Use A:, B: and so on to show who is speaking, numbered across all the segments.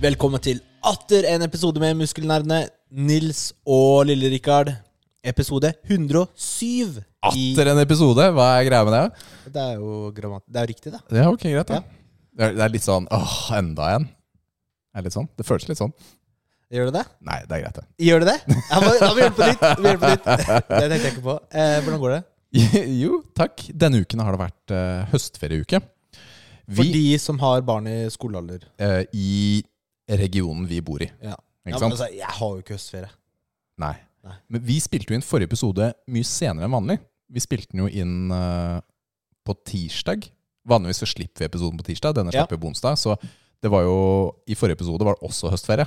A: Velkommen til atter en episode med Muskelnerdene. Nils og Lille-Rikard. Episode 107. i-
B: Atter en episode. Hva er greia med det?
A: Det er jo grammat... Det er jo riktig, da.
B: Ja, ok, greit da. Det er- Det er litt sånn åh, enda en. Det er litt sånn. Det føles litt sånn.
A: Gjør det det?
B: Nei, det er greit, det.
A: Gjør det det? Ja, men, da må vi gjøre det på nytt. Vi gjør det på nytt. Det tenkte jeg ikke på. Eh, hvordan går det?
B: Jo, takk. Denne uken har det vært eh, høstferieuke.
A: For
B: Vi,
A: de som har barn i skolealder.
B: eh, I regionen vi bor i.
A: Ja.
B: Ikke
A: ja, men
B: sant?
A: altså, jeg har jo ikke høstferie.
B: Nei.
A: Nei.
B: Men vi spilte jo inn forrige episode mye senere enn vanlig. Vi spilte den jo inn eh, på tirsdag. Vanligvis så slipper vi episoden på tirsdag. Denne
A: Ja.
B: slapp vi på onsdag. Så det var jo I forrige episode var det også høstferie.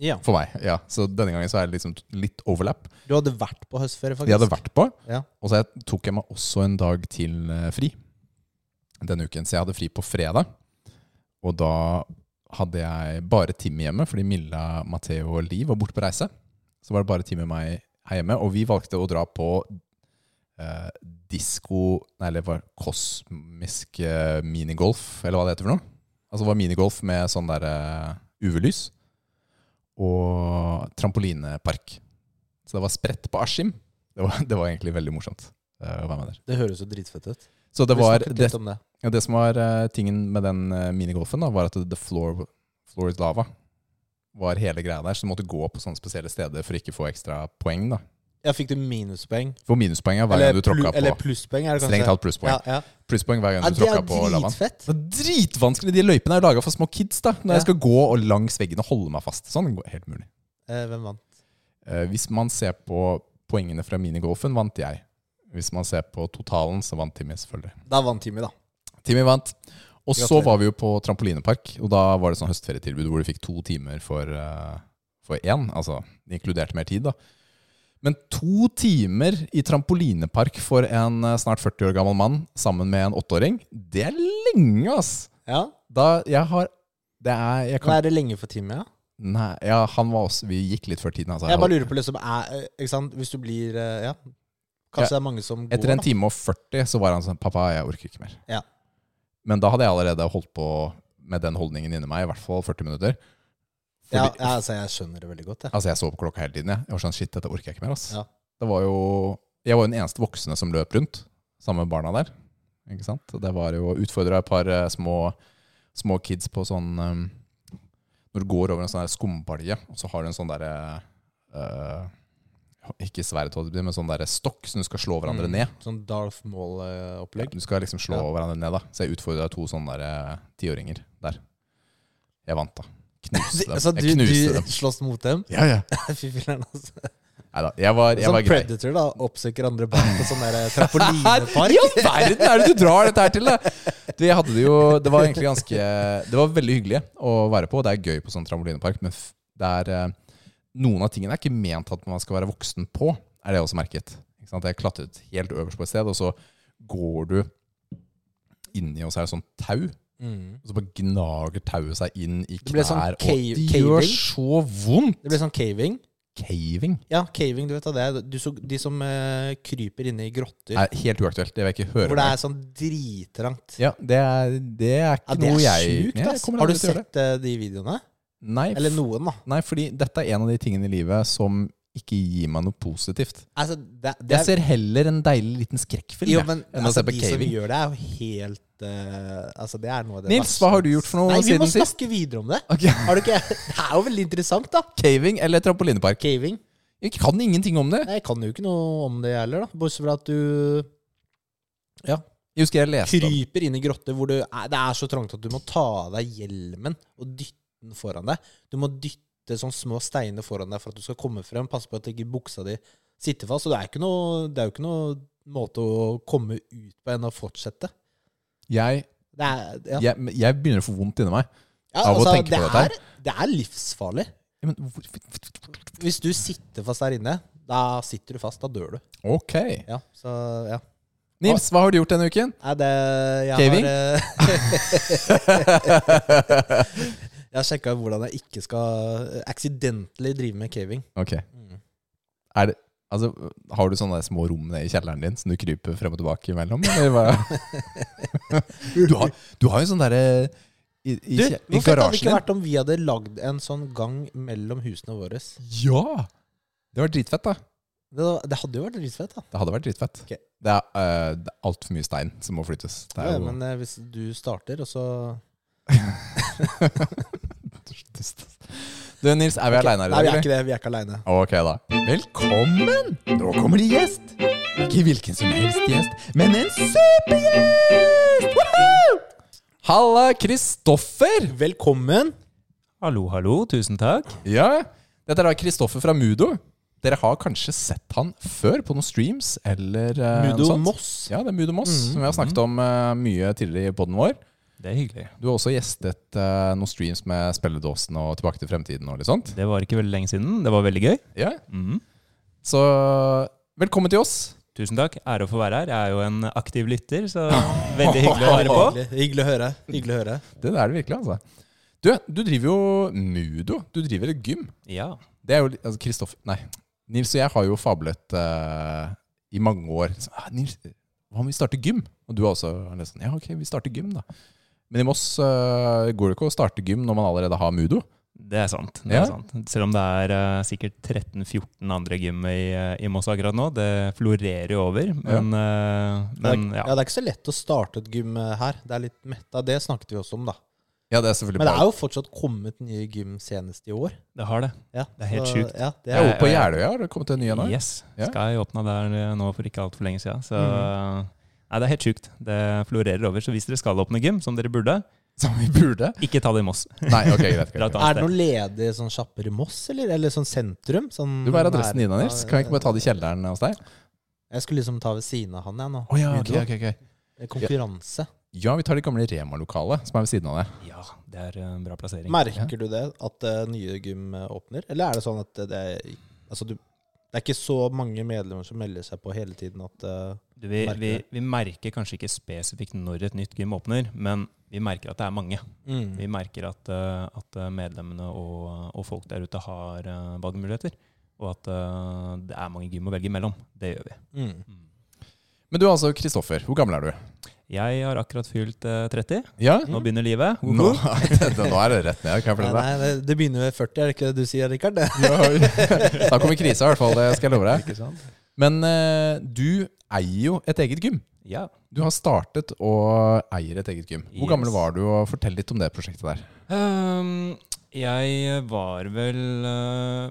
A: Ja.
B: For meg, ja. Så denne gangen så er det liksom litt overlap.
A: Du hadde vært på høstferie, faktisk.
B: Jeg hadde vært på,
A: Ja.
B: og så jeg- tok jeg meg også en dag til eh, fri denne uken. Så jeg hadde fri på fredag, og da hadde jeg bare Tim hjemme, fordi Milla, Matheo og Liv var borte på reise. Så var det bare Tim og meg her hjemme, og vi valgte å dra på eh, disko, nei, eller var kosmisk eh, minigolf, eller hva det heter for noe. Altså det var minigolf med sånn der eh, UV-lys, og trampolinepark. Så det var spredt på Askim. Det var, det var egentlig veldig morsomt. eh, å være med der.
A: Det høres jo dritfett ut.
B: Så det,
A: Vi
B: var,
A: snakket
B: det,
A: litt om det.
B: ja, det som var eh, tingen med den eh, minigolfen, da, var at the floor, floor is lava var hele greia der. Så du måtte gå på sånne spesielle steder for ikke å få ekstra poeng. da.
A: Ja, fikk du minuspoeng?
B: For minuspoeng er hver gang du
A: plu-
B: tråkka
A: eller
B: på.
A: plusspoeng, er det kanskje?
B: Strengt talt plusspoeng.
A: Ja, ja.
B: Plusspoeng hver gang
A: ja
B: du
A: det er
B: tråkka på lavaen.
A: dritfett.
B: Det er dritvanskelig. De løypene er laga for små kids. da. Når
A: Ja.
B: jeg skal gå og langs veggen og holde meg fast. Sånn går helt mulig.
A: Eh, hvem vant?
B: Eh, hvis man ser på poengene fra minigolfen, vant jeg. Hvis man ser på totalen, så vant Timmy, selvfølgelig.
A: Da vant Timmy, da.
B: Timmy vant. Og så
A: Gratulerer.
B: var vi jo på trampolinepark, og da var det sånn høstferietilbud hvor du fikk to timer for, eh, for én. Altså, det inkluderte mer tid, da. Men to timer i trampolinepark for en eh, snart 40 år gammel mann sammen med en åtteåring, det er lenge, ass!
A: Ja.
B: Da jeg har Det er Jeg
A: Hva
B: kan
A: er det lenge for Timmy, ja?
B: Nei, ja, han var også Vi gikk litt før tiden, altså.
A: Jeg bare lurer på, liksom, er, eh, ikke sant? hvis du blir eh, Ja. Kanskje det er mange som går,
B: Etter en
A: da.
B: time og 40 så var han sånn Pappa, jeg orker ikke mer.
A: Ja.
B: Men da hadde jeg allerede holdt på med den holdningen inni meg i hvert fall 40 minutter.
A: Ja,
B: Fordi-
A: ja, altså, jeg skjønner det veldig godt, jeg.
B: Altså Jeg så på klokka hele tiden. Jeg, jeg var sånn Shit, dette orker jeg ikke mer. ass
A: Ja.
B: Det var jo Jeg var jo den eneste voksne som løp rundt sammen med barna der. Ikke sant? Det var jo Utfordra et par eh, små, små kids på sånn um, Når du går over en sånn her skumbalje, og så har du en sånn derre Ikke sverd, holdt jeg på å si, men sånn derre stokk som du skal slå hverandre
A: Mm.
B: ned.
A: Sånn Darth Maul-opplegg.
B: Du skal liksom slå
A: Ja.
B: hverandre ned, da. Så jeg utfordra to sånne der, eh, tiåringer der. Jeg vant, da. Knuste dem.
A: Altså, du,
B: jeg knuste
A: du
B: dem.
A: slåss mot dem?
B: Ja, ja.
A: Fy filler'n, altså.
B: Neida, Jeg var, jeg
A: Sånn
B: var grei.
A: predator, da. Oppsøker andre barn på sånn der
B: Her,
A: trampolinepark.
B: I all verden er det du drar dette her til, da? Du, jeg hadde det jo Det var egentlig ganske Det var veldig hyggelig å være på. Det er gøy på sånn trampolinepark, men f- det er eh, Noen av tingene er ikke ment at man skal være voksen på, er det jeg også merket. Ikke sant? Jeg klatret helt øverst på et sted, og så går du inni, og så er det sånn tau.
A: Mm.
B: Og så bare gnager tauet seg inn i
A: Det ble
B: knær.
A: sånn
B: og
A: cave-
B: det gjør
A: caving.
B: så vondt!
A: Det blir sånn caving.
B: Caving
A: Ja, caving, du vet da, det er du, så, de som eh, kryper inne i grotter.
B: er helt uaktuelt. Det vil jeg ikke høre.
A: hvor det er
B: mer.
A: sånn drittrangt.
B: ja, det, er, det er
A: Ja,
B: ikke
A: det
B: noe
A: er
B: jeg
A: sjukt,
B: Ja, jeg
A: ass.
B: kommer
A: Har du
B: aldri til å gjøre
A: sett eh, de videoene?
B: det. Nei, f-
A: Eller noen, da.
B: nei, fordi dette er en av de tingene i livet som ikke gir meg noe positivt.
A: Altså, det, det
B: Jeg ser heller en deilig liten skrekkfilm
A: jo,
B: jeg,
A: men,
B: enn å
A: altså,
B: se på
A: De som
B: caving.
A: gjør det, er jo helt eh, Altså, det er noe av det
B: Nils, hva har du gjort for noe
A: Nei, vi må
B: siden sist?
A: snakke videre om det.
B: Ok,
A: Har du ikke? Det er jo veldig interessant, da.
B: Caving eller trampolinepark?
A: Caving.
B: Jeg kan ingenting om det.
A: Nei, Jeg kan jo ikke noe om det heller, da. Bortsett fra at du
B: Jeg husker jeg leste om
A: kryper inn i grotter hvor du er, det er så trangt at du må ta av deg hjelmen og dytte den foran deg. Du må dytte sånne små steiner foran deg for at du skal komme frem. Pass på at ikke buksa di sitter fast. Så det er, ikke noe, det er jo ikke noe måte å komme ut på enn å fortsette.
B: jeg,
A: Det er, ja.
B: jeg, jeg begynner å få vondt inni meg.
A: Ja,
B: Av å
A: altså,
B: tenke
A: det, er,
B: på dette
A: det er livsfarlig.
B: Ja, men hvorfor
A: Hvis du sitter fast der inne, da sitter du fast. Da dør du.
B: Ok.
A: Ja, så ja.
B: Nils, hva har du gjort denne uken?
A: Nei, det jeg
B: Caving?
A: Har, eh, jeg har sjekka hvordan jeg ikke skal eh, accidentally drive med caving.
B: Ok.
A: Mm.
B: Er det, altså, har du sånne små rom nede i kjelleren din som du kryper frem og tilbake imellom? Eller hva? Du har, du har jo sånn derre i, i,
A: Du,
B: kje- i
A: hvor fett hadde det
B: garasjen
A: ikke
B: din.
A: vært om vi hadde lagd en sånn gang mellom husene våre?
B: Ja! Det var dritfett, da.
A: Det, det hadde jo vært dritfett, da.
B: Det hadde vært dritfett.
A: Ok.
B: Det er, uh, det er altfor mye stein som må flyttes. Det er
A: Ja,
B: jo
A: men eh, hvis du starter, og så
B: Du, Nils, er vi
A: Ok.
B: alene
A: Nei,
B: her i dag,
A: vi er ikke det. Vi er ikke aleine.
B: Ok, da. Velkommen! Nå kommer det gjest. Ikke hvilken som helst gjest, men en supergjest! Woohoo! Halla, Kristoffer!
A: Velkommen.
C: Hallo, hallo. Tusen takk.
B: Ja, dette er da Kristoffer fra Mudo. Dere har kanskje sett han før på noen streams eller eh, noe
A: Mudo
B: sånt.
A: Moss. Mm.
B: Ja, det er Mudo Moss, som vi har snakket om eh, mye tidligere i podden vår.
C: Det er hyggelig.
B: Du har også gjestet eh, noen streams med Spelledåsen og Tilbake til fremtiden og litt sånt.
C: Det var ikke veldig lenge siden. Det var veldig gøy.
B: Ja,
C: Mhm.
B: så velkommen til oss.
C: Tusen takk. Ære å få være her. Jeg er jo en aktiv lytter, så veldig hyggelig å være på.
A: Hyggelig, hyggelig å høre. Hyggelig å høre.
B: Det er det virkelig, altså. Du, du driver jo Mudo. Du driver et gym.
C: Ja.
B: Det er jo li- altså, Kristoff Nei. Nils og jeg har jo fablet eh, i mange år. Så, ah, Nils, hva om vi starter gym? Og du har også har litt sånn Ja, ok, vi starter gym, da. Men i Moss eh, går det ikke å starte gym når man allerede har Mudo.
C: Det er sant. Det
B: Ja.
C: er sant. Selv om det er eh, sikkert 13-14 andre gym i, eh, i Moss akkurat nå. Det florerer jo over. Men, eh, men
A: ja.
C: ja.
A: Det er ikke så lett å starte et gym eh, her. Det er litt metta. Det snakket vi også om, da.
B: Ja, det er selvfølgelig
A: Men det
B: bare
A: er jo fortsatt kommet nye gym senest i år.
C: det har det.
A: Ja,
C: Det er helt
A: så-
C: sjukt.
A: Ja, det
B: Jeg er
A: er,
B: oppe på Jeløya. Har det kommet en ny en nå?
C: Yes.
B: Ja.
C: Sky åpna der eh, nå for ikke altfor lenge siden. Så
A: Mm.
C: nei, det er helt sjukt. Det florerer over. Så hvis dere skal åpne gym, som dere burde,
B: Som vi burde.
C: ikke ta det i Moss.
B: Nei, ok, greit.
C: Dra et
B: greit.
C: annet
A: er
C: sted.
A: det noen ledige sånn sjapper i Moss, eller? Eller sånn sentrum? Sånn
B: Du, Hva er adressen
A: nær-
B: din, da, Nils? Kan vi ikke bare ta det i kjelleren hos deg?
A: Jeg skulle liksom ta ved siden av han, jeg nå.
B: Å ja, ok,
A: Mudo.
B: ok, ok.
A: Konkurranse.
B: ja, vi tar det gamle Rema-lokalet som er ved siden av det.
C: Ja, det er en bra plassering.
A: Merker du det, at eh, nye gym eh, åpner? Eller er det sånn at det er Altså, du Det er ikke så mange medlemmer som melder seg på hele tiden at eh,
C: Du, vi,
A: Merker
C: vi,
A: det.
C: vi merker kanskje ikke spesifikt når et nytt gym åpner, men vi merker at det er mange.
B: Mm.
A: Mm.
C: Vi merker at, eh, at medlemmene og, og folk der ute har eh, valgmuligheter. Og at eh, det er mange gym å velge mellom. Det gjør vi.
A: mm.
B: Men du altså, Kristoffer. Hvor gammel er du?
C: Jeg har akkurat fylt eh, 30.
B: Ja?
A: Mm.
C: Nå begynner livet.
B: Nå, nå er det rett ned. Kan jeg
A: Nei,
B: fortelle deg?
A: nei, det, det begynner ved 40, er det ikke det du sier, Rikard?
B: da kommer krisa, i hvert fall. Det skal jeg love deg.
C: Ikke sant?
B: Men eh, du eier jo et eget gym.
C: Ja.
B: Du har startet og eier et eget gym. Hvor
C: Yes.
B: gammel var du? og Fortell litt om det prosjektet der.
C: Ehm, jeg var vel eh,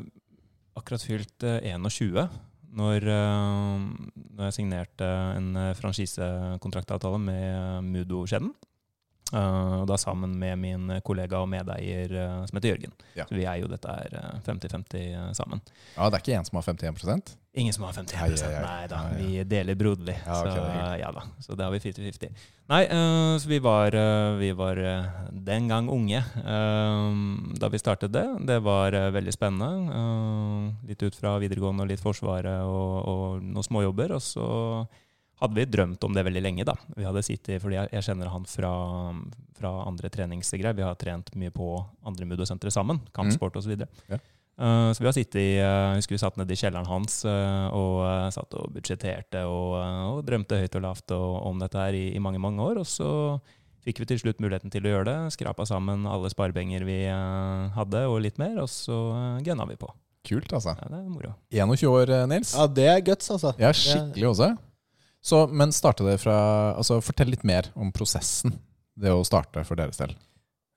C: akkurat fylt eh, 21 når, eh, når jeg signerte en eh, franchisekontraktavtale med eh, Mudo-kjeden. Eh, og da sammen med min kollega og medeier eh, som heter Jørgen.
B: Ja.
C: Så vi eier jo dette her eh, 50-50 sammen.
B: Ja, Det er ikke en som har 51
C: Ingen som har 51
B: Ai, ai, ai.
C: Nei da,
B: Ja, ja.
C: vi deler broderlig.
B: Ja, ok,
C: så,
B: det er hyggelig.
C: ja da, så det har vi 50-50. Nei, eh, så vi var, eh, vi var eh, den gang unge eh, da vi startet det. Det var eh, veldig spennende. eh, litt ut fra videregående og litt Forsvaret og, og noen småjobber. Og så hadde vi drømt om det veldig lenge, da. Vi hadde sittet, fordi jeg, jeg kjenner han fra, fra andre treningsgreier. Vi har trent mye på andre Mudo-sentre sammen. Kampsport og så videre.
B: Ja.
C: Eh, så vi har sittet i, eh, husker vi satt nede i kjelleren hans eh, og eh, satt og budsjetterte og, eh, og drømte høyt og lavt og, om dette her i, i mange, mange år. Og så fikk vi til slutt muligheten til å gjøre det. Skrapa sammen alle sparepenger vi eh, hadde og litt mer, og så uh, gønna vi på.
B: Kult, altså.
C: Ja, det er moro.
B: 21 år, eh, Nils.
A: Ja, det er guts, altså.
B: Ja, skikkelig også. Så, men starta det fra Altså, fortell litt mer om prosessen. Det å starte for deres del.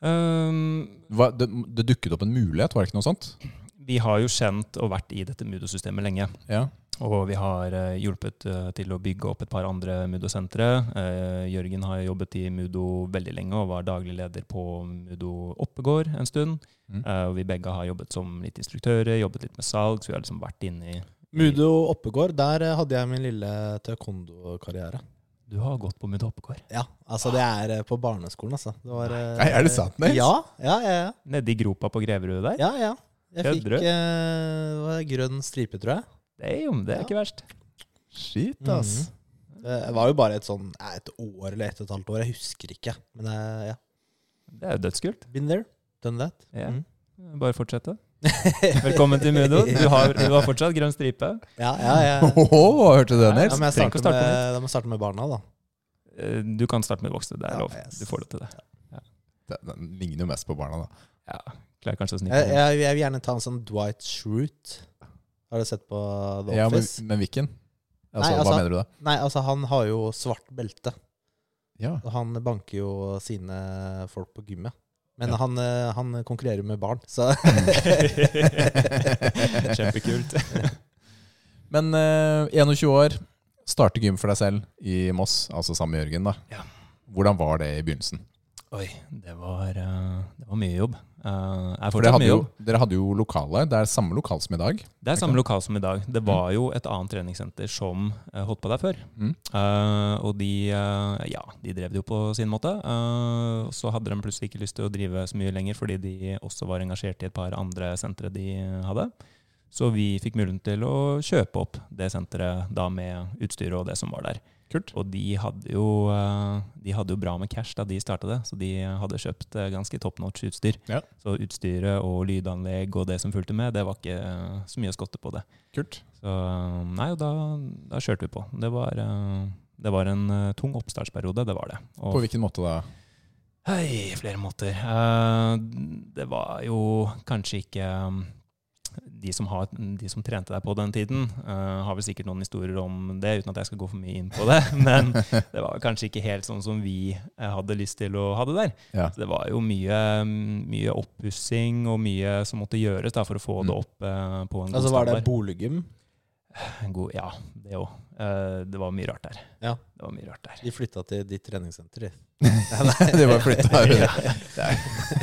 C: Um,
B: Hva, det, det dukket opp en mulighet, var det ikke noe sånt?
C: vi har jo kjent og vært i dette Mudo-systemet lenge.
B: Ja.
C: Og vi har eh, hjulpet eh, til å bygge opp et par andre Mudo-sentre. Eh, Jørgen har jo jobbet i Mudo veldig lenge og var daglig leder på Mudo Oppegård en stund.
B: Mm.
C: Eh, og vi begge har jobbet som litt instruktører, jobbet litt med salg, så vi har liksom vært inne i
A: Mudo Oppegård, der eh, hadde jeg min lille taekwondo-karriere.
C: Du har gått på Mudd Hoppegård.
A: Ja, altså det er eh, på barneskolen, altså. Det var, eh,
B: Nei, er det sant, Nils?
A: Ja, ja, ja. ja.
C: Nedi gropa på Greverud der.
A: ja, ja. Jeg fikk
C: Kødder du?
A: eh, det var grønn stripe, tror jeg.
C: Damn, det er ikke verst.
B: Shit, ass.
A: Mhm. Det var jo bare et sånn eh, et år eller et og et halvt år, jeg husker ikke. Men eh, ja,
C: Det er jo dødskult.
A: been there, done that.
C: Ja.
A: Mm.
C: Bare fortsette. Velkommen til Mudo. Du har, du har fortsatt grønn stripe.
A: Ja, ja, ja.
B: Åhå, hørte du det,
A: Da
B: Nils?
A: må jeg
C: trenger ikke
A: starte
C: å starte
A: med, da må jeg starte med barna, da.
C: Eh, Du kan starte med voksne. Det
A: Ja,
C: er lov.
A: yes.
C: Du får det til det.
B: Den, den ligner jo mest på barna, da.
C: Ja, Klarer kanskje å snike
A: Jeg,
C: den.
A: jeg, jeg vil gjerne ta en sånn Dwight Schrute. Har du sett på The
B: Ja, men,
A: Office?
B: men hvilken? Altså,
A: Nei, altså-
B: hva mener du da?
A: Nei, altså han har jo svart belte.
B: Ja.
A: Og han banker jo sine folk på gymmet. Men
B: Ja.
A: han, eh, han konkurrerer jo med barn, så
C: Kjempekult.
B: Men eh, 21 år, starte gym for deg selv i Moss, altså sammen med Jørgen. da.
C: Ja.
B: Hvordan var det i begynnelsen?
C: Oi, det var, eh, det var mye jobb. Eh, Jeg er
B: For dere
C: fortsatt
B: hadde,
C: mye
B: jo,
C: jobb.
B: dere hadde jo lokale. Det er samme lokal som i dag.
C: Det er samme lokal som i dag. Det var jo et annet treningssenter som eh, holdt på der før.
B: Mm.
C: Eh, og de, eh, ja, de drev det jo på sin måte. Eh, og så hadde de plutselig ikke lyst til å drive så mye lenger, fordi de også var engasjert i et par andre sentre de hadde. Så vi fikk muligheten til å kjøpe opp det senteret da med utstyret og det som var der.
B: Kult.
C: Og de hadde jo, eh, de hadde jo bra med cash da de starta det, så de hadde kjøpt eh, ganske top notch utstyr.
B: Ja.
C: Så utstyret og lydanlegg og det som fulgte med, det var ikke eh, så mye å skotte på det.
B: Kult.
C: Så eh, nei, og da, da kjørte vi på. Det var, eh, det var en eh, tung oppstartsperiode, det var det. Og
B: På hvilken måte da?
C: Hei, flere måter. Eh, det var jo kanskje ikke um, de som, har, de som trente deg på den tiden, eh, har vel sikkert noen historier om det, uten at jeg skal gå for mye inn på det. Men det var kanskje ikke helt sånn som vi eh, hadde lyst til å ha det der.
B: Ja.
C: Så det var jo mye, mm, mye oppussing og mye som måtte gjøres da, for å få det opp eh, på en god
A: Mm. Altså var det
C: standard.
A: boliggym?
C: En god, ja, det òg. det var mye rart der.
A: Ja.
C: Det var mye rart der.
A: De flytta til ditt treningssenter, de.
B: det var flytta
C: Ja.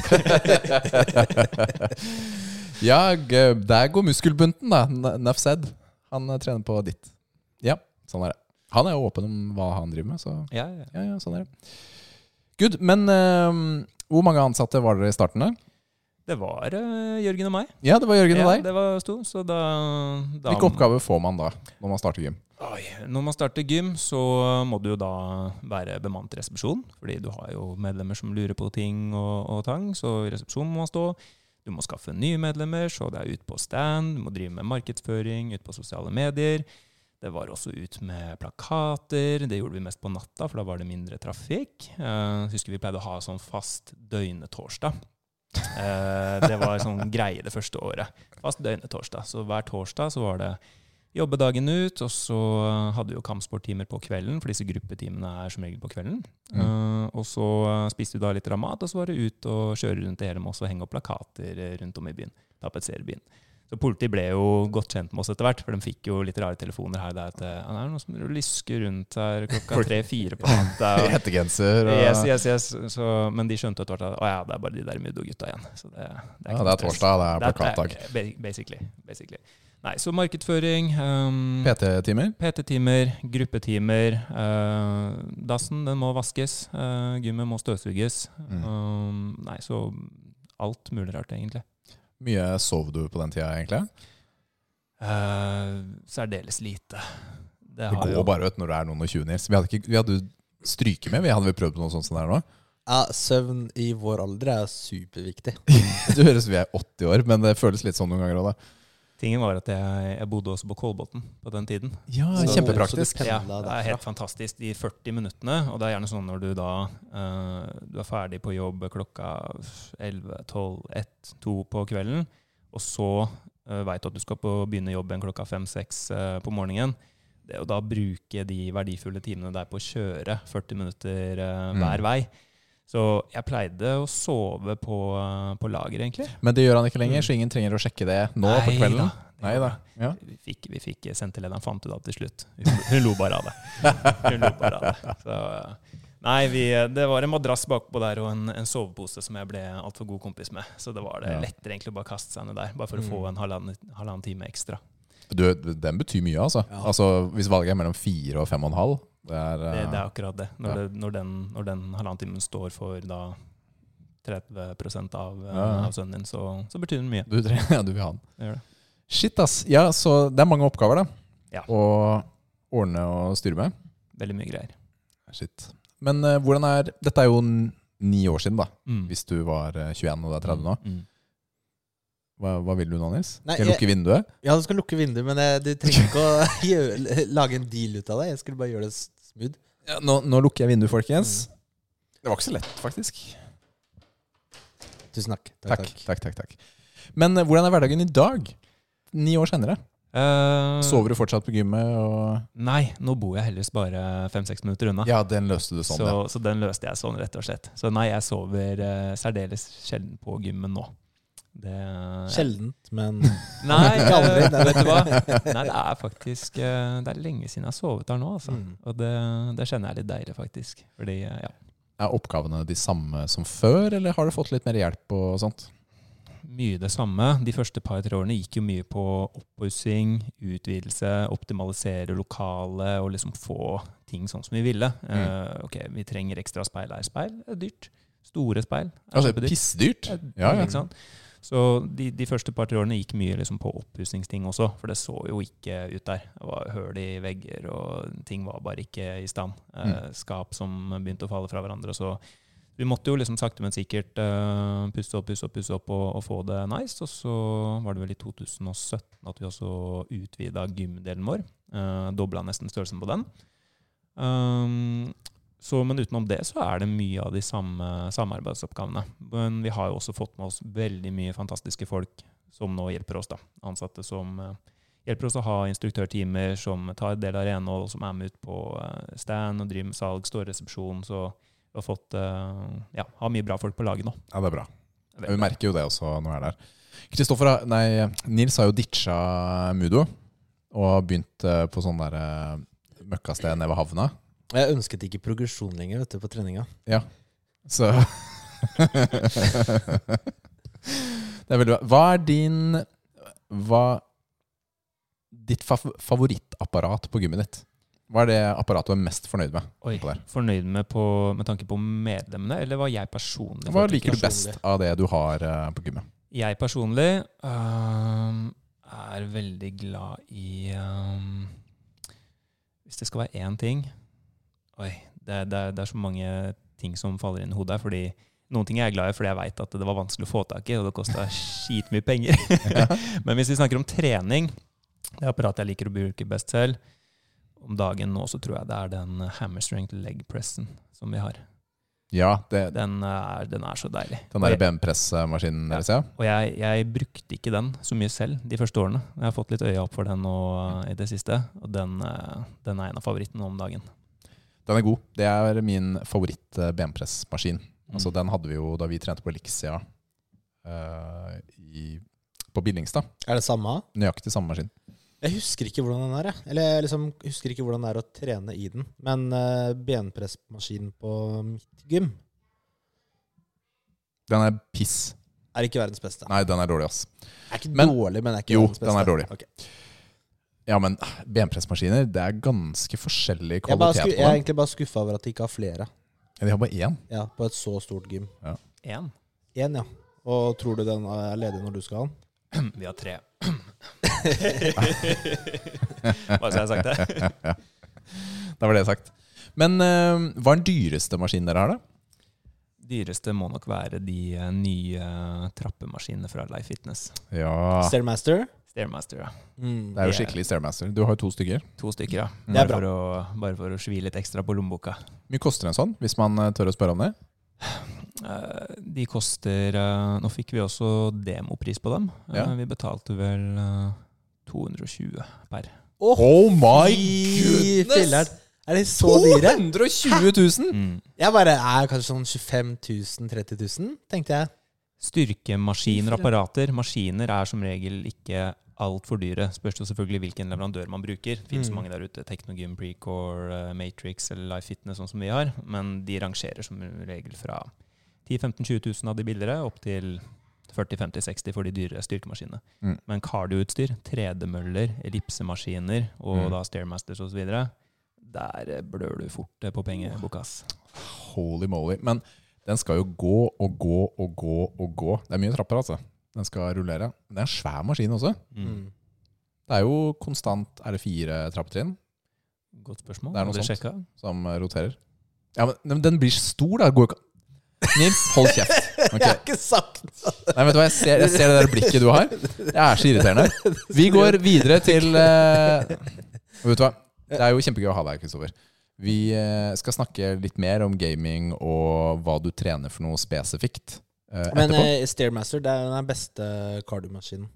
B: Ja, gø- der går muskelbunten, da. N- Nuff said. Han eh, trener på ditt. Ja, sånn er det. Han er jo åpen om hva han driver med, så
C: Ja, ja.
B: ja, ja, sånn er det. Good. Men eh, hvor mange ansatte var dere i starten? da?
C: Det var eh, Jørgen og meg.
B: Ja, det var Jørgen og deg.
C: det var stor, så da, da
B: Hvilke oppgaver får man da, når man starter gym?
C: Oi, når man starter gym, så må du jo da være bemannet resepsjon, fordi du har jo medlemmer som lurer på ting og, og tang, så i resepsjonen må man stå. Du må skaffe nye medlemmer, så det er ut på stand, du må drive med markedsføring, ut på sosiale medier. Det var også ut med plakater, det gjorde vi mest på natta, for da var det mindre trafikk. Eh, husker vi pleide å ha sånn fast døgnetorsdag. Eh, det var sånn greie det første året. Fast døgnetorsdag. Så hver torsdag så var det jobbe dagen ut, og så hadde vi jo kampsporttimer på kvelden, for disse gruppetimene er som regel på kvelden.
B: Mm.
C: Eh, og så eh, spiste vi da litt mat, og så var det ut og kjøre rundt i hele Moss og henge opp plakater eh, rundt om i byen. Tapetsere byen. Så politiet ble jo godt kjent med oss etter hvert, for de fikk jo litt rare telefoner her der at eh, «Ah, det er noen som lysker rundt her klokka
B: Folk-
C: tre-fire på natta.
B: I
C: og-
B: Hettegenser og
C: Yes, yes, yes. Så, men de skjønte etter hvert at å ja, det er bare de der Mudo-gutta igjen. Så det,
B: Ja, det
C: ikke noe
B: er
C: stress.
B: torsdag, det er
C: Det er-
B: plakatdag.
C: det er ba- Basically. basically. Nei, så markedsføring, ehm,
B: PT-timer?
C: PT-timer, gruppetimer. eh, dassen den må vaskes, eh, gymmet må støvsuges.
B: Mm.
C: Um, nei, så alt mulig rart, egentlig.
B: Mye sov du på den tida, egentlig?
C: Eh, særdeles lite.
B: Det
C: har
B: går
C: jo-
B: bare ut når det er noen og tjue, Nils. Vi hadde, ikke, vi hadde jo stryke med, vi hadde vel prøvd på noe sånt som det er nå.
A: Ja, søvn i vår alder er superviktig.
B: Det høres ut vi er 80 år, men det føles litt sånn noen ganger òg, da.
C: Tingen var at jeg, jeg bodde også på Kolbotn på den tiden.
B: Ja,
A: Så-
B: kjempepraktisk.
A: så du
C: Ja,
A: pendla
C: det er
A: derfra.
C: helt fantastisk de 40 minuttene. Og det er gjerne sånn når du da eh, du er ferdig på jobb klokka 11, 12, 1, 2 på kvelden, og så uh, veit du at du skal på, begynne jobben klokka 5-6 på morgenen. Det å da bruke de verdifulle timene der på å kjøre 40 minutter eh,
B: Mm.
C: hver vei. Så jeg pleide å sove på, eh, på lager, egentlig.
B: Men det gjør han ikke lenger, så ingen trenger å sjekke det nå på
C: Nei
B: kvelden.
C: da.
B: Nei da. Ja.
C: Vi fikk, vi fikk eh, senterlederen fant ut av det til slutt. Hun, hun lo bare av det. Hun lo bare av det. Så, eh, nei, vi, det var en madrass bakpå der og en, en sovepose som jeg ble altfor god kompis med. Så det var det
B: Ja.
C: lettere egentlig å bare kaste seg ned der, bare for å
B: Mm.
C: få en halvannen, halvannen time ekstra.
B: Du, den betyr mye, altså.
A: Ja.
B: altså. Hvis valget er mellom fire og fem og en halv, Det er,
C: Det, det
B: eh,
C: er akkurat det. Når,
B: Ja.
C: det, når den, når den halvannen timen står for da 30 av,
B: Ja,
C: eh,
B: ja.
C: av sønnen din, så, så betyr den mye.
B: du, tre- ja, du vil ha den.
C: Det gjør det.
B: Shit, ass. Ja, så det er mange oppgaver, da.
C: Ja.
B: Å ordne og styre med.
C: Veldig mye greier.
B: Shit. Men eh, hvordan er Dette er jo n- ni år siden, da.
C: Mm.
B: Hvis du var eh, 21 og du er 30 nå.
C: Mm.
B: Hva, hva vil du nå, Nils?
A: Nei,
B: Skal jeg lukke vinduet?
A: Ja, du skal lukke vinduet, men jeg, du trenger ikke å gjøre, lage en deal ut av det. Jeg skulle bare gjøre det smooth.
B: Ja, nå, nå lukker jeg vinduet, folkens. Det var ikke så lett, faktisk.
A: Tusen takk.
B: Takk, takk, takk. takk, Men eh, hvordan er hverdagen i dag? Ni år senere.
C: Eh,
B: Sover du fortsatt på gymmet? Og...
C: Nei, nå bor jeg heldigvis bare fem-seks minutter unna.
B: Ah. Ja, den løste du sånn,
C: så,
B: ja.
C: så den løste jeg sånn, rett og slett. Så nei, jeg sover eh, særdeles sjelden på gymmen nå. Det,
A: Sjeldent, men
C: Nei,
A: Ikke aldri,
C: eh,
A: nei.
C: vet du hva? Nei, det er faktisk eh, Det er lenge siden jeg har sovet her nå, altså.
A: Mm.
C: Og det, det kjenner jeg litt deilig, faktisk. Fordi, eh, ja.
B: Er oppgavene de samme som før, eller har du fått litt mer hjelp og sånt?
C: Mye det samme. De første par-tre årene gikk jo mye på oppussing, utvidelse, optimalisere lokalet og liksom få ting sånn som vi ville. Eh, ok, vi trenger ekstra speil her. Speil er dyrt. Store speil er
B: Altså,
C: kjempedyrt.
B: pissdyrt! Ja,
C: Ja,
B: ja.
C: Ikke sant? Så de, de første par-tre årene gikk mye liksom på oppussingsting også, for det så jo ikke ut der. Det var høl i vegger, og ting var bare ikke i stand. Eh, skap som begynte å falle fra hverandre. Så vi måtte jo liksom sakte, men sikkert eh, pusse opp, pusse opp, pusse opp og, og få det nice. Og så var det vel i 2017 at vi også utvida gymdelen vår. Uh, Dobla nesten størrelsen på den. Um, så, men utenom det så er det mye av de samme samarbeidsoppgavene. Men vi har jo også fått med oss veldig mye fantastiske folk som nå hjelper oss. da. Ansatte som eh, hjelper oss å ha instruktørtimer, som tar del av renhold, som er med ut på eh, stand og driver med salg, står i resepsjon. Så vi har fått eh, ja, har mye bra folk på laget nå.
B: Ja, det er bra. Vi merker jo det også når jeg er der. Kristoffer, har- nei, Nils har jo ditcha Mudo og begynt eh, på sånn der eh, møkkasted nede ved havna.
A: jeg ønsket ikke progresjon lenger vet du, på treninga.
B: Så Det er veldig bra. Hva er din Hva Ditt fa favorittapparat på gymmet ditt? Hva er det apparatet du er mest fornøyd med?
C: Oi,
B: på der?
C: Fornøyd med, på, med tanke på medlemmene, eller hva jeg personlig
B: Hva
C: foretrekker?
B: liker du
A: personlig?
B: best av det du har eh, på gymmet?
C: Jeg personlig øhm, er veldig glad i øhm, Hvis det skal være én ting Oi, det, er- det, er- det er så mange ting som faller inn i hodet. her, fordi Noen ting er jeg glad i fordi jeg veit at det var vanskelig å få tak i, og det kosta skitmye penger. Men hvis vi snakker om trening, det apparatet jeg liker å bruke best selv om dagen nå, så tror jeg det er den hammerstrength leg pressen som vi har.
B: Ja, det,
C: Den er, den er så deilig.
B: den der benpressmaskinen
C: Ja.
B: deres, ja.
C: Og jeg, jeg brukte ikke den så mye selv de første årene. Jeg har fått litt øya opp for den nå eh, i det siste, og den, eh, den er en av favorittene om dagen.
B: Den er god. Det er min favoritt-benpressmaskin.
C: Mm.
B: Altså, den hadde vi jo da vi trente på Elixia eh, i, på Billingstad.
A: Er det samme?
B: Nøyaktig samme maskin.
A: Jeg husker ikke hvordan den er, jeg. Eller jeg liksom husker ikke hvordan det er å trene i den. Men eh, benpressmaskinen på mitt gym
B: Den er piss.
A: er ikke verdens beste.
B: Nei, den er dårlig, ass.
A: er ikke
B: men-
A: dårlig, men er ikke
B: Jo,
A: verdens beste.
B: den er dårlig.
A: Ok.
B: Ja, men eh, benpressmaskiner, det er ganske forskjellig
A: Jeg, bare sku,
B: kvalitet på
A: jeg er
B: dem.
A: egentlig bare skuffa over at de ikke har flere
B: Ja, de har bare én.
A: ja, på et så stort gym.
C: Én.
A: Én, ja. Og tror du den er ledig når du skal ha den?
C: Vi har tre. Bare så jeg har sagt det.
B: Det var det jeg har sagt. Men eh, hva er den dyreste maskinen dere har, da?
C: Dyreste må nok være de eh, nye trappemaskinene fra Life Fitness.
B: Ja,
A: Stairmaster?
C: Stairmaster, ja.
A: Mm.
B: det er jo skikkelig Stairmaster. Du har jo to stykker.
C: To stykker, ja.
B: Det
A: er
C: Bare for, å, bare for å svi litt ekstra på lommeboka.
B: Hvor mye koster en sånn, hvis man eh, tør å spørre om det?
C: Eh, De koster eh, Nå fikk vi også demopris på dem. Eh,
B: Ja.
C: Vi betalte vel eh, 220 per.
A: Åh,
B: Oh my
A: fy filleren! Er de så dyre?
B: 220 000!
A: Jeg bare er kanskje sånn 25 000-30 000, tenkte jeg.
C: Styrkemaskiner, apparater. Maskiner er som regel ikke altfor dyre. Spørs jo selvfølgelig hvilken leverandør man bruker. Det finnes
A: Mm.
C: mange der ute. Technogym, Precore, eh, Matrix eller Life Fitness, sånn som vi har. Men de rangerer som regel fra 10 000-15 000 20 000 av de billigere opp til 40 000 50 000 60 000 for de dyre styrkemaskinene.
B: Mm.
C: Men cardioutstyr, 3D-møller, ellipsemaskiner og
B: Mm.
C: da Stairmasters osv. Der blør du fort eh, på pengeboka. ass.
B: Holy moly. Men den skal jo gå og gå og gå og gå. Det er mye trapper, altså. Den skal rullere. Det er en svær maskin også.
C: Mm.
A: Mm.
B: Det er jo konstant Er det fire trappetrinn
C: Godt spørsmål.
B: Det er noe
C: Har du
B: sånt.
C: sjekket?
B: som roterer? Ja, men- men den blir stor, da. Det Går jo ikke Nils, hold kjeft.
A: Jeg
B: Ok.
A: har ikke sagt
B: Nei, vet du hva, jeg ser, jeg ser det der blikket du har. Det er så irriterende. Vi går videre til eh, Vet du hva, det er jo kjempegøy å ha deg, Kristoffer. Vi eh, skal snakke litt mer om gaming og hva du trener for noe spesifikt eh,
A: Men
B: etterpå.
A: eh, Stairmaster det er den beste kardiomaskinen.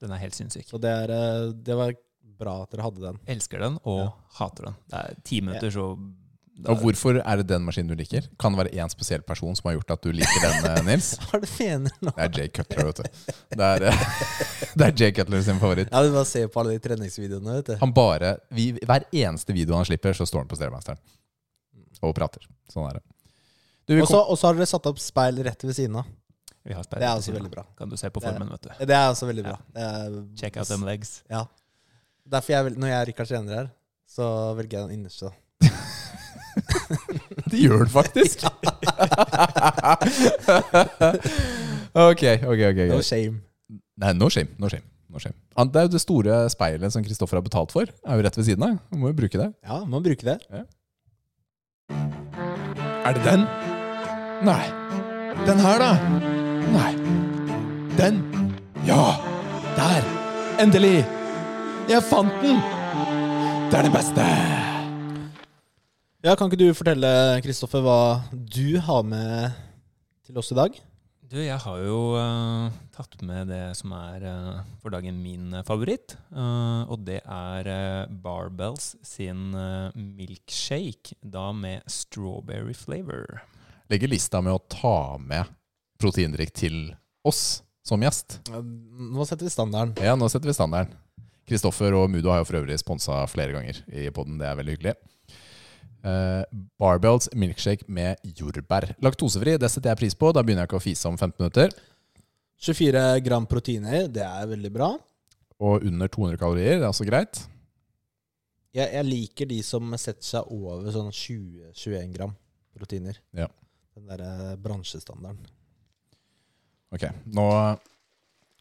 C: Den er helt sinnssyk.
A: Så det, er, eh, det var bra at dere hadde den.
C: Elsker den og
A: Ja.
C: hater den. Det er ti minutter, så da-
B: Og hvorfor er det den maskinen du liker? Kan det være én spesiell person som har gjort at du liker den, eh, Nils?
A: Hva er det du mener nå?
B: Det er Jay Cutler, vet du. Det er, eh, det er Jay Cutler sin favoritt.
A: Ja, du bare ser på alle de treningsvideoene, vet du.
B: Han bare, vi, Hver eneste video han slipper, så står han på Stairmasteren og prater. Sånn er det. Du, vi
A: Og så og så har dere satt opp speil rett ved siden av.
C: Vi har
A: Det er også veldig bra.
C: Kan du se på
A: Det er-
C: formen, vet du.
A: Det er også veldig bra. Det er-
C: Check out them legs.
A: Ja. Derfor jeg, vel- når jeg og Rikard trener her, så velger jeg den innerste. da.
B: Det gjør den faktisk! ok, ok, ok.
A: No
B: greit.
A: shame.
B: Nei, no shame. No shame. No shame. Han- Det er jo det store speilet som Kristoffer har betalt for. Er jo rett ved siden av. Han Må jo bruke det.
A: Ja, man bruker det.
B: Er det den? Nei. Den her, da? Nei. Den? Ja! Der! Endelig! Jeg fant den! Det er det beste!
A: Ja, Kan ikke du fortelle, Kristoffer, hva du har med til oss i dag?
C: Du, jeg har jo eh, tatt med det som er eh, for dagen min eh, favoritt. eh, og det er eh, Barbells sin eh, milkshake, da med strawberry flavor.
B: Legger lista med å ta med proteindrikk til oss som gjest.
A: Ja, Nå setter vi standarden.
B: Ja, nå setter vi standarden. Kristoffer og Mudo har jo for øvrig sponsa flere ganger i poden. Det er veldig hyggelig. Eh, Barbells milkshake med jordbær. Laktosefri, det setter jeg pris på. Da begynner jeg ikke å fise om 15 minutter.
A: 24 gram proteiner, det er veldig bra.
B: Og under 200 kalorier, det er også greit.
A: Jeg, jeg liker de som setter seg over sånn 20-21 gram proteiner.
B: Ja.
A: Den derre bransjestandarden.
B: Ok, nå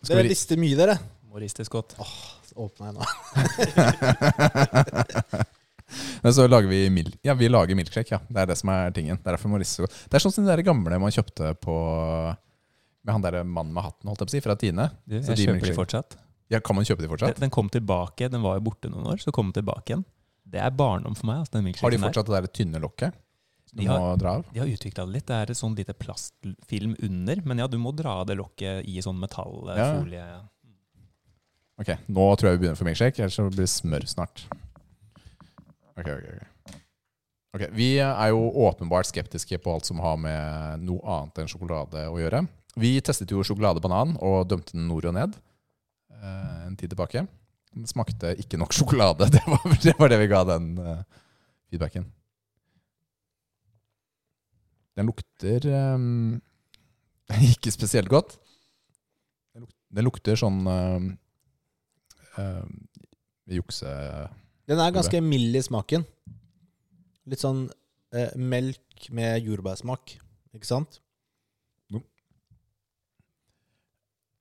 B: skal
A: Dere
B: vi
A: rister mye, dere.
C: Må ristes godt.
A: Ah, Åpna jeg nå.
B: Men så lager vi mil Ja, vi lager milkshake, ja. Det er det som er tingen. Det er derfor vi må riste så godt. Det er sånn som de der gamle man kjøpte på Med han derre mannen med hatten, holdt jeg på å si, fra Tine.
C: Du,
B: Så
C: jeg
B: de
C: kjøper de
B: milkshake-
C: fortsatt.
B: Ja, kan man kjøpe de fortsatt?
C: Den, den kom tilbake, den var jo borte noen år, så kom den tilbake igjen. Det er barndom for meg. Altså, den
B: Har de
C: milkshaken der.
B: fortsatt det der tynne lokket? som
C: De
B: Du
C: har-
B: må dra av?
C: De har utvikla det litt. Det er et sånn lite plastfilm under, men ja, du må dra av det lokket i sånn metallfolie.
B: Ok, nå tror jeg vi begynner for milkshake, ellers så blir det smør snart. Ok, ok, ok. Ok, Vi er jo åpenbart skeptiske på alt som har med noe annet enn sjokolade å gjøre. Vi testet jo sjokoladebanan og dømte den nord og ned eh, en tid tilbake. Den smakte ikke nok sjokolade. Det var det, var det vi ga den eh, feedbacken. Den lukter eh, ikke spesielt godt. Den luk- Den lukter sånn eh, uh, jukse
A: Den er ganske mild i smaken. Litt sånn eh, melk med jordbærsmak, ikke sant?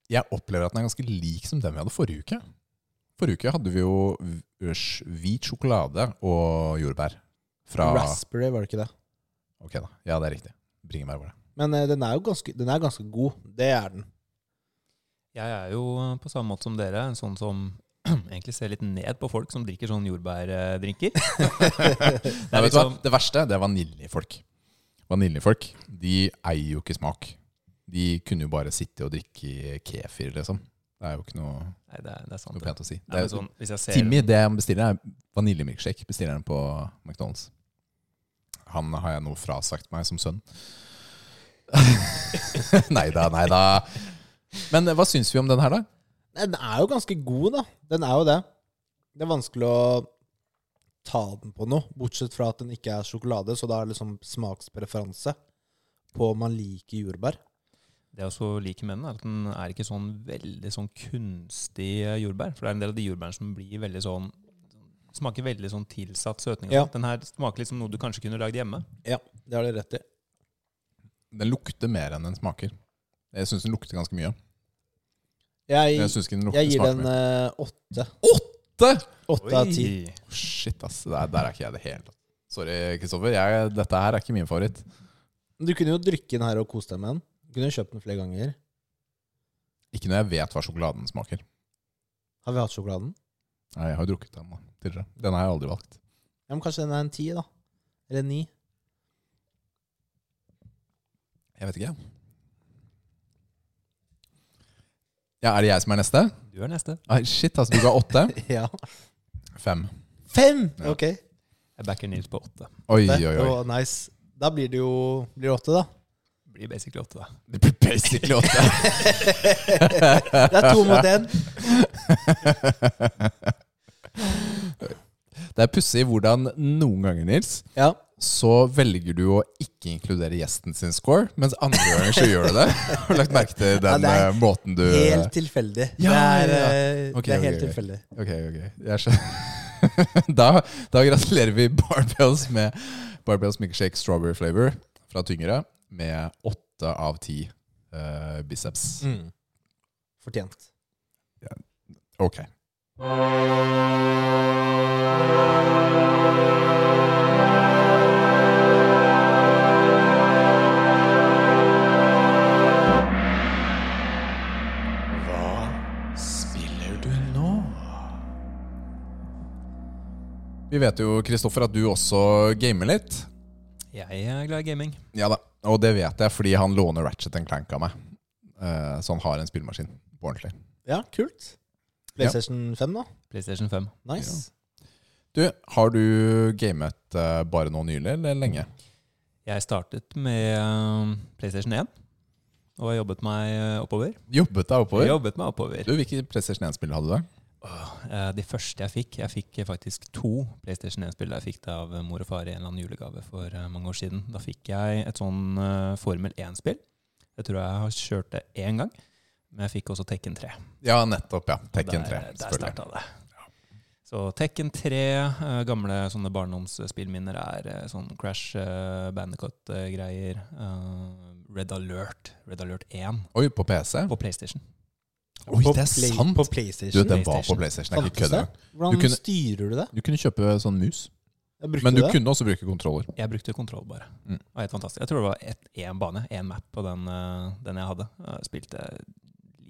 B: Jeg opplever at den er ganske lik som den vi hadde forrige uke. Forrige uke hadde vi jo v- øs- hvit sjokolade og jordbær. Fra
A: Raspberry, var det ikke det?
B: Ok, da. Ja, det er riktig. Bringebær var det.
A: Men eh, den er jo ganske, den er ganske god. Det er den.
C: Jeg er jo eh, på samme måte som dere, en sånn som egentlig ser litt ned på folk som drikker sånn jordbærdrinker.
B: Nei, vet du hva?
C: liksom-
B: Det verste det er vaniljefolk. Vaniljefolk de eier jo ikke smak. De kunne jo bare sitte og drikke kefir, liksom. Det er jo ikke noe,
C: Nei, det er, det er sant.
B: noe
C: Det.
B: pent å si.
C: Nei,
B: Det
C: men
B: er,
C: sånn, hvis jeg ser
B: Timmy, det han bestiller, er vaniljemilkshake. Bestiller han på McDonald's. Han har jeg nå frasagt meg som sønn. nei da, nei da. Men hva syns vi om den her, da?
A: Nei, Den er jo ganske god, da. Den er jo det. Det er vanskelig å ta den på noe, bortsett fra at den ikke er sjokolade, så da er det liksom smakspreferanse på om man liker jordbær.
C: Det jeg også liker med den, er at den er ikke sånn veldig sånn kunstig eh, jordbær. For det er en del av de jordbærene som blir veldig sånn Smaker veldig sånn tilsatt søtning. og
A: Ja.
C: sånt. Den her smaker litt som noe du kanskje kunne lagd hjemme.
A: Ja, det har du rett i.
B: Den lukter mer enn den smaker. Jeg syns den lukter ganske mye. Men
A: Jeg,
B: Jeg synes ikke den lukter
A: jeg gir
B: smaker
A: den
B: mye.
A: eh, åtte.
B: Åtte!
A: Åtte av ti.
C: Oi.
B: Å, Shit, ass. Der, der er ikke jeg i det hele tatt. Sorry, Kristoffer. Jeg- Dette her er ikke min favoritt.
A: Du kunne jo drikke den her og kose deg med den. Du kunne jo kjøpt den flere ganger.
B: Ikke når jeg vet hva sjokoladen smaker.
A: Har vi hatt sjokoladen?
B: Nei, jeg har jo drukket den da, tidligere. Den har jeg aldri valgt.
A: Ja, men Kanskje den er en ti, da. Eller en ni.
B: Jeg vet ikke, jeg. Ja, er det jeg som er neste?
C: Du er neste.
B: Nei, shit, altså. Du ga åtte.
A: Ja.
B: Fem.
A: Fem!
B: Ja.
A: Ok.
C: Jeg backer Nils på åtte.
B: Oi,
A: Det
B: oi, oi.
A: var nice. Da blir det jo blir det åtte, da.
C: Blir basically åtte, da.
B: Det blir basically åtte.
A: Det er to mot én.
B: Det er pussig hvordan noen ganger, Nils,
A: Ja.
B: så velger du å ikke inkludere gjesten sin score, mens andre ganger så gjør du det. Har du lagt merke til den
A: Ja, det er
B: eh, måten du
A: Helt tilfeldig. det
B: Ja, ja,
A: er,
B: ja.
A: eh,
B: Ok,
A: det er
B: ok,
A: helt
B: ok.
A: tilfeldig.
B: Ok, ok. Jeg skjønner. da, da gratulerer vi Barbells med Barbells Milkshake Strawberry Flavor fra Tyngre med åtte av ti eh, biceps.
A: Fortjent.
B: Ok.
D: Hva spiller du nå?
B: Vi vet jo, Kristoffer, at du også gamer litt.
C: Jeg er glad i gaming.
B: Ja da, og det vet jeg fordi han låner Ratchet Clank av meg. Eh, så han har en spillemaskin på ordentlig.
A: Ja, kult. PlayStation 5, da.
C: PlayStation 5.
A: Nice.
B: Du, har du gamet eh, bare nå nylig, eller lenge?
C: Jeg startet med eh, PlayStation 1 og har jobbet meg eh, oppover.
B: Jobbet deg oppover?
C: Jobbet meg oppover.
B: Du, Hvilke PlayStation 1-spill hadde du da?
C: Eh, De første jeg fikk Jeg fikk eh, faktisk to PlayStation 1-spill. Jeg fikk det av eh, mor og far i en eller annen julegave for eh, mange år siden. Da fikk jeg et sånn eh, Formel 1-spill. Jeg tror jeg har kjørt det én gang. Men jeg fikk også Tekken 3.
B: Ja, nettopp. ja. Tekken
C: der,
B: 3.
C: Der
B: selvfølgelig.
C: starta det. Så Tekken 3, eh, gamle sånne barndomsspillminner, er eh, sånn Crash uh, Bandicoot-greier. eh, Red Alert. Red Alert 1
B: Oi, på PC?
C: på PlayStation.
B: Oi,
A: På
B: det er
A: Play-
B: sant!
A: På
B: Du,
A: PlayStation.
B: den var på
C: PlayStation.
B: PlayStation. Jeg er ikke
A: Fantes
B: kødder.
A: Hvordan
B: du kunne-
A: styrer du det?
B: Du kunne kjøpe sånn mus,
A: Jeg brukte
B: men du
A: det.
B: kunne også bruke kontroller.
C: Jeg brukte kontroll, bare.
B: Mm.
C: Det var helt fantastisk. Jeg tror det var ett- én bane, én map, på den, eh, den jeg hadde. Jeg spilte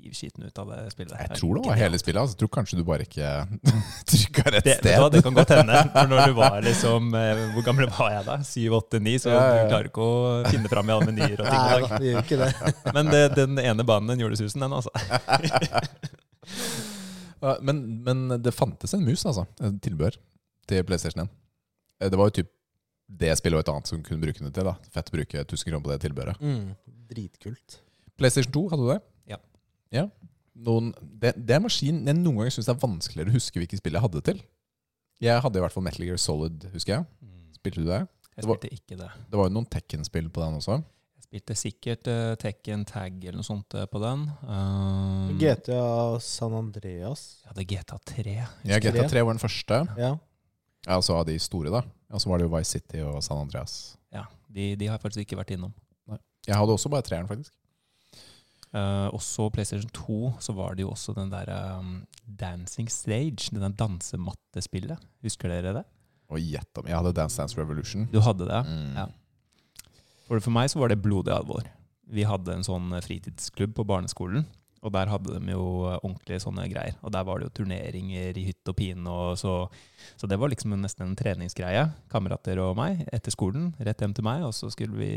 C: livskiten ut av det spillet.
B: Jeg tror det var hele spillet. Altså. Jeg tror kanskje du bare ikke trykka rett
C: det, vet du hva,
B: sted.
C: det kan godt hende. For når du var liksom eh, Hvor gammel var jeg da? Syv, åtte, ni? Så
B: Ja, ja, ja.
C: du klarer ikke å finne fram i alle menyer og ting. i dag.
A: Nei, da, det gjør ikke det.
C: Men det, den ene banen den gjorde susen, den, altså.
B: Ja, Men, men det fantes en mus, altså. En tilbehør til PlayStation 1. Eh, Det var jo typ det spillet og et annet som kunne bruke den til. da Fett å bruke 1000 kroner på det tilbehøret.
A: Mm, dritkult.
B: PlayStation 2, hadde du det?
C: Ja.
B: ja. Noen, det, det er en maskin jeg noen ganger syns er vanskeligere å huske hvilket spill jeg hadde til. Jeg hadde i hvert fall Metal Gear Solid, husker jeg. Spilte du det?
C: Jeg
B: Det var-
C: spilte ikke det.
B: Det var jo noen Tekken-spill på den også.
C: Jeg spilte sikkert eh, Tekken Tag eller noe sånt eh, på den. Um,
A: GTA San Andreas.
C: Jeg hadde GTA 3.
B: Ja,
A: Husker
B: GTA
A: det.
B: 3 var den første.
A: Ja.
B: Ja, og så av de store, da. Og så var det jo Vice City og San Andreas.
C: Ja, de, de har jeg faktisk ikke vært innom.
B: Jeg hadde også bare treeren, faktisk.
C: Eh, også PlayStation 2 så var det jo også den der um, Dancing Stage, det der dansemattespillet. Husker dere det?
B: Og gjett om Jeg hadde Dance Dance Revolution.
C: Du hadde det?
B: Mm.
C: Ja. For, for meg så var det blodig alvor. Vi hadde en sånn fritidsklubb på barneskolen, og der hadde de jo eh, ordentlige sånne greier. Og der var det jo turneringer i hytt og pine, og så, så det var liksom en- nesten en treningsgreie. Kamerater og meg etter skolen, rett hjem til meg, og så skulle vi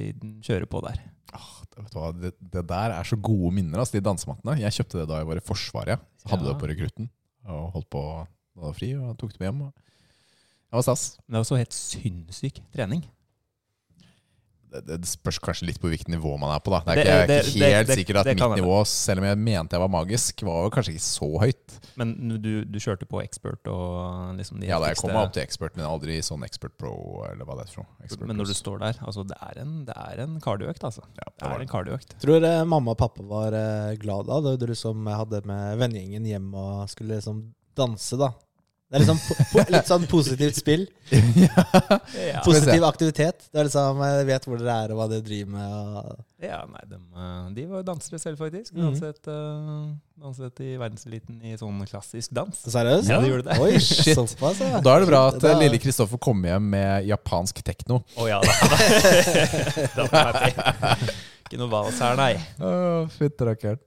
C: kjøre på der.
B: Vet du hva, det, det der er så gode minner, altså, de dansemattene. Jeg kjøpte det da jeg var i Forsvaret. Så hadde
C: Ja.
B: det på rekrutten. Og holdt på da det var fri, og tok det med hjem. Og det var stas.
C: Men det var også helt sinnssyk trening.
B: Det, det spørs kanskje litt på hvilket nivå man er på, da. Det er
C: Det-
B: ikke, jeg er
C: det-
B: ikke
C: det-
B: helt
C: det-
B: sikkert at
C: det kan
B: mitt
C: hende.
B: nivå, selv om jeg mente jeg var magisk, var jo kanskje ikke så høyt.
C: Men du, du kjørte på expert og liksom de
B: Ja, da jeg
C: heftigste-
B: kom meg opp til expert, men aldri sånn expert pro, eller hva det er for noe. Expert
C: Men når du
B: plus.
C: står der, altså det er en, det er en kardioøkt, altså.
B: Ja, det
C: Det
B: var
C: er en
B: det.
C: kardioøkt.
A: Tror eh, mamma og pappa var eh, glad da, da du liksom hadde med vennegjengen hjem og skulle liksom danse, da. Det er liksom po po litt sånn positivt spill.
C: Ja,
B: vi se.
A: Positiv aktivitet. Det er liksom, Jeg vet hvor dere er, og hva dere driver med. Og...
C: ja nei, de, eh, de var jo dansere selv, faktisk.
A: Mhm.
C: Danset, eh, danset i verdenseliten i sånn klassisk dans.
A: Seriøst?
C: Ja, de gjorde det.
A: Oi,
B: Shit.
A: såpass, ja.
B: Og da er det bra at
A: Da-
B: eh, lille Kristoffer kom hjem med japansk tekno.
C: Å ja, da. da var det Ikke noe vas her, nei.
B: Åh, Fytt rakkeren.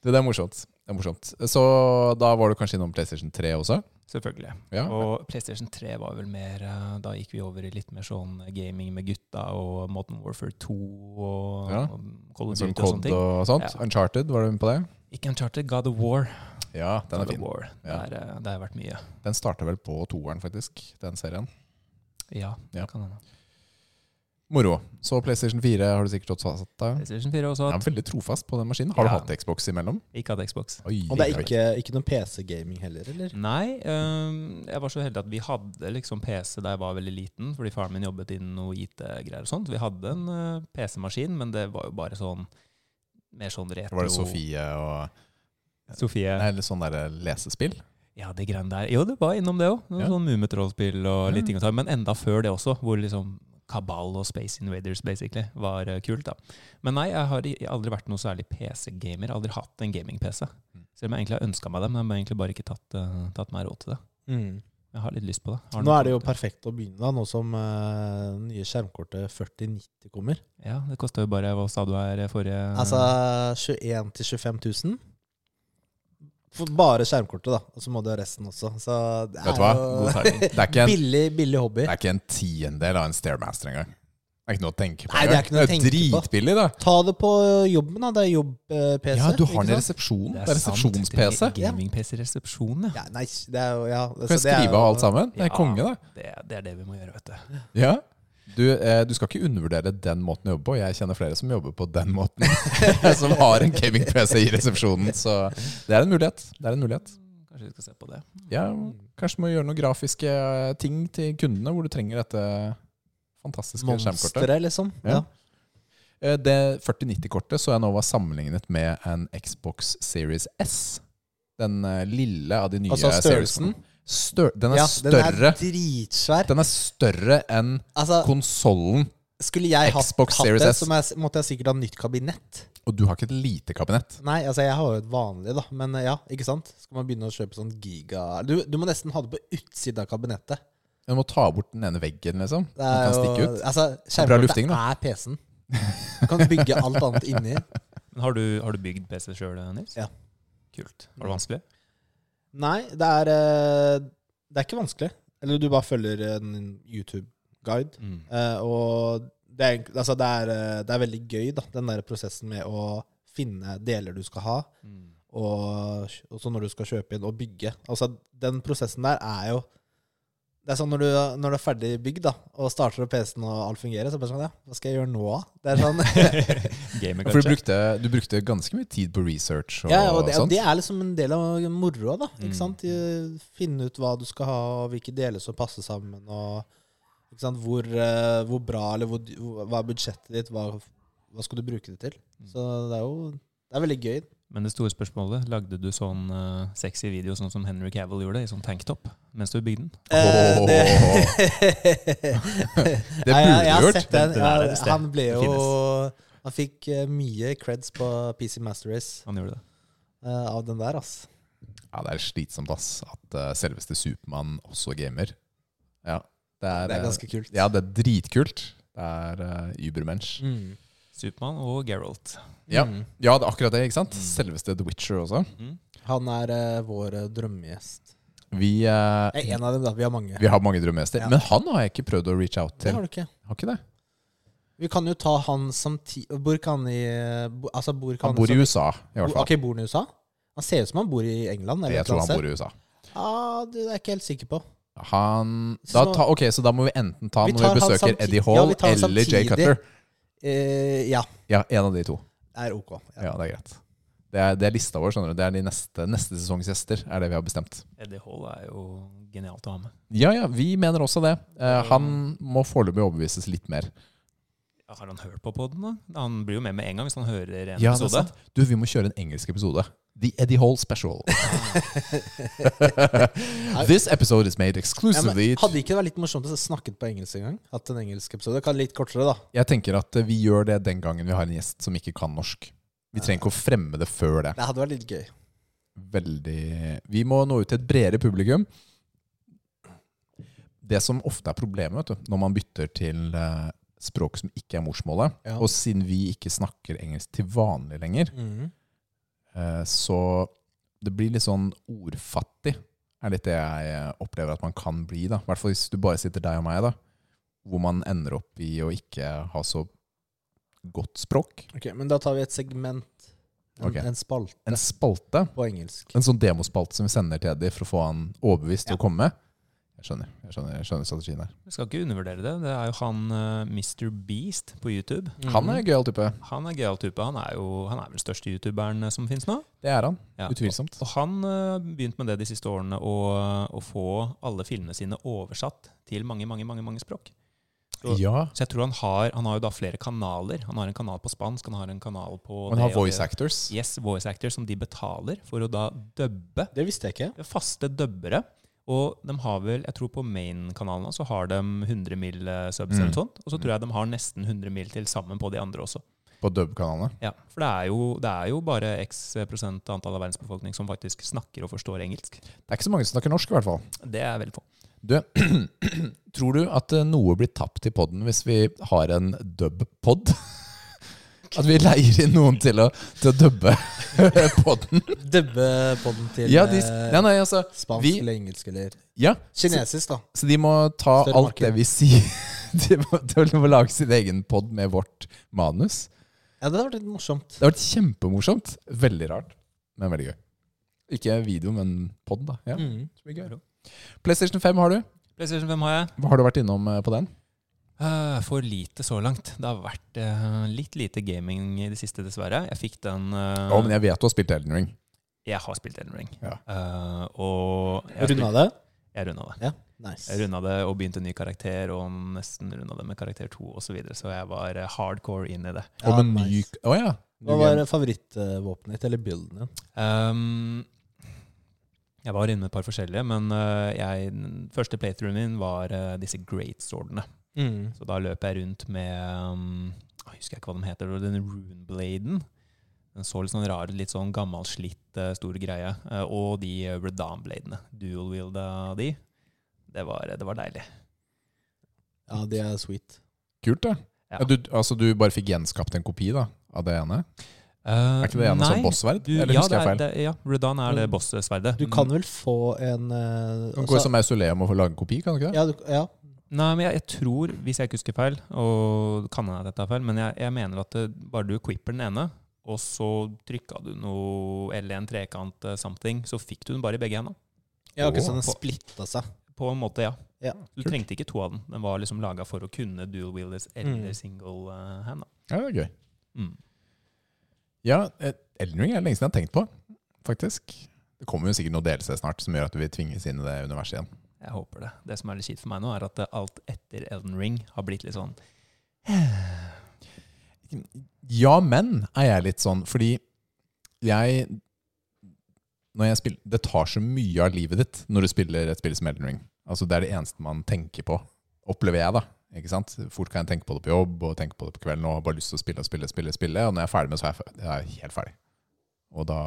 B: Du, det er morsomt. Det er morsomt. Så da var du kanskje innom PlayStation 3 også?
C: Selvfølgelig.
B: Ja.
C: Og PlayStation 3 var vel mer eh, Da gikk vi over i litt mer sånn gaming med gutta og Modern Warfare 2 og,
B: Ja.
C: og Call of
B: Sånn
C: Duty og sånne
B: Cod
C: ting.
B: og sånt.
C: Ja.
B: Uncharted, var du med på det?
C: Ikke Uncharted, God of War.
B: Ja, den
C: God
B: er
C: of
B: fin.
C: War.
B: Ja.
C: Der, eh, det har vært mye.
B: Den starta vel på toeren, faktisk, den serien.
C: Ja,
B: Ja.
C: det kan hende.
B: Moro. Så PlayStation 4 har du sikkert også hatt deg.
C: PlayStation 4 også.
B: Jeg er
C: hatt.
B: veldig trofast på den maskinen. Har du
C: Ja.
B: hatt Xbox imellom?
C: Ikke hatt Xbox.
B: Oi,
A: Og det er
B: oi, oi.
A: ikke, ikke noen PC-gaming heller, eller?
C: Nei, øhm, jeg var så heldig at vi hadde liksom PC da jeg var veldig liten, fordi faren min jobbet innen noe IT-greier og sånt. Vi hadde en øh, PC-maskin, men det var jo bare sånn mer sånn retro.
B: Var det Sofie og
C: Sofie.
B: Nei, eller sånn derre lesespill?
C: Ja, de greiene der. Jo, det var innom det òg.
B: Ja.
C: Sånn Mummitrollspill og
B: Ja.
C: litt ting å ta. Men enda før det også, hvor liksom Kabal og Space Invaders basically var eh, kult. da. Men nei, jeg har i- aldri vært noe særlig PC-gamer. Aldri hatt en gaming-PC.
B: Mm.
C: Selv om jeg egentlig har ønska meg det, men jeg har egentlig bare ikke tatt, eh, tatt meg råd til det.
A: Mm.
C: Jeg har litt lyst på det. Har
A: Nå
C: noen
A: er det jo
C: tanker.
A: perfekt å begynne, da, nå som eh, nye skjermkortet 4090 kommer.
C: Ja, det kosta jo bare Hva sa du her forrige
A: Altså 21 000 til 25 000. For bare skjermkortet, da. Og så må du ha resten også. Så det
B: Vet
A: er
B: du hva?
A: jo
B: God timing. Det er ikke en,
A: billig, billig hobby.
B: det er ikke en tiendedel av en Stairmaster engang. Det er ikke noe å tenke på.
A: Nei, det er ikke noe å
B: engang.
A: tenke på.
B: dritbillig, da.
A: Ta det på jobben, da. Det er eh, jobb-PC.
B: Ja, du har den i resepsjonen. Det er resepsjons-PC.
A: Ja.
C: Gaming-PC-resepsjon, ja.
A: Ja, nei, det er jo ja,
B: Kan jeg skrive av alt sammen? Det er
C: Ja.
B: konge, det.
C: Det, det er det vi må gjøre, vet du.
B: Ja. Du, eh, du skal ikke undervurdere den måten å jobbe på. Jeg kjenner flere som jobber på den måten. som har en gaming-PC i resepsjonen. Så det er en mulighet. Det er en mulighet.
C: Kanskje vi skal se på det.
B: Ja, kanskje du må gjøre noen grafiske eh, ting til kundene hvor du trenger dette fantastiske skjermkortet.
A: Monstre, liksom.
B: Ja.
A: Ja.
B: Eh, Det 4090-kortet så jeg nå var sammenlignet med en Xbox Series S. Den eh, lille av de nye
A: Altså størrelsen.
B: seriesene. Stør den er
A: Ja, den
B: større.
A: er dritsvær.
B: Den er større enn
A: Altså,
B: konsollen.
A: skulle jeg hatt,
B: Xbox
A: hatt
B: Series
A: det,
B: S.
A: så må jeg, måtte jeg sikkert ha nytt kabinett.
B: Og du har ikke et lite kabinett.
A: Nei, altså jeg har jo et vanlig, da. Men eh, ja, ikke sant? Skal man begynne å kjøpe sånn giga Du, du må nesten ha det på utsiden av kabinettet.
B: Du må ta bort den ene veggen, liksom.
A: Det
B: Den kan
A: er
B: stikke
A: jo
B: ut.
A: Altså,
B: er bra lufting,
A: skjermkortet er PC-en. Du kan bygge alt annet inni.
C: Men har du, har du bygd PC sjøl, Nils?
A: Ja.
C: Kult. Var det vanskelig?
A: Nei, det er eh, Det er ikke vanskelig. Eller du bare følger en YouTube-guide.
B: Mm.
A: Eh, og det er, egentlig- altså det, er, eh, det er veldig gøy, da, den der prosessen med å finne deler du skal ha,
C: Mm.
A: og, og så når du skal kjøpe inn og bygge. Altså, den prosessen der er jo Det er sånn når du, når du er ferdig bygd, da, og starter opp PC-en og alt fungerer, så er det bare sånn Ja, hva skal jeg gjøre nå, da? Det er sånn
C: Gamer,
B: For du brukte, du brukte ganske mye tid på research og,
A: Ja, og det, og
B: sånt.
A: det er liksom en del av moroa, da.
C: Mm.
A: Ikke sant? I- Finne ut hva du skal ha, og hvilke deler som passer sammen, og ikke sant? Hvor, eh, hvor bra eller hvor, dy- hvor- hva er budsjettet ditt, hva, hva skal du bruke det til? Så det er jo det er veldig gøy.
C: Men det store spørsmålet, lagde du sånn eh, sexy video sånn som Henry Cavill gjorde, i sånn tanktop, mens du bygde den?
A: Eh,
B: Åh.
A: det
B: Det
A: Nei, jeg, jeg
B: burde du
A: har
B: gjort.
A: sett den.
C: Det der er
A: Jeg,
C: det
A: han ble
C: Det
A: jo Han fikk eh, mye creds på PC Master Race
C: Han gjorde det.
A: eh, av den der, ass.
B: Ja, det er slitsomt, ass. At eh, selveste Supermann også gamer. Ja, det er,
A: Det er
B: eh,
A: ganske kult.
B: Ja, det er dritkult. Det er uh, Ubermensch.
A: Mm.
C: Supermann og Geralt.
B: Ja.
A: Mm.
B: Ja, det er akkurat det, ikke sant? Selveste The Witcher også.
A: Han er eh, vår eh, drømmegjest.
B: Vi, eh,
A: Eh, En av dem, da. Vi har mange.
B: vi har mange drømmegjester.
A: Ja.
B: Men han har jeg ikke prøvd å reach out
A: Det
B: til.
A: har du ikke.
B: Har ikke det?
A: Vi kan jo ta han samtidig Bor ikke han i bo- Altså bor ikke
B: Han bor i
A: som-
B: USA, i hvert
A: Bo-
B: fall.
A: Ok, bor han i USA? Han ser ut som han bor i England. Eller
B: Jeg tror han bor i USA.
A: ah, du, Det er jeg ikke helt sikker på.
B: Han da
A: Så-
B: ta, Ok, så da må vi enten ta
A: Vi
B: han når vi
A: tar han
B: besøker
A: samti-
B: Eddie
A: ja,
B: Hall
A: vi tar han
B: eller Jay
A: samtidig.
B: Cutler.
A: Eh, ja,
B: Ja, en av de to.
A: det er ok. Ja.
B: Ja, det er greit. Det er, det er lista vår, skjønner du. Det er de neste, neste sesongs gjester, er det vi har bestemt.
C: Eddie Hall er jo genialt å ha med.
B: Ja, ja, vi mener også det. Eh, han må foreløpig overbevises litt mer.
C: Ja, Ja, Har han hørt på podden da? Han blir jo med med en gang hvis han hører en
B: Ja, det er
C: episode.
B: sant. Du, vi må kjøre en engelsk episode. The Eddie Hall Special. This episode is made
A: Ja, men,
B: exclusively
A: hadde ikke det vært litt morsomt å snakke på engelsk en gang? Hatt en engelsk episode? Kan litt kortere, da.
B: Jeg tenker at eh, vi gjør det den gangen vi har en gjest som ikke kan norsk. Vi trenger ikke å fremme det før det.
A: Det hadde vært litt gøy.
B: Veldig Vi må nå ut til et bredere publikum. Det som ofte er problemet vet du, når man bytter til eh, språk som ikke er morsmålet,
A: Ja.
B: og siden vi ikke snakker engelsk til vanlig lenger,
A: Mhm.
B: Eh, Så det blir litt sånn ordfattig, er litt det jeg eh, opplever at man kan bli. da. I hvert fall hvis du bare sitter deg og meg, da. Hvor man ender opp i å ikke ha så godt språk.
A: Ok, Men da tar vi et segment, en,
B: Ok.
A: en spalt,
B: En spalte,
A: på engelsk.
B: en sånn demospalte som vi sender til Eddie for å få han overbevist til
A: Ja.
B: å komme. Jeg skjønner, jeg skjønner, jeg skjønner strategien her.
C: Vi skal ikke undervurdere det. Det er jo han eh, Mr. Beast på YouTube.
B: Han er en gøyal type.
C: Han er gøyal type. Han er jo han er vel den største youtuberen eh, som finnes nå.
B: Det er han.
C: Ja.
B: Utvilsomt.
C: Og han eh, begynte med det de siste årene, å, å få alle filmene sine oversatt til mange, mange, mange, mange språk. Og-
B: Ja.
C: Så jeg tror han har, han har jo da flere kanaler. Han har en kanal på spansk, han har en kanal på
B: Og han har
C: det og det.
B: voice actors.
C: Yes, voice actor som de betaler for å da dubbe.
A: Mm. Det visste jeg ikke.
C: Det er faste dubbere. Og de har vel, jeg tror på main-kanalen også, har de 100 mil eh, subs
B: Mm.
C: eller sånt. Og så
B: Mm.
C: tror jeg de har nesten 100 mil til sammen på de andre også.
B: På dub-kanalene.
C: Ja, For det er jo, det er jo bare x prosent antall av verdens befolkning som faktisk snakker og forstår engelsk.
B: Det er ikke så mange som snakker norsk, i hvert fall.
C: Det er veldig få.
B: Du, tror du at eh, noe blir tapt i podden hvis vi har en dub-pod? At vi leier inn noen til å, til å dubbe podden?
A: Dubbe podden til
B: Ja, de, s-
A: eh,
B: nei, nei, altså,
A: spansk
B: vi-
A: eller engelsk eller
B: ja. Så,
A: kinesisk, da.
B: så de må ta
A: Større
B: alt
A: marked.
B: det vi sier. De må, de må lage sin egen pod med vårt manus.
A: Ja, Det hadde vært litt morsomt.
B: Det har vært kjempemorsomt. Veldig rart, men veldig gøy. Ikke video, men pod, da. Ja,
A: Mhm.
B: det blir gøy. PlayStation 5 har du.
C: PlayStation 5 har jeg.
B: Hva har du vært innom eh, på den?
C: Eh, for lite så langt. Det har vært eh, litt lite gaming i det siste, dessverre. Jeg fikk den eh,
B: Å, men jeg vet du har spilt Elden Ring.
C: Jeg har spilt Elden Ring.
B: Ja.
C: Eh, og jeg har spilt-
A: Runda det?
C: Jeg runda det.
A: Ja, nice.
C: Jeg runda det og begynte en ny karakter, og nesten runda det med karakter 2 osv. Så, videre, så jeg var eh, hardcore inn i det.
B: Om
A: Ja,
B: en ny
A: nice.
B: Å ja.
A: Hva var favorittvåpenet ditt, eller builden din?
C: Ehm, jeg var inne med et par forskjellige, men eh, jeg, den første playthroughen min var eh, disse great swordene. Så da løp jeg rundt med ehm, Jeg husker ikke hva de heter, den runebladen. Den så litt sånn rar ut, litt sånn gammelslitt eh, stor greie. Eh, og de redan-bladene. Dual-wielda de. Det var, eh, det var deilig.
A: Ja, de er sweet.
B: Kult, da.
C: Ja.
B: Ja. du, altså, du bare fikk gjenskapt en kopi da, av det ene?
C: Uh,
B: Er ikke det ene som bossverd? Eller
C: ja,
B: husker jeg
C: det er-
B: feil?
C: Det, ja, Redan er det boss-sverdet.
A: Mm. Du kan vel få en eh,
B: Du kan
A: altså-
B: gå som mausoleum og få lage en kopi, kan du ikke det?
A: ja, du, ja.
C: Nei, men jeg, jeg tror, hvis jeg ikke husker feil, og kan hende at dette er feil, men jeg, jeg mener at det, bare du equipper den ene, og så trykka du noe, eller en trekant eh, something, så fikk du den bare i begge hendene.
A: ja ok,
B: Åh.
A: så den splitta seg.
C: På en måte, ja.
A: Ja.
C: Du
B: Kult.
C: trengte ikke to av den. Den var liksom laga for å kunne dual wielders eller
A: Mm.
C: single eh, hand. Da.
B: Ja, det er gøy.
C: Mm.
B: Ja, eh, Elden Ring er det lenge siden jeg har tenkt på, faktisk. Det kommer jo sikkert noe delelse snart som gjør at vi tvinges inn i det universet igjen.
C: Jeg håper det. Det som er litt kjipt for meg nå, er at eh, alt etter Elden Ring har blitt litt sånn
B: Ja, men er jeg litt sånn, fordi jeg når jeg spiller, Det tar så mye av livet ditt når du spiller et spill som Elden Ring. Altså Det er det eneste man tenker på, opplever jeg, da. Ikke sant? Fort kan jeg tenke på det på jobb og tenke på det på kvelden og har bare lyst til å spille og spille. spille, spille Og når jeg er ferdig med det, så er jeg, fe- jeg er helt ferdig. Og da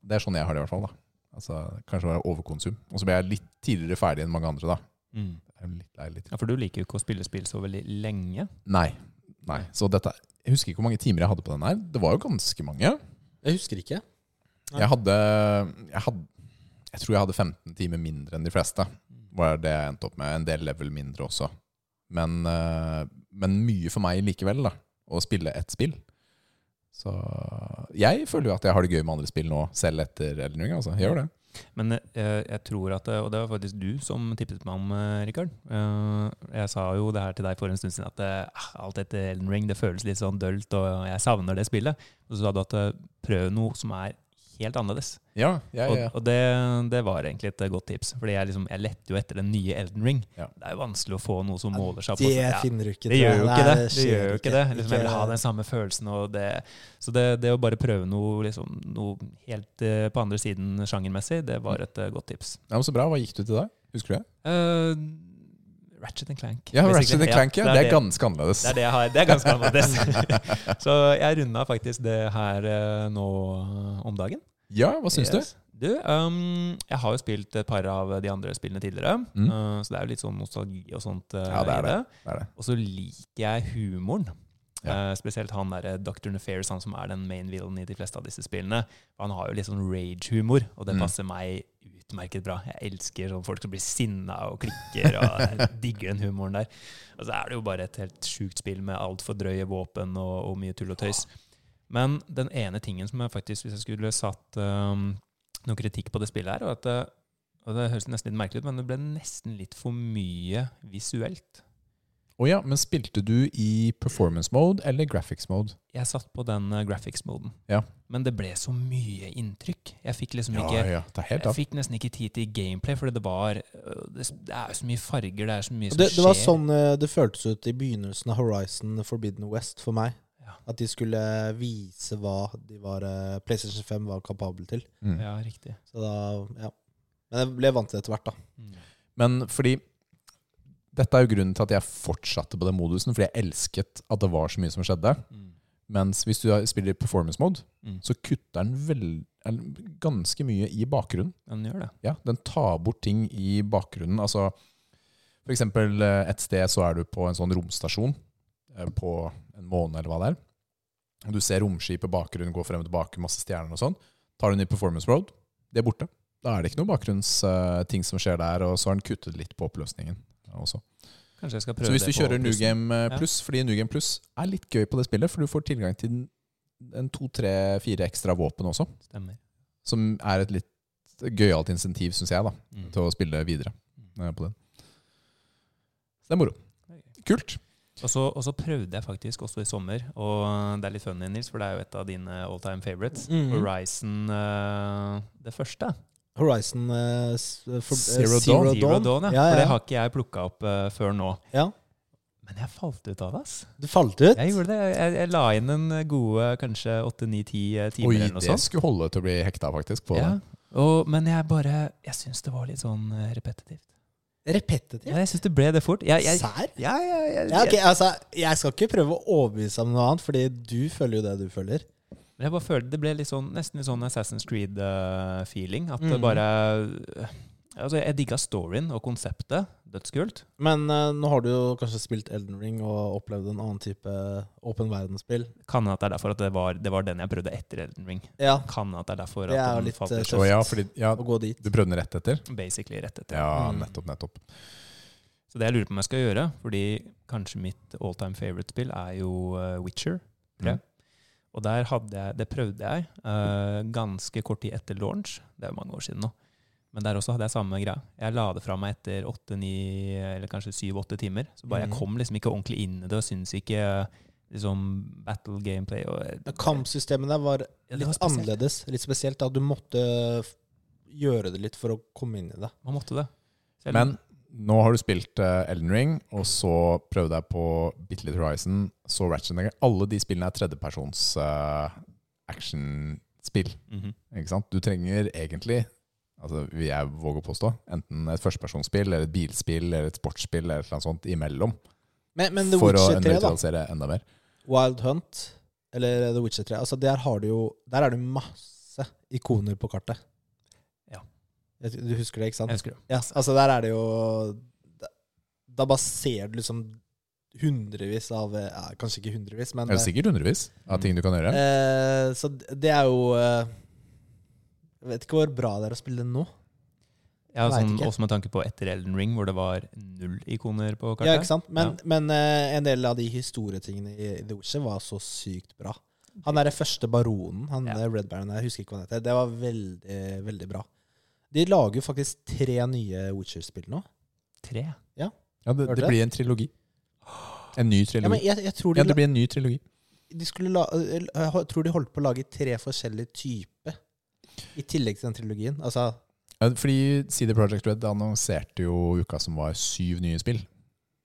B: Det er sånn jeg har det, i hvert fall. da Altså Kanskje bare overkonsum. Og så blir jeg litt tidligere ferdig enn mange andre, da.
C: mm.
B: Jeg er litt lei litt
C: Ja, For du liker jo ikke å spille spill så veldig lenge.
B: Nei. Nei. Så dette Jeg husker ikke hvor mange timer jeg hadde på den her. Det var jo ganske mange.
A: Jeg husker ikke. Nei.
B: Jeg hadde Jeg, hadde, jeg tror jeg hadde 15 timer mindre enn de fleste. Var det jeg endte opp med. En del level mindre også. Men, eh, men mye for meg likevel, da. Å spille ett spill. Så jeg føler jo at jeg har det gøy med andre spill nå, selv etter Elden Ring. Altså. Jeg gjør det.
C: Men eh, jeg tror at eh, Og det var faktisk du som tippet meg om, eh, Rikard. Eh, jeg sa jo det her til deg for en stund siden, at eh, ah, alt etter Elden Ring det føles litt sånn dølt, og jeg savner det spillet. Og så sa du at eh, prøv noe som er helt annerledes.
B: Ja, ja,
C: Og,
B: ja.
C: og det, det var egentlig et godt tips. Fordi jeg, liksom, jeg lette jo etter den nye Elden Ring.
B: Ja.
C: Det er jo vanskelig å få noe som måler seg
A: Det
C: på ja,
A: finner du ikke
C: Det gjør jo
A: Nei,
C: ikke det. Det
A: skjer
C: gjør jo ikke det. Liksom, jeg vil
A: Ikke-
C: ha den samme følelsen. Og det. Så det, det å bare prøve noe, liksom, noe helt eh, på andre siden sjangermessig, det var et eh, godt tips.
B: ja men Så bra. Hva gikk du til deg? Husker du det?
C: Eh, Ratchet and Clank.
B: Ja,
C: basically.
B: Ratchet Clank. Ja. Det er ganske annerledes.
C: Det er det jeg har. Det er ganske annerledes. så jeg runda faktisk det her eh, nå eh, om dagen.
B: Ja, hva syns du?
C: Yes. Du, um, jeg har jo spilt et par av de andre spillene tidligere,
B: Mm.
C: eh, så det er jo litt sånn nostalgi og sånt. eh,
B: Ja, det er
C: i
B: Det er det.
C: Og så liker jeg humoren.
B: Ja.
C: Eh, spesielt han der, eh, Dr. Nefarious, han som er den main villain i de fleste av disse spillene. Han har jo litt sånn rage-humor, og det
B: Mm.
C: passer meg utmerket bra. Jeg elsker sånn folk som blir sinna og klikker, og jeg digger den humoren der. Og så er det jo bare et helt sjukt spill med altfor drøye våpen og, og mye tull og tøys. Men den ene tingen som jeg faktisk, hvis jeg skulle satt um, noe kritikk på det spillet her, og at det, og det høres nesten litt merkelig ut, men det ble nesten litt for mye visuelt.
B: Å ja, men spilte du i performance mode eller graphics mode?
C: Jeg satt på den eh, graphics-moden,
B: Ja.
C: men det ble så mye inntrykk. Jeg fikk liksom
B: Ja,
C: ikke...
B: ja. Det er helt
C: Jeg
B: av.
C: fikk nesten ikke tid til gameplay, fordi det var øh, Det det er jo så mye farger, det er så mye som
A: Det, det var
C: skjer.
A: sånn eh, det føltes ut i begynnelsen av Horizon Forbidden West for meg.
C: Ja.
A: At de skulle vise hva de var, eh, PlayStation 5 var kapabel til.
B: Mm.
C: Ja, riktig.
A: Så da, ja. Men jeg ble vant til det etter hvert, da.
C: Mm.
B: Men fordi Dette er jo grunnen til at jeg fortsatte på den modusen, fordi jeg elsket at det var så mye som skjedde.
C: Mm.
B: Mens hvis du spiller i performance mode,
C: Mm.
B: så kutter den vel, eller ganske mye i bakgrunnen.
C: Den gjør det.
B: Ja, den tar bort ting i bakgrunnen. Altså, for eksempel eh, et sted så er du på en sånn romstasjon eh, på en måned eller hva det er. Og Du ser romskip i bakgrunnen gå frem og tilbake, masse stjerner og sånn. Tar du den i performance road, det er borte. Da er det ikke noe bakgrunnsting som skjer der, og så har den kuttet litt på oppløsningen også.
C: Kanskje jeg skal prøve
B: Så hvis du
C: det på
B: kjører New
C: plussen.
B: Game eh,
C: Ja.
B: Plus, fordi New Game Plus er litt gøy på det spillet, for du får tilgang til en- en to, tre, fire ekstra våpen også,
C: Stemmer.
B: som er et litt gøyalt insentiv, syns jeg, da,
C: Mm.
B: til å spille videre eh, på den. Så det er moro. Kult.
C: Og så, og så prøvde jeg faktisk også i sommer, og det er litt funny, Nils, for det er jo et av dine all time favorites.
B: Mm.
A: Mhm.
C: Horizon, eh, det første.
A: Horizon eh, s- for, eh,
B: Zero
A: Zero,
B: Dawn.
A: Dawn.
C: Zero Dawn, ja.
A: ja,
C: For det
A: ja.
C: har ikke jeg plukka opp eh, før nå.
A: Ja.
C: Men jeg falt ut av det, ass.
A: Du falt ut?
C: Jeg gjorde det. Jeg, jeg la inn en eh, gode kanskje åtte-ni-ti eh,
B: Oi,
C: timer eller noe
B: det
C: sånt.
B: skulle holde til å bli hekta, faktisk. På
C: Ja.
B: det.
C: Og, men jeg bare Jeg syns det var litt sånn eh, repetitivt.
A: Repetitivt?
C: Ja, jeg syns det ble det fort. Jeg, jeg,
A: Sær?
C: ja, ja, jeg,
A: Ja, ok, altså, jeg skal ikke prøve å overbevise om noe annet, fordi du føler jo det du føler.
C: Men jeg bare følte det ble litt sånn, nesten litt sånn Assassin's Creed-feeling. At det
A: Mhm.
C: bare Altså, jeg digga storyen og konseptet. Dødskult.
A: Men eh, nå har du jo kanskje spilt Elden Ring og opplevd en annen type åpen verdensspill.
C: Kan hende at det er derfor at det var, det var den jeg prøvde etter Elden Ring.
A: Ja,
C: Kan hende at det er derfor
A: Det er
C: at
A: jo
C: den
A: litt,
C: falt
A: eh,
C: ut.
B: Å, ja, fordi, ja,
A: å gå dit.
B: du prøvde den rett etter?
C: Basically rett etter.
B: Ja,
A: Mm.
B: nettopp, nettopp.
C: Så det jeg lurer på om jeg skal gjøre, fordi kanskje mitt all time favorite spill er jo eh, Witcher 3.
B: Mm.
C: Og der hadde jeg, det prøvde jeg eh, ganske kort tid etter launch. Det er jo mange år siden nå. Men der også hadde jeg samme greia. Jeg la det fra meg etter åtte-ni, eller kanskje syv-åtte timer. Så bare
A: Mm.
C: jeg kom liksom ikke ordentlig inn i det, og syntes ikke liksom battle gameplay og
A: Men Kampsystemet der var
C: Ja, det var
A: litt
C: spesielt.
A: annerledes. Litt spesielt da du måtte f- gjøre det litt for å komme inn i det.
C: Man måtte det. Selv-
B: Men nå har du spilt eh, Elden Ring, og så prøvde jeg på Bitte Little Horizon, så Ratchet Clank. Alle de spillene er tredjepersons eh, actionspill.
C: Mhm.
B: Ikke sant? Du trenger egentlig, altså, vil jeg våge å påstå, enten et førstepersonsspill, eller et bilspill, eller et sportsspill, eller et eller annet sånt imellom.
A: Men, men The
B: for å
A: Witcher 3, da.
B: nøytralisere enda mer.
A: Wild Hunt eller The Witcher 3. Altså, der, har du jo, der er det masse ikoner på kartet.
C: Ja.
A: Jeg- Du husker det, ikke sant?
C: Jeg husker det.
A: Ja, altså der er det jo Da, da bare ser du liksom hundrevis av eh, ja, Kanskje ikke hundrevis, men
B: Det er sikkert hundrevis av ting du kan gjøre.
A: eh, Så d- det er jo eh, Jeg vet ikke hvor bra det er å spille nå.
C: Ja,
A: Vet
C: sånn,
A: ikke.
C: også med tanke på etter Elden Ring, hvor det var null ikoner på kartet.
A: Ja, ikke sant? Men, men eh, en del av de historietingene i i The Witcher var så sykt bra. Han er den første baronen, han
C: Ja.
A: ja. Red Baron, jeg husker ikke hva han heter. Det var veldig, veldig bra. De lager jo faktisk tre nye Witcher-spill nå.
C: Tre.
B: Ja, det,
A: Hørte
B: det
A: det?
B: blir en trilogi. En ny
A: Ja, men
B: trilogi.
A: jeg, jeg tror de
B: Ja, det blir en ny trilogi.
A: eh, de skulle la, jeg tror de holdt på å lage tre forskjellige typer I tillegg til den trilogien. Altså,
B: Ja, Fordi CD Projekt Red annonserte jo uka som var syv nye spill.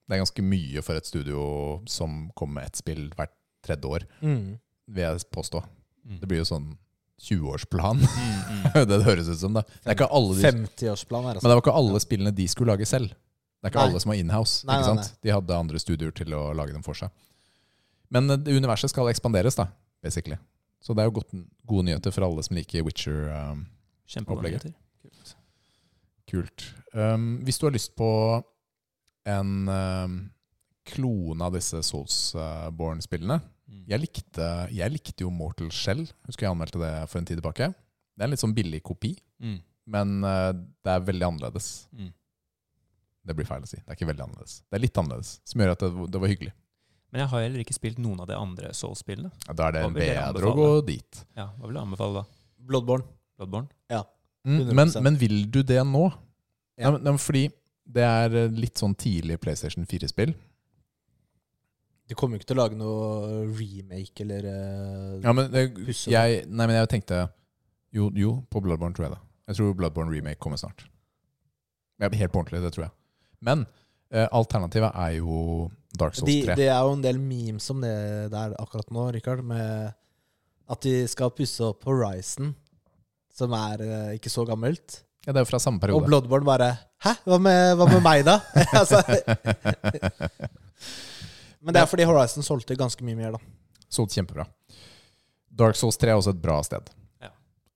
B: Det er ganske mye for et studio som kommer med ett spill hvert tredje år,
A: mm.
B: vil jeg påstå.
C: Mm.
B: Det blir jo sånn 20-årsplan.
C: Mm,
B: det er det det høres ut som, da. Det er ikke alle de,
A: 50-årsplan her,
B: men
A: altså.
B: det var ikke alle spillene de skulle lage selv. Det er ikke
A: Nei.
B: alle som var inhouse.
A: Nei,
B: ikke
A: nei,
B: sant? De hadde andre studioer til å lage dem for seg. Men eh, det universet skal ekspanderes, da, basically. Så det er jo godt, gode nyheter for alle som liker Witcher. Um, Opplegget.
C: Kjempeopplegget.
B: Kult. Um, hvis du har lyst på en um, klone av disse Soulsborne-spillene jeg likte, jeg likte jo Mortal Shell. Husker jeg anmeldte det for en tid tilbake. Det er en litt sånn billig kopi,
C: Mm.
B: men uh, det er veldig annerledes.
C: Mm.
B: Det blir feil å si. Det er ikke veldig annerledes. Det er litt annerledes, som gjør at det, det var hyggelig.
C: Men jeg har heller ikke spilt noen av de andre Souls-spillene.
B: Ja, Da er det
C: Hva vil jeg
B: bedre å gå
C: anbefale?
B: dit.
C: Ja, Hva vil du anbefale da?
A: altså. Bloodborne.
C: Bloodborne?
B: Mm,
A: 100%.
B: men, men vil du det nå?
A: Ja.
B: Nei, men- nei, men fordi det er eh, litt sånn tidlig PlayStation 4-spill.
A: De kommer jo ikke til å lage noe remake eller eh,
B: Ja, men det,
A: Pusse
B: jeg, nei, men jeg tenkte jo, jo, på Bloodborne tror jeg det. Jeg tror Bloodborne Remake kommer snart. Ja, helt på ordentlig, det tror jeg. Men eh, alternativet er jo Dark Souls
A: de,
B: 3.
A: Det er jo en del memes om det der akkurat nå, Richard, med at de skal pusse opp Horizon, som er eh, ikke så gammelt.
B: ja, det er jo fra samme
A: Og
B: periode.
A: Bloodborne bare Hæ, hva med, hva med meg, da? altså, men det er fordi Horizon solgte ganske mye mer, da.
B: Solgt kjempebra. Dark Souls 3 er også et bra sted.
C: Ja.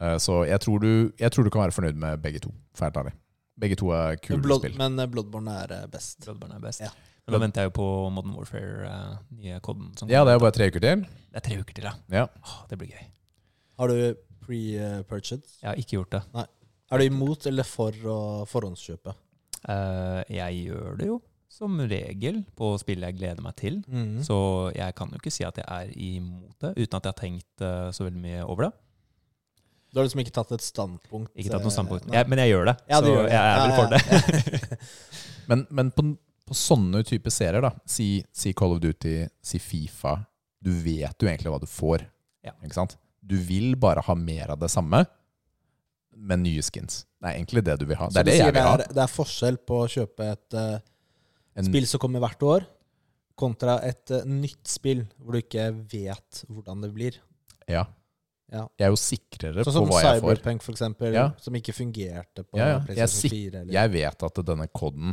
B: Eh, så jeg tror, du, jeg tror du kan være fornøyd med begge to, for helt ærlig. Begge to er kule
A: Men, Blood,
B: spill.
A: men eh, Bloodborne er eh, best.
C: Bloodborne er best.
A: Ja.
C: Men da venter jeg jo på Modern Warfare, eh, nye kodden. som
B: Ja, det er jo
C: kommer.
B: bare tre uker til.
C: det er tre uker til, ja.
B: Ja.
C: Åh, det blir gøy.
A: Har du pre-purchased?
C: Jeg har ikke gjort det.
A: Er du imot eller for å forhåndskjøpe?
C: Eh, jeg gjør det jo som regel på spill jeg gleder meg til.
B: Mm.
A: Mhm.
C: Så jeg kan jo ikke si at jeg er imot det, uten at jeg har tenkt eh, så veldig mye over det.
A: Du har liksom ikke tatt et standpunkt?
C: Ikke tatt noe standpunkt.
A: eh, nei.
C: Jeg, men jeg gjør det,
A: Ja, du
C: så
A: gjør det.
C: jeg er vel
A: Ja,
C: for det.
B: Men, men på, på sånne type serier, da si, si Call of Duty, si Fifa Du vet jo egentlig hva du får.
C: Ja.
B: Ikke sant? Du vil bare ha mer av det samme, men nye skins. Det er egentlig det du vil ha.
A: Så
B: Altså, Det er
A: du
B: det
A: sier
B: jeg vil ha.
A: det er, det er forskjell på å kjøpe et eh,
B: En,
A: spill som kommer hvert år, kontra et eh, nytt spill hvor du ikke vet hvordan det blir.
B: ja.
A: Ja.
B: Jeg er jo sikrere
A: Sånn
B: på
A: som
B: hva jeg får.
A: Cyberpunk, for eksempel,
B: Ja.
A: som ikke fungerte på
B: Ja, ja. Jeg
A: PlayStation
B: sik-
A: 4. Eller.
B: Jeg vet at denne koden,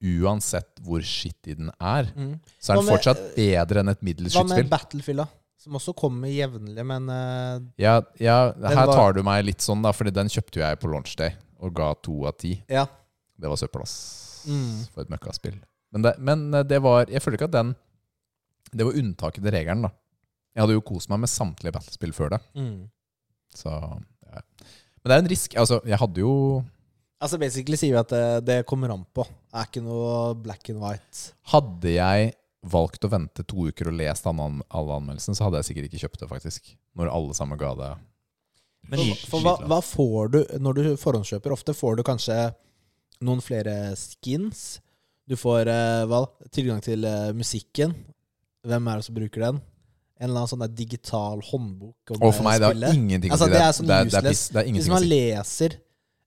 B: uansett hvor shitty den er,
A: Mm.
B: så er
A: Hva
B: den
A: med-
B: fortsatt bedre enn et middels
A: Hva med
B: skytespill.
A: Battlefield, da? Som også kommer jevnlig, men eh,
B: Ja, ja, her
A: var-
B: tar du meg litt sånn, da, Fordi den kjøpte jo jeg på launch day og ga to av ti.
A: ja.
B: Det var søppel, ass.
A: Mm.
B: For et møkkaspill. Men det, men eh, det var Jeg føler ikke at den Det var unntaket til regelen, da. Jeg hadde jo kost meg med samtlige battlespill før det.
A: Mm.
B: Så ja. Men det er en risk. Altså, jeg hadde jo
A: Altså Basically sier vi at det, det kommer an på. Det er ikke noe black and white.
B: Hadde jeg valgt å vente to uker og lest alle an- alle anmeldelsene, så hadde jeg sikkert ikke kjøpt det, faktisk. Når alle sammen ga det
C: Men
A: For, for hva, hva får du når du forhåndskjøper? Ofte får du kanskje noen flere skins. Du får eh, hva, da? tilgang til eh, musikken. Hvem er det som bruker den? En eller annen sånn der digital håndbok. om
B: Og for meg, det
A: spillet.
B: har ingenting
A: Altså,
B: å si.
A: det er sånn
B: det, er, det, er
A: useless.
B: piss, det er
A: Hvis
B: ingenting å
A: man
B: si.
A: leser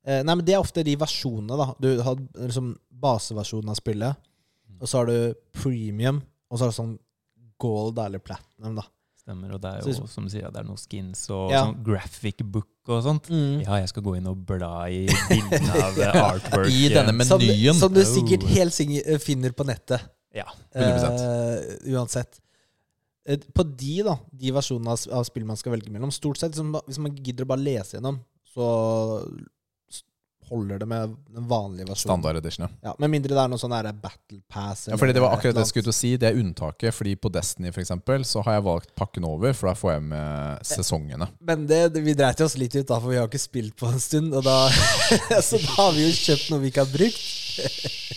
A: eh, Nei, men Det er ofte de versjonene. da Du har liksom baseversjonen av spillet,
B: Mm.
A: og så har du premium, og så har du sånn gold eller platinum. da
C: Stemmer, og det er
A: Så
C: jo
A: liksom-
C: som du sier, det er noen skins og
A: Ja.
C: sånn graphic book og sånt.
A: mm.
C: Ja, jeg skal gå inn og bla i bildene av eh,
A: Ja.
C: artwork.
B: I denne menyen.
A: Som, som du
C: Oh.
A: sikkert helt sikkert eh, finner på nettet.
C: Ja,
B: 100%.
A: Eh, uansett. Eh, På de da De versjonene av s- av spill man skal velge mellom, stort sett som, ba- hvis man gidder å bare lese gjennom, så s- holder det med den vanlige versjonen.
B: Standard edition, ja.
A: Ja, med mindre det er noe sånn der Battle Pass.
B: Ja, fordi Det var
A: eller
B: akkurat det jeg
A: et eller
B: skulle til å si. Det er unntaket. fordi På Destiny for eksempel, så har jeg valgt pakken over, for da får jeg
A: Eh.
B: med sesongene.
A: annet. Men det, det- vi dreit jo oss litt ut, da, for vi har ikke spilt på en stund. Og da, så da har vi jo kjøpt noe vi ikke har brukt.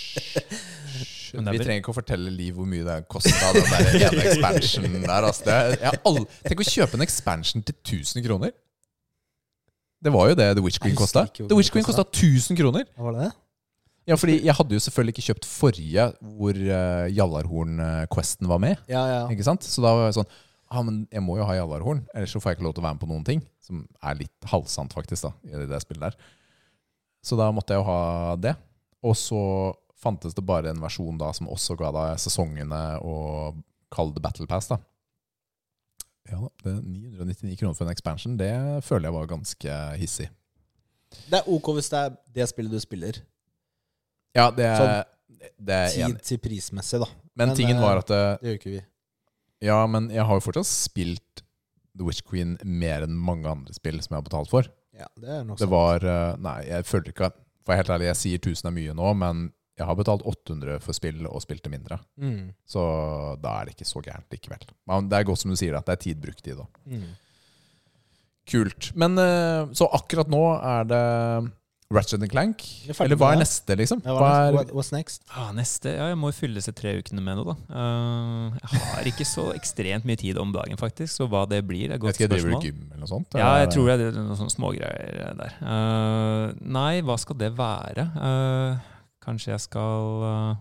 C: Men det er
B: Vi
C: vel-
B: trenger ikke å fortelle Liv hvor mye det kosta, den der ene expansionen der. Altså. Det, er- jeg har aldri, tenk å kjøpe en expansion til 1000 kroner! Det var jo det The Witch Queen
A: Jeg husker
B: kosta.
A: ikke hvor
B: The Witch
A: mye
B: Queen
A: det
B: kosta 1000 kroner!
A: Hva var det?
B: Ja, fordi jeg hadde jo selvfølgelig ikke kjøpt forrige, hvor eh, Jallarhorn-questen var med.
A: Ja, ja.
B: Ikke sant? Så da var jeg sånn ah, men jeg må jo ha Jallarhorn, ellers så får jeg ikke lov til å være med på noen ting. Som er litt halvsant, faktisk, da, i det spillet der. Så da måtte jeg jo ha det. Og så fantes det bare en versjon da som også ga deg sesongene og kall det Battle Pass, da. Ja da, det er 999 kroner for en expansion, det føler jeg var ganske hissig.
A: Det er ok hvis det er det spillet du spiller.
B: Ja, det er,
A: Sånn.
B: det er
A: Tid
B: enig.
A: til prismessig, da.
B: Men,
A: Men,
B: tingen
A: eh,
B: var at det,
A: Det gjør ikke vi.
B: Ja, men jeg har jo fortsatt spilt The Witch Queen mer enn mange andre spill som jeg har betalt for.
A: Ja, det er nok
B: Det
A: sant.
B: var eh, Nei, jeg følte ikke at For jeg er helt ærlig, jeg sier 1000 er mye nå, men jeg har betalt 800 for spill og spilte mindre.
A: Mm.
B: Så da er det ikke så gærent likevel. Men det er godt som du sier, at det er tid brukt i det.
A: Mm.
B: Kult. Men eh, så akkurat nå er det Ratchet and Clank.
A: Vi er ferdig
B: Eller hva
A: med
B: er
A: det.
B: neste, liksom?
A: Ja,
B: Hva er,
A: what, what's next?
C: Ah, neste Ja, jeg må jo fylle disse tre ukene med noe, da. Eh, jeg har ikke så ekstremt mye tid om dagen, faktisk, så hva det blir, er et
B: vet
C: godt
B: ikke, driver
C: spørsmål.
B: du gym eller noe sånt?
C: Ja, jeg
B: Eller-
C: tror det er noen sånne smågreier der. Eh, nei, hva skal det være? Eh, kanskje jeg skal eh,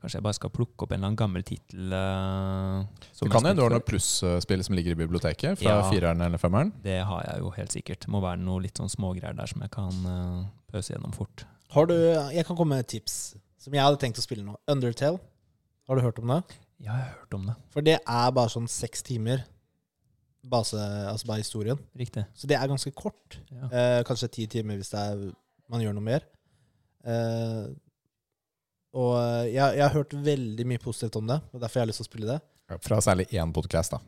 C: Kanskje jeg bare skal plukke opp en eller annen gammel tittel eh, som
B: Det
C: jeg
B: kan hende du
C: spilte
B: har
C: før.
B: noe plusspill som ligger i biblioteket, fra
C: Ja.
B: fireren eller femmeren.
C: Det har jeg jo helt sikkert. Det må være noe litt sånn smågreier der som jeg kan eh, pøse gjennom fort.
A: Har du, jeg kan komme med et tips som jeg hadde tenkt å spille nå. Undertale. Har du hørt om det?
C: Ja, jeg har hørt om det.
A: For det er bare sånn seks timer. Base, altså bare historien.
C: Riktig.
A: Så det er ganske kort.
C: Ja.
A: Eh, kanskje ti timer hvis det er, man gjør noe mer. Eh, og jeg, jeg har hørt veldig mye positivt om det, og derfor jeg har lyst til å spille det.
B: Fra særlig én podkast, da.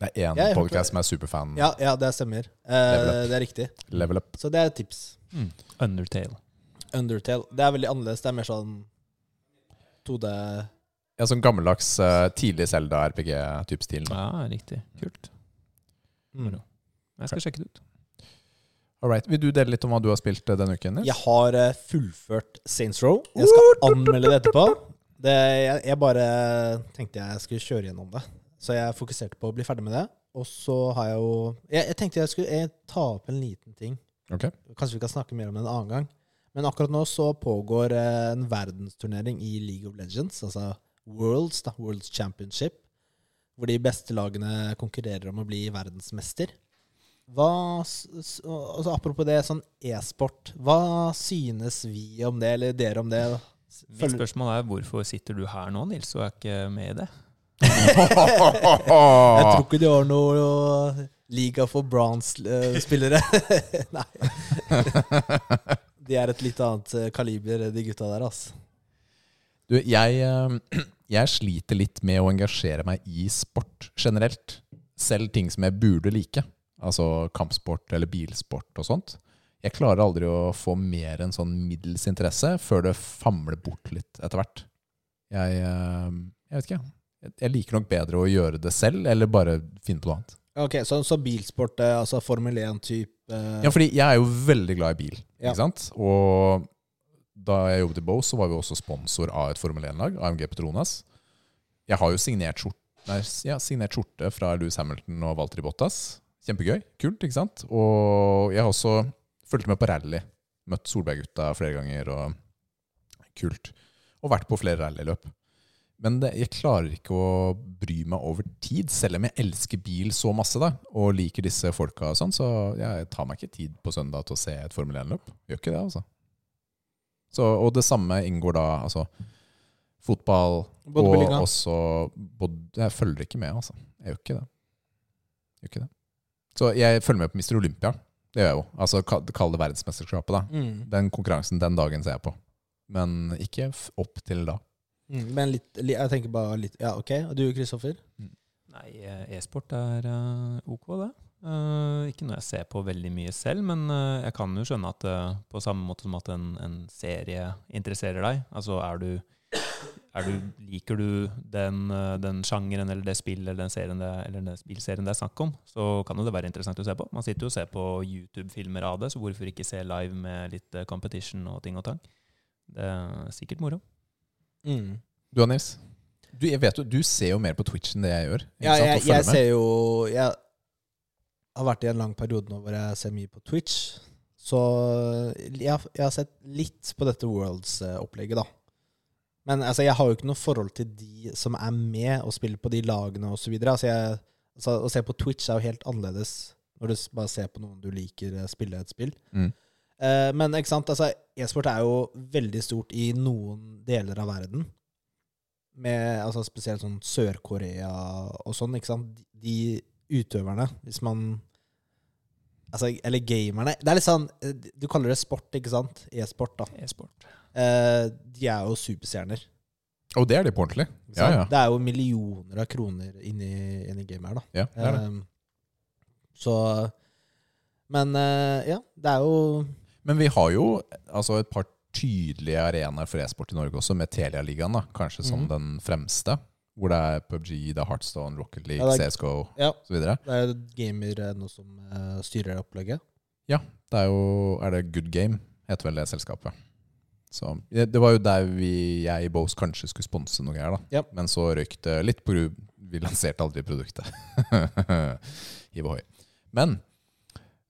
B: Det er
A: Jeg
B: én
A: hørte-
B: podkast som er superfan.
A: Ja, ja det stemmer. Eh,
B: Level up.
A: det er riktig.
B: Level up.
A: Så det er et tips.
C: Mm. Undertale.
A: Undertale. Det er veldig annerledes. Det er mer sånn 2D
B: Ja, sånn gammeldags eh, tidlig Zelda RPG-type stil. da.
C: Ja, riktig. Kult.
A: mm.
C: Jeg skal sjekke det ut.
B: All right. Vil du dele litt om hva du har spilt eh, denne uken? Nils?
A: Jeg har eh, fullført Saints Row. Jeg skal anmelde det etterpå. Det, jeg, jeg bare tenkte jeg skulle kjøre gjennom det. Så jeg fokuserte på å bli ferdig med det. Og så har jeg jo Jeg, jeg tenkte jeg skulle eh, ta opp en liten ting.
B: Ok.
A: Kanskje vi kan snakke mer om det en annen gang. Men akkurat nå så pågår eh, en verdensturnering i League of Legends, altså Worlds, da, Worlds Championship, hvor de beste lagene konkurrerer om å bli verdensmester. Hva, s- s- og- altså apropos det, sånn e-sport, hva synes vi om det, eller dere om det?
C: Mitt spørsmål er hvorfor sitter du her nå, Nils, og er ikke med i det?
A: Jeg
B: Ah.
A: tror ikke de har noe eh, liga for bronze-spillere. eh, Nei. De er et litt annet eh, kaliber, de gutta der, altså.
B: Du, jeg, eh, jeg sliter litt med å engasjere meg i sport generelt. Selv ting som jeg burde like. Altså kampsport eller bilsport og sånt. Jeg klarer aldri å få mer enn sånn middels interesse før det famler bort litt etter hvert. Jeg, eh, jeg vet ikke. jeg- Jeg liker nok bedre å gjøre det selv, eller bare finne på noe annet.
A: Ok, så, så bilsport, eh, altså Formel 1-type eh,
B: Ja, fordi jeg er jo veldig glad i bil,
A: Ja.
B: ikke sant? Og da jeg jobbet i Bose, så var vi også sponsor av et Formel 1-lag, AMG Petronas. Jeg har jo signert skjorte, nei, ja, signert skjorte fra Lewis Hamilton og Valtteri Bottas. Kjempegøy, kult, ikke sant? Og jeg har også fulgt med på rally, møtt Solberg-gutta flere ganger, og kult. Og vært på flere rallyløp. Men det, jeg klarer ikke å bry meg over tid, selv om jeg elsker bil så masse da, og liker disse folka og sånn, så jeg tar meg ikke tid på søndag til å se et Formel 1-løp. Gjør ikke det, altså. Så, og det samme inngår da, altså, fotball, og
A: Bodybuildinga.
B: også, bod, jeg følger ikke med, altså. Jeg gjør ikke det. Gjør ikke det. Så jeg følger med på Mr. Olympia, det gjør jeg jo. Altså, ka- kall det verdensmesterskapet da.
A: Mm,
B: Den konkurransen den dagen ser jeg på. Men ikke f- opp til da.
A: mm, men litt, li, jeg tenker bare litt Ja, ok. Og du, Kristoffer?
C: Nei, eh, e-sport er eh, ok, det. Eh, ikke noe jeg ser på veldig mye selv, men eh, jeg kan jo skjønne at eh, på samme måte som at en, en serie interesserer deg, altså er du, er du Liker du den, eh, den sjangeren eller det spillet eller den, serien det, eller den spillserien det er snakk om, så kan jo det være interessant å se på. Man sitter jo og ser på YouTube-filmer av det, så hvorfor ikke se live med litt eh, competition og ting og tang? Det er sikkert moro.
A: Mm.
B: Du, Nils? Du, jeg vet jo, du ser jo mer på Twitch enn det jeg gjør. ikke
A: Ja,
B: sant, og
A: jeg,
B: følger
A: jeg
B: med.
A: ser jo Jeg har vært i en lang periode nå hvor jeg ser mye på Twitch. eh, Så jeg, har- jeg har sett litt på dette Worlds-opplegget, da. Men altså, jeg har jo ikke noe forhold til de som er med og spiller på de lagene osv. Altså, jeg- altså, å se på Twitch er jo helt annerledes når du s- bare ser på noen du liker eh, spille et spill.
B: Mm.
A: Eh, men ikke sant? Altså, e-sport er jo veldig stort i noen deler av verden. Med, altså, spesielt sånn Sør-Korea og sånn. Ikke sant? De utøverne, hvis man altså, Eller gamerne. Det er litt sånn eh, Du kaller det sport, ikke sant? E-sport, da.
C: E-sport.
A: Eh, de er jo superstjerner.
B: Og det er de på ordentlig.
A: Ikke
B: Ja,
A: sant?
B: ja.
A: Det er jo millioner av kroner inni, inni gamet her, da.
B: ja det er det.
A: Ehm, så Men eh, ja, det er jo
B: Men vi har jo altså, et par tydelige arenaer for e-sport i Norge også, med Telia-ligaen da, kanskje som
A: Mhm.
B: den fremste. Hvor det er PubG, det er Heartstone, Rocket League,
A: Ja, det er-
B: CSGO
A: Ja,
B: osv.
A: det er jo gamer eh, nå som eh, styrer det opplegget.
B: Det er jo Er det Good Game, heter vel det selskapet. Så, ja, det var jo der vi, jeg i Bose kanskje skulle sponse noe greier, da.
A: Ja.
B: Men så røyk det litt på grunn Vi lanserte aldri produktet. Hiv ohoi. Men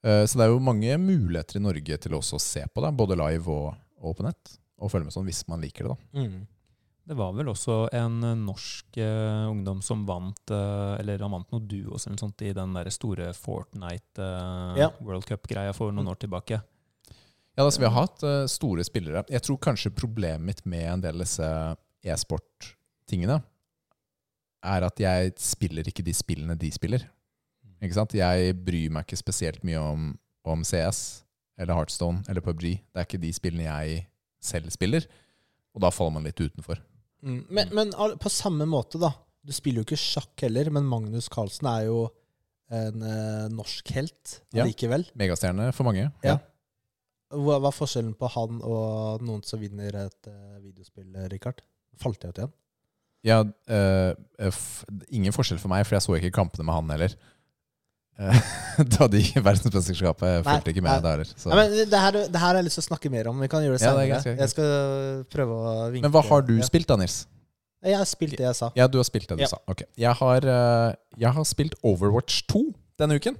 B: eh, Så det er jo mange muligheter i Norge til også å se på det, både live og, og på nett. Og følge med sånn hvis man liker det, da.
C: Det var vel også en eh, norsk eh, ungdom som vant eh, Eller han vant noe duos eller noe sånt i den der store Fortnite eh,
A: Ja.
C: World Cup-greia for
B: Mm.
C: noen år tilbake.
B: Ja, altså, vi har hatt eh, store spillere. Jeg tror kanskje problemet mitt med en del av disse e-sport-tingene er at jeg spiller ikke de spillene de spiller. Ikke sant? Jeg bryr meg ikke spesielt mye om, om CS eller Heartstone eller PubG. Det er ikke de spillene jeg selv spiller, og da faller man litt utenfor.
A: Mm. Men, men al- på samme måte, da. Du spiller jo ikke sjakk heller, men Magnus Carlsen er jo en eh, norsk helt
B: Ja.
A: likevel.
B: Megastjerne for mange.
A: Ja. Hva, hva er forskjellen på han og noen som vinner et eh, videospill, eh, Richard? Falt jeg ut igjen?
B: Ja, eh, f ingen forskjell for meg, for jeg så ikke kampene med han heller. Eh, da de gikk i verdensmesterskapet, jeg
A: Nei,
B: fulgte ikke
A: nei.
B: med der. Så.
A: Nei, men det her, det her har jeg lyst til å snakke mer om. Vi kan gjøre det
B: Ja,
A: senere.
B: det er greit, greit, greit.
A: Jeg skal prøve å vinke.
B: Men hva har du
A: ja.
B: spilt da, Nils?
A: Jeg har spilt det jeg sa.
B: Ja, du har spilt det du
A: Ja.
B: sa. Ok. Jeg har, eh, jeg har spilt Overwatch 2 denne uken.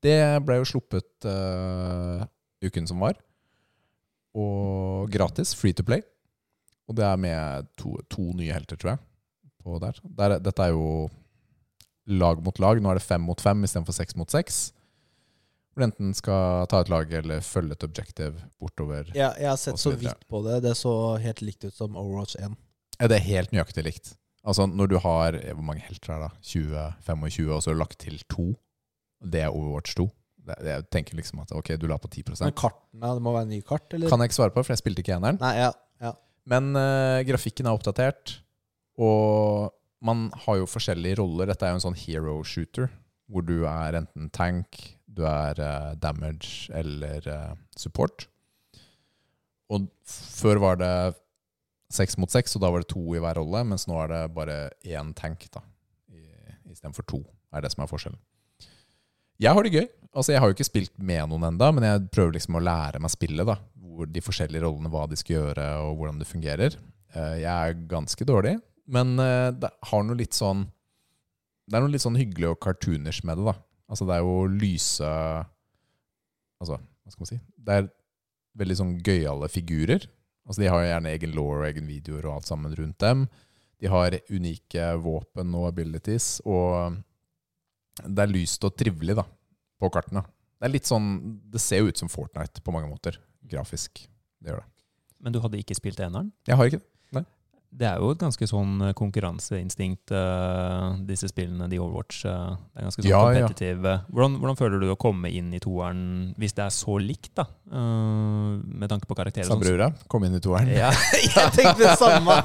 B: Det ble jo sluppet eh, uken som var. Og gratis, free to play. Og det er med to, to nye helter, tror jeg. På der. Der, dette er jo lag mot lag. Nå er det fem mot fem istedenfor seks mot seks. Hvor du enten skal ta et lag eller følge et objective bortover.
A: Ja, jeg har sett
B: Og så
A: så
B: videre.
A: vidt på det. Det så helt likt ut som Overwatch 1.
B: Ja, det er helt nøyaktig likt. Altså, når du har eh, Hvor mange helter er det? da? 20, 25, og så har du lagt til to. Det er Overwatch 2. Det, det, jeg tenker liksom at ok, du la på 10
A: Men kartene, det må være nye kart, eller?
B: Kan jeg ikke svare på, for jeg spilte ikke eneren.
A: Nei, ja. ja.
B: Men eh, grafikken er oppdatert, og man har jo forskjellige roller. Dette er jo en sånn hero shooter, hvor du er enten tank, du er eh, damage eller eh, support. Og før var det seks mot seks, og da var det to i hver rolle, mens nå er det bare én tank da, i- istedenfor to, er det som er forskjellen. Jeg har det gøy. Altså, jeg har jo ikke spilt med noen enda, men jeg prøver liksom å lære meg spillet, da. Hvor de forskjellige rollene, hva de skal gjøre, og hvordan det fungerer. Eh, Jeg er ganske dårlig, men eh, det har noe litt sånn Det er noe litt sånn hyggelig og cartoonish med det, da. Altså, det er jo lyse Altså, hva skal man si? Det er veldig sånn gøyale figurer. Altså, de har jo gjerne egen law og egen videoer og alt sammen rundt dem. De har unike våpen og abilities, og eh, det er lyst og trivelig, da på kartene. Det er litt sånn, det ser jo ut som Fortnite på mange måter, grafisk. Det gjør det.
C: Men du hadde ikke spilt eneren?
B: Jeg har ikke det.
C: Det er jo et ganske sånn eh, konkurranseinstinkt, eh, disse spillene, de Overwatch. eh, det er ganske sånn
B: Ja, ja.
C: kompetitive. Hvordan, hvordan føler du å komme inn i toeren, hvis det er så likt, da? eh, med tanke på karakterer.
B: Sa brura, kom inn i toeren.
C: sånn Ja,
A: Jeg tenkte det samme!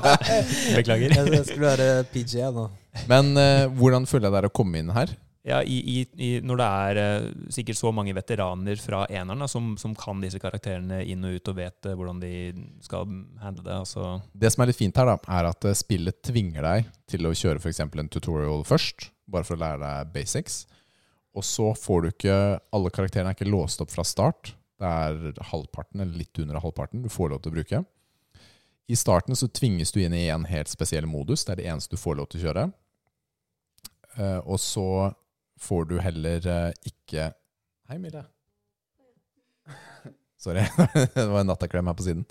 C: Beklager.
A: Jeg, jeg skulle være PJ nå.
B: Men eh, hvordan føler jeg det er å komme inn her?
C: ja i, i, i, Når det er eh, sikkert så mange veteraner fra eneren da, som, som kan disse karakterene inn og ut og vet eh, hvordan de skal handle det. Altså,
B: Det som er litt fint her, da, er at eh, spillet tvinger deg til å kjøre f.eks. en tutorial først, bare for å lære deg basics. Og så får du ikke Alle karakterene er ikke låst opp fra start. Det er halvparten, eller litt under halvparten, du får lov til å bruke. I starten så tvinges du inn i en helt spesiell modus. Det er det eneste du får lov til å kjøre. Eh, og så får du heller eh, ikke Hei, Mille. Sorry, det var en nattaklem her på siden.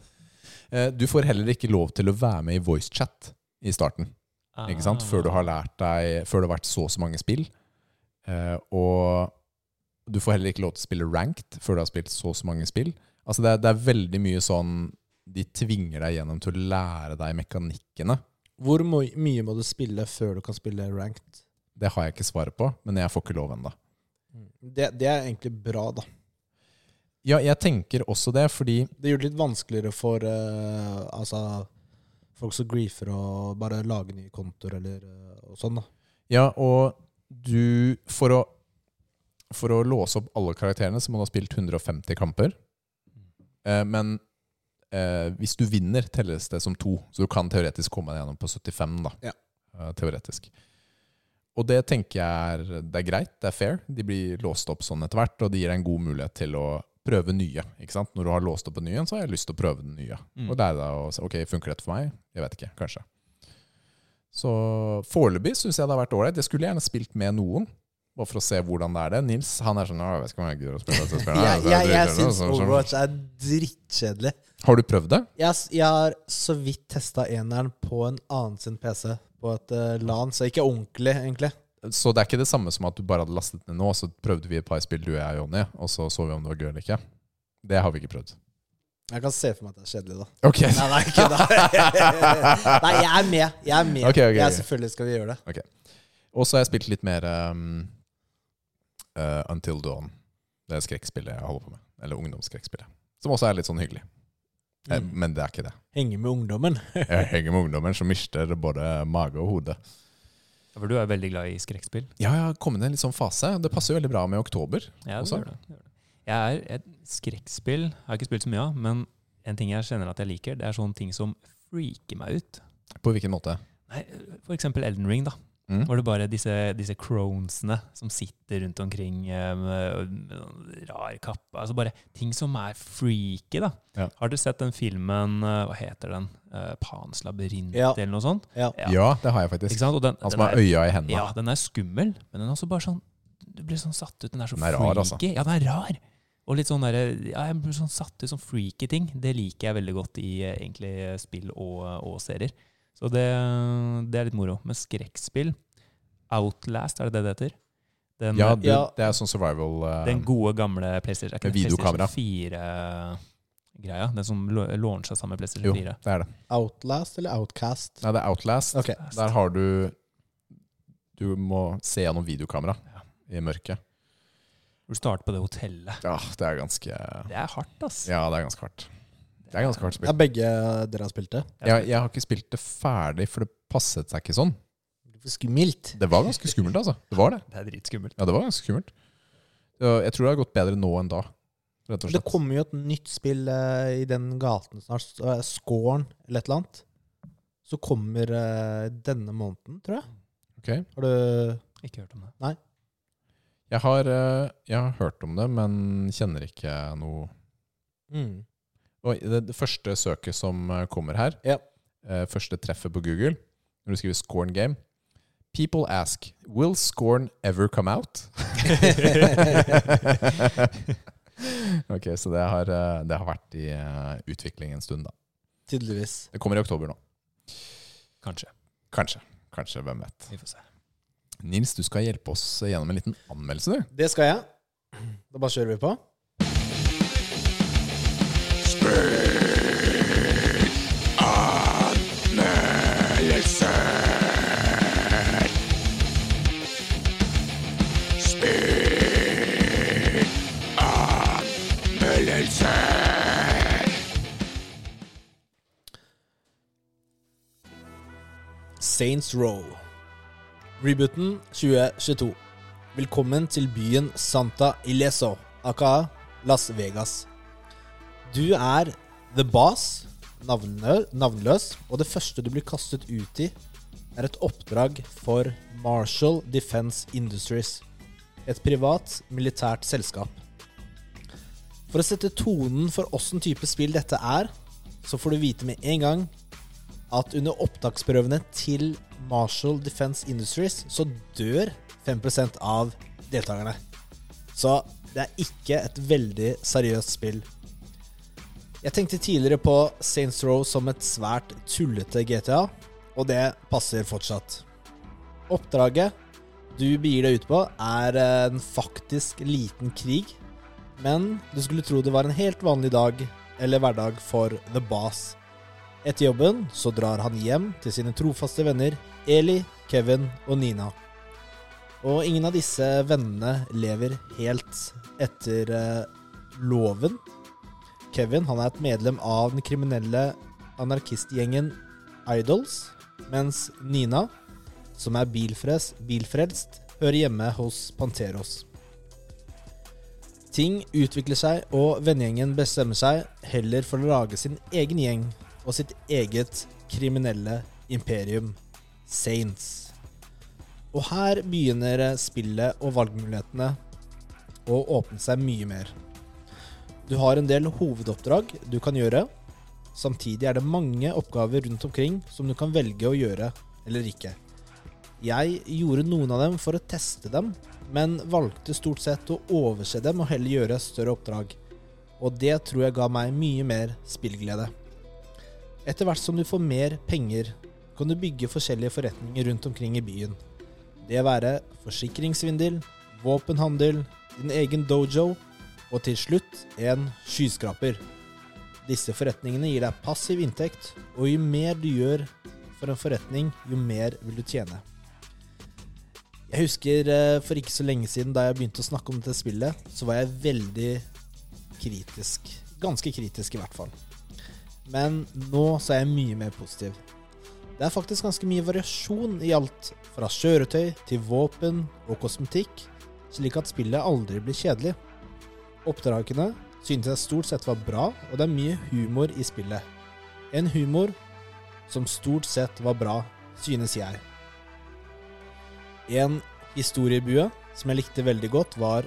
B: Eh, Du får heller ikke lov til å være med i voicechat i starten.
C: ah,
B: ikke sant? Før du har lært deg Før det har vært så og så mange spill. Eh, og du får heller ikke lov til å spille ranked før du har spilt så og så mange spill. Altså det er, det er veldig mye sånn De tvinger deg gjennom til å lære deg mekanikkene.
A: Hvor mo- mye må du spille før du kan spille ranked?
B: Det har jeg ikke svaret på, men jeg får ikke lov ennå.
A: Det, det er egentlig bra, da.
B: Ja, jeg tenker også det, fordi
A: Det gjør det litt vanskeligere for eh, altså, folk som griefer og bare lage nye kontoer eller eh, og sånn. da.
B: Ja, og du For å, for å låse opp alle karakterene, så må du ha spilt 150 kamper. Eh, men eh, hvis du vinner, telles det som to. Så du kan teoretisk komme deg gjennom på 75, da.
A: Ja.
B: Eh, teoretisk. Og det tenker jeg er, det er greit, det er fair. De blir låst opp sånn etter hvert, og det gir deg en god mulighet til å prøve nye. ikke sant? Når du har låst opp en ny en, så har jeg lyst til å prøve den nye.
C: Mm.
B: Og lære deg å se ok, funker dette for meg? Jeg vet ikke, kanskje. Så foreløpig syns jeg det har vært ålreit. Jeg skulle gjerne spilt med noen. Bare for å se hvordan det er det. Nils han er sånn «Å, Jeg vet ikke om jeg gidder å spille dette spillet. Altså,
A: Jeg, jeg, jeg
B: Det er
A: syns
B: dritkjedelig», og sånn, sånn.
A: Overwatch er drittkjedelig.
B: Har du prøvd det?
A: Jeg, s- jeg har så vidt testa eneren på en annen sin PC, på et eh, LAN, så ikke ordentlig, egentlig.
B: Så det er ikke det samme som at du bare hadde lastet ned nå, så prøvde vi et par spill, du og jeg, Jonny, og så så vi om det var gøy eller ikke. Det har vi ikke prøvd.
A: Jeg kan se for meg at det er kjedelig, da.
B: Ok.
A: Nei, nei, ikke da. nei jeg er med. Jeg er med.
B: Ok, ok,
A: jeg,
B: ok.
A: selvfølgelig skal vi gjøre det.
B: Og så har jeg spilt litt mer um, eh, Until Dawn. Det er skrekkspillet jeg holder på med. Eller ungdomsskrekkspillet. Som også er litt sånn hyggelig. Eh,
A: Mm.
B: Men det er ikke det.
A: Henge med ungdommen.
B: Jeg henger med ungdommer som mister både mage og hode.
C: Ja, For du er veldig glad i skrekkspill?
B: Ja, jeg har kommet i en litt sånn fase. og Det passer jo veldig bra med oktober.
C: Ja, det
B: også.
C: gjør det. det gjør det. Jeg er et skrekkspill. Jeg har ikke spilt så mye av, men en ting jeg kjenner at jeg liker, det er sånne ting som freaker meg ut.
B: På hvilken måte?
C: Nei, for eksempel Elden Ring, da.
B: Mm.
C: Hvor det bare er disse, disse cronesene som sitter rundt omkring eh, med, med noen rar kappe. Altså bare ting som er freaky, da.
B: Ja.
C: Har dere sett den filmen, eh, hva heter den? Eh, Pans labyrint
A: Ja.
C: eller noe sånt?
A: Ja.
B: Ja, det har jeg
C: Ikke
B: faktisk.
C: sant? Og den,
B: Han
C: den
B: som har
C: er-
B: øya i hendene.
C: Ja, den er skummel, men den er også bare sånn Du blir sånn satt ut. Den er så
B: Den er
C: freaky.
B: rar, altså.
C: Ja, den er rar. Og litt sånn der, ja, jeg blir sånn satt ut som freaky ting. Det liker jeg veldig godt i eh, egentlig eh, spill og, og serier. Så det, det er litt moro. Men skrekkspill, Outlast, er det det det heter? Den, eh,
B: Ja, du,
A: Ja.
B: det er sånn survival eh,
C: den gode gamle PlayStation, er ikke
B: Med
C: det
B: videokamera.
C: PlayStation 4-greia. Den som launcha sammen med PlayStation
B: Jo,
C: 4.
B: det er det.
A: Outlast eller Outcast?
B: Nei, det er Outlast.
A: Ok.
B: Der har du Du må se gjennom videokamera i mørket.
C: Hvor du starter på det hotellet.
B: Ja, det er ganske Ja,
C: Det er hardt, ass.
B: det er ganske hardt. Det er ganske hardt
A: Ja,
B: spill.
A: begge dere har spilt det?
B: Jeg, jeg har ikke spilt det ferdig, for det passet seg ikke sånn.
A: Skummelt.
B: Det var ganske skummelt, altså. Det var det.
C: Det er dritskummelt.
B: Ja, det var ganske skummelt. Ja, Jeg tror det har gått bedre nå enn da. Rett og
A: Det
B: slett.
A: kommer jo et nytt spill eh, i den gaten snart, så, eh, Scorn eller et eller annet. Så kommer eh, denne måneden, tror jeg.
B: Ok.
A: Har du
C: Ikke hørt om det.
B: Jeg har, eh, jeg har hørt om det, men kjenner ikke noe
A: mm.
B: Og det, det første søket som eh, kommer her,
A: Ja.
B: eh, første treffet på Google, når du skriver 'Scorn Game' People ask 'Will Scorn ever come out?' ok, så det har, eh, det har vært i eh, utvikling en stund, da.
A: Tydeligvis.
B: Det kommer i oktober nå.
C: Kanskje.
B: Kanskje. Kanskje, hvem vet.
C: Vi får se.
B: Nils, du skal hjelpe oss gjennom en liten anmeldelse, du.
A: Det skal jeg. Da bare kjører vi på. Saints Row. Rebooten 2022. Velkommen til byen Santa Ileso, aka Las Vegas. Du er the boss, navnlø navnløs, og det første du blir kastet ut i, er et oppdrag for Marshall Defense Industries. Et privat, militært selskap. For å sette tonen for åssen type spill dette er, så får du vite med en gang at under opptaksprøvene til Marshall Defense Industries så dør 5 av deltakerne. Så det er ikke et veldig seriøst spill. Jeg tenkte tidligere på Saints Row som et svært tullete GTA, og det passer fortsatt. Oppdraget du begir deg ut på, er eh, en faktisk liten krig, men du skulle tro det var en helt vanlig dag eller hverdag for The Boss. Etter jobben så drar han hjem til sine trofaste venner Eli, Kevin og Nina. Og ingen av disse vennene lever helt etter eh, loven. Kevin han er et medlem av den kriminelle anarkistgjengen Idols, mens Nina, som er bilfres, bilfrelst, hører hjemme hos Panteros. Ting utvikler seg, og vennegjengen bestemmer seg heller for å lage sin egen gjeng og sitt eget kriminelle imperium, Saints. Og her begynner spillet og valgmulighetene å åpne seg mye mer. Du har en del hovedoppdrag du kan gjøre. Samtidig er det mange oppgaver rundt omkring som du kan velge å gjøre eller ikke. Jeg gjorde noen av dem for å teste dem, men valgte stort sett å overse dem og heller gjøre større oppdrag. Og det tror jeg ga meg mye mer spillglede. Etter hvert som du får mer penger, kan du bygge forskjellige forretninger rundt omkring i byen. Det være forsikringssvindel, våpenhandel, din egen dojo og til slutt en skyskraper. Disse forretningene gir deg passiv inntekt, og jo mer du gjør for en forretning, jo mer vil du tjene. Jeg husker eh, for ikke så lenge siden da jeg begynte å snakke om dette spillet, så var jeg veldig kritisk. Ganske kritisk, i hvert fall. Men nå så er jeg mye mer positiv. Det er faktisk ganske mye variasjon i alt, fra kjøretøy til våpen og kosmetikk, slik at spillet aldri blir kjedelig. Oppdragene synes jeg stort sett var bra, og det er mye humor i spillet. En humor som stort sett var bra, synes jeg. En historiebue som jeg likte veldig godt, var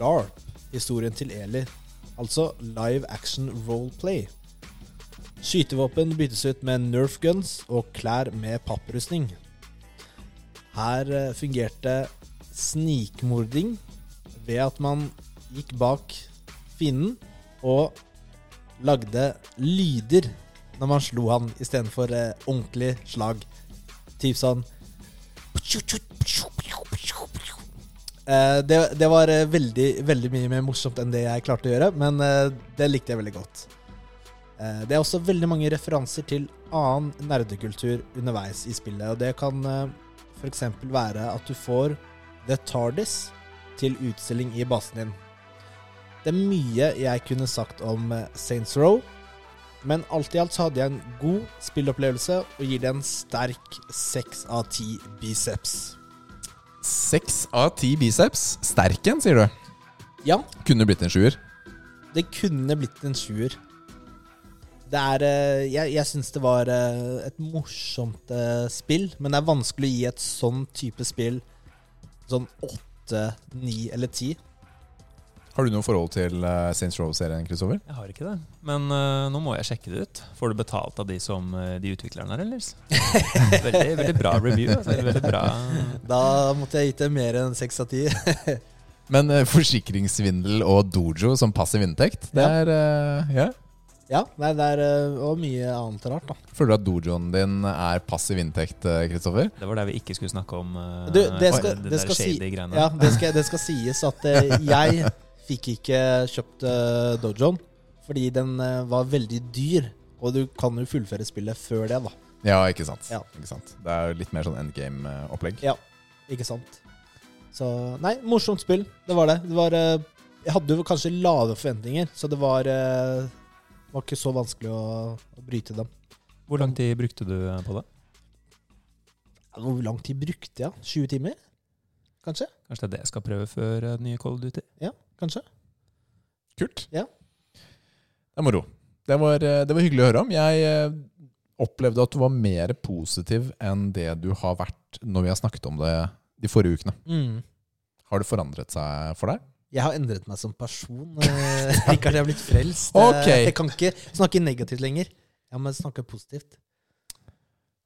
A: LARP, historien til Eli. Altså live action roleplay. Skytevåpen byttes ut med nerf guns og klær med papprustning. Her eh, fungerte snikmording ved at man gikk bak fienden og lagde lyder når man slo han istedenfor eh, ordentlig slag. Typ sånn Eh, det, det var eh, veldig, veldig mye mer morsomt enn det jeg klarte å gjøre, men eh, det likte jeg veldig godt. Eh, det er også veldig mange referanser til annen nerdekultur underveis i spillet, og det kan f.eks. være at du får The Tardis til utstilling i basen din. Det er mye jeg kunne sagt om eh, Saints Row, men alt i alt så hadde jeg en god spillopplevelse og gir det en sterk 6 av 10 biceps.
B: Seks av ti biceps. Sterk en, sier du.
A: Ja,
B: Kunne blitt en sjuer.
A: det kunne blitt en sjuer. Det er eh, Jeg, jeg syns det var eh, et morsomt eh, spill, men det er vanskelig å gi et sånn type spill sånn åtte, ni eller ti.
B: Har du noe forhold til eh, Saints Row-serien, Kristoffer?
C: Jeg har ikke det. Men øh, nå må jeg sjekke det ut. Får du betalt av de som øh, de utviklerne her, ellers? Veldig, veldig bra review. Altså. Veldig bra.
A: Da måtte jeg gitt det mer enn seks av ti.
B: Men eh, forsikringssvindel og dojo som passiv inntekt, det
A: Ja.
B: er eh, ja.
A: Ja, nei, det er eh, og mye annet rart, da.
B: Føler du at dojoen din er passiv inntekt, eh, Kristoffer?
C: Det var der vi ikke skulle snakke om øh,
A: Du, det skal-
C: de
A: det
C: der
A: skal si-
C: shady greiene.
A: Ja, det skal, det skal sies at eh, jeg fikk ikke kjøpt eh, dojoen fordi den eh, var veldig dyr. Og du kan jo fullføre spillet før det, da.
B: Ja, ikke sant.
A: Ja.
B: Ikke sant? Det er jo litt mer sånn endgame-opplegg.
A: Ja, ikke sant? Så Nei, morsomt spill. Det var det. det var, eh, jeg hadde jo kanskje lave forventninger, så det var, eh, var ikke så vanskelig å, å bryte dem.
C: Hvor lang tid brukte du øh, på det?
A: Hvor lang tid brukte jeg? 20 timer? Kanskje?
C: Kanskje det er det jeg skal prøve før øh, nye Cold Duty?
A: Kanskje?
B: Kult.
A: Ja.
B: Det er moro. Det var, eh, det var hyggelig å høre om. Jeg eh, opplevde at du var mer positiv enn det du har vært når vi har snakket om det de forrige ukene. Har det forandret seg for deg?
A: Jeg har endret meg som person. eh, Rikard, jeg har blitt frelst.
B: Ok.
A: Eh, Jeg kan ikke snakke negativt lenger. Jeg må snakke positivt.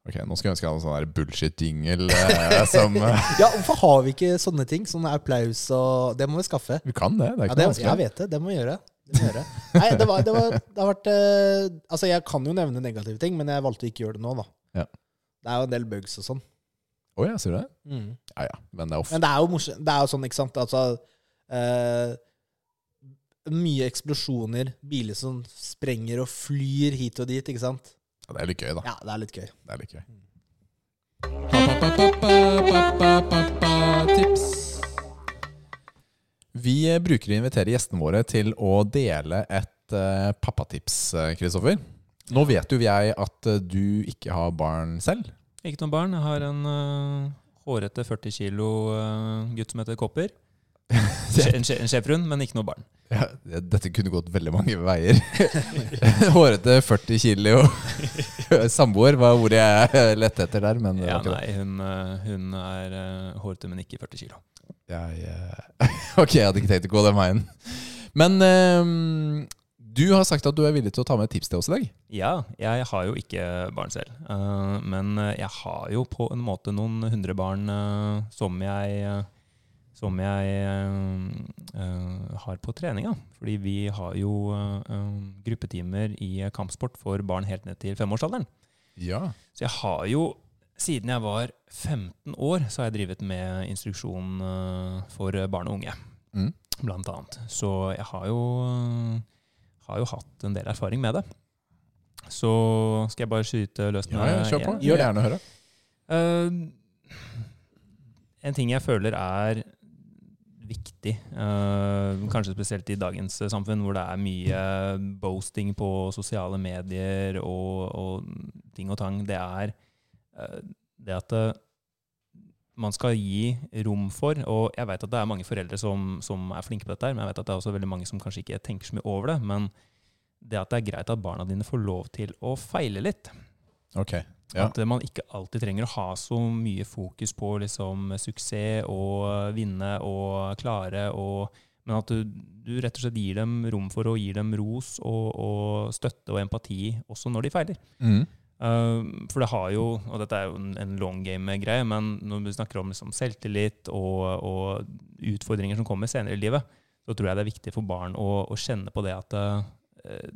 B: Ok, Nå skulle jeg ønske jeg hadde en sånn der bullshit-jingle eh, som eh,
A: Ja, Hvorfor har vi ikke sånne ting? Sånne applaus og Det må vi skaffe.
B: Vi kan det.
A: Ja,
B: Det er ikke
A: det,
B: noe vanskelig.
A: jeg vet det. Det må vi gjøre. Det må jeg gjøre. Nei, det, var, det, var, det har vært eh, Altså, jeg kan jo nevne negative ting, men jeg valgte å ikke gjøre det nå, da.
B: Ja.
A: Det er jo en del bugs og sånn.
B: Å ja, sier du det?
A: Mm.
B: Ja ja, men det er ofte
A: Men det er jo morsomt. Det er jo sånn, ikke sant Altså eh, Mye eksplosjoner, biler som sprenger og flyr hit og dit, ikke sant?
B: ja, Det er litt gøy, da.
A: Ja, det er litt gøy.
B: Det er litt gøy. Tips. Vi eh, bruker å invitere gjestene våre til å dele et eh, pappatips, eh, Kristoffer. Nå vet jo jeg at eh, du ikke har barn selv.
C: Ikke noen barn. Jeg har en øh, hårete 40 kilo øh, gutt som heter Kopper. Sje- En, sje- en schæferhund, men ikke noe barn.
B: Ja, dette kunne gått veldig mange veier. Hårete 40 kilo samboer var ordet jeg lette etter der. Men eh, det
C: Ja,
B: var ikke det.
C: nei, hun, øh, hun er øh, hårete, men ikke 40 kilo.
B: Jeg, eh, ok, jeg hadde ikke tenkt å gå den veien. Men eh, du har sagt at du er villig til å ta med et tips til oss i dag.
C: Ja, jeg har jo ikke barn selv. eh, men jeg har jo på en måte noen hundre barn eh, som jeg, eh, som jeg eh, eh, har på treninga. Fordi vi har jo eh, eh, gruppetimer i kampsport for barn helt ned til femårsalderen.
B: Ja.
C: Så jeg har jo, siden jeg var 15 år, så har jeg drevet med instruksjon eh, for barn og unge,
B: Mm.
C: blant annet. Så jeg har jo, eh, har jo hatt en del erfaring med det. Så skal jeg bare skyte løs med
B: Ja, ja, kjør på.
C: en?
B: Gjør det gjerne høre.
C: Eh, en ting jeg føler er viktig, eh, kanskje spesielt i dagens eh, samfunn, hvor det er mye boasting på sosiale medier og, og ting og tang, det er eh, det at eh, man skal gi rom for, og jeg vet at det er mange foreldre som, som er flinke på dette, her, men jeg vet at det er også veldig mange som kanskje ikke tenker så mye over det, men det at det er greit at barna dine får lov til å feile litt.
B: Ok. Ja.
C: At eh, man ikke alltid trenger å ha så mye fokus på liksom, suksess og eh, vinne og klare, og, men at du, du rett og slett gir dem rom for og gir dem ros og, og støtte og empati også når de feiler.
B: Mm.
C: Eh, for det har jo, og dette er jo en- en long game-greie, men når vi snakker om liksom selvtillit og, og utfordringer som kommer senere i livet, så tror jeg det er viktig for barn å, å kjenne på det at eh,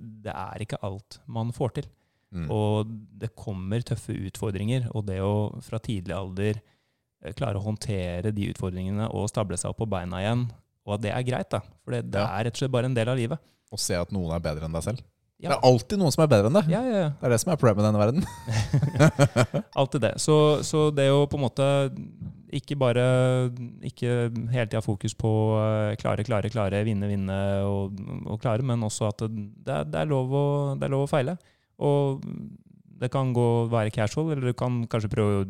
C: det er ikke alt man får til.
B: Mm.
C: Og det kommer tøffe utfordringer, og det å fra tidlig alder eh, klare å håndtere de utfordringene og stable seg opp på beina igjen, og at det er greit, da. For det, det
B: Ja.
C: er rett og slett bare en del av livet.
B: Og se at noen er bedre enn deg selv.
C: Ja.
B: Det er alltid noen som er bedre enn deg.
C: Ja, ja, ja.
B: Det er det som er problemet i denne verden.
C: Alt det. Så, så det å på en måte ikke bare Ikke hele tida fokus på eh, klare, klare, klare, vinne, vinne og, og klare, men også at det, det, er, det, er lov å, det er lov å feile. Og det kan gå være casual, eller du kan kanskje prøve å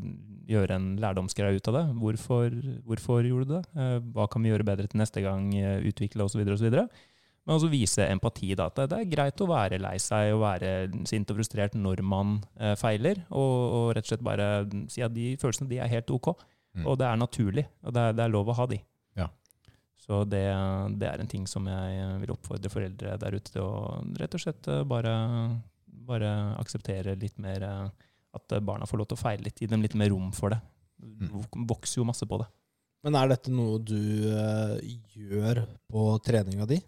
C: gjøre en lærdomsgreie ut av det. Hvorfor, hvorfor gjorde du det? Eh, Hva kan vi gjøre bedre til neste gang? eh, Utvikle osv. osv. Men også vise empati. Da, at det- det er greit å være lei seg og være sint og frustrert når man eh, feiler. Og, og rett og slett bare si at de følelsene de er helt ok.
B: Mm.
C: Og det er naturlig. Og det er, det er lov å ha de.
B: Ja.
C: Så det, det er en ting som jeg eh, vil oppfordre foreldre der ute til å rett og slett eh, bare, bare akseptere litt mer eh, at barna får lov til å feile litt. Gi dem litt mer rom for det.
B: Mm.
C: Vokser jo masse på det.
A: Men er dette noe du eh, gjør på treninga di?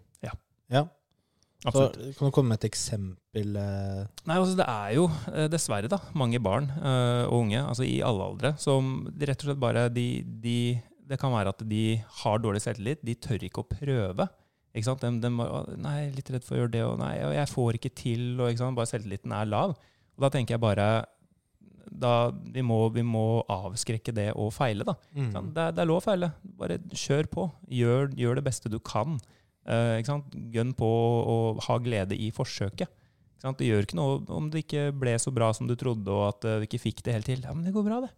A: Så,
C: Absolutt.
A: kan du komme med et eksempel? eh?
C: Nei, altså Det er jo eh, dessverre da, mange barn eh, og unge altså i alle aldre som rett og slett bare de, de, Det kan være at de har dårlig selvtillit. De tør ikke å prøve. Ikke sant? De, de bare, «Å, nei, litt redd for å gjøre det, og nei, og jeg får ikke til. Og, ikke sant? Bare selvtilliten er lav. Og da tenker jeg bare da, vi, må, vi må avskrekke det å feile, da.
A: Mm.
C: Ikke
B: Sånn,
C: sant? Det, er- det er lov å feile. Bare kjør på. Gjør, gjør det beste du kan. Eh, ikke sant? Gønn på og ha glede i forsøket. Ikke sant? Det gjør ikke noe om det ikke ble så bra som du trodde, og at eh, du ikke fikk det helt til. Ja, men det går bra, det.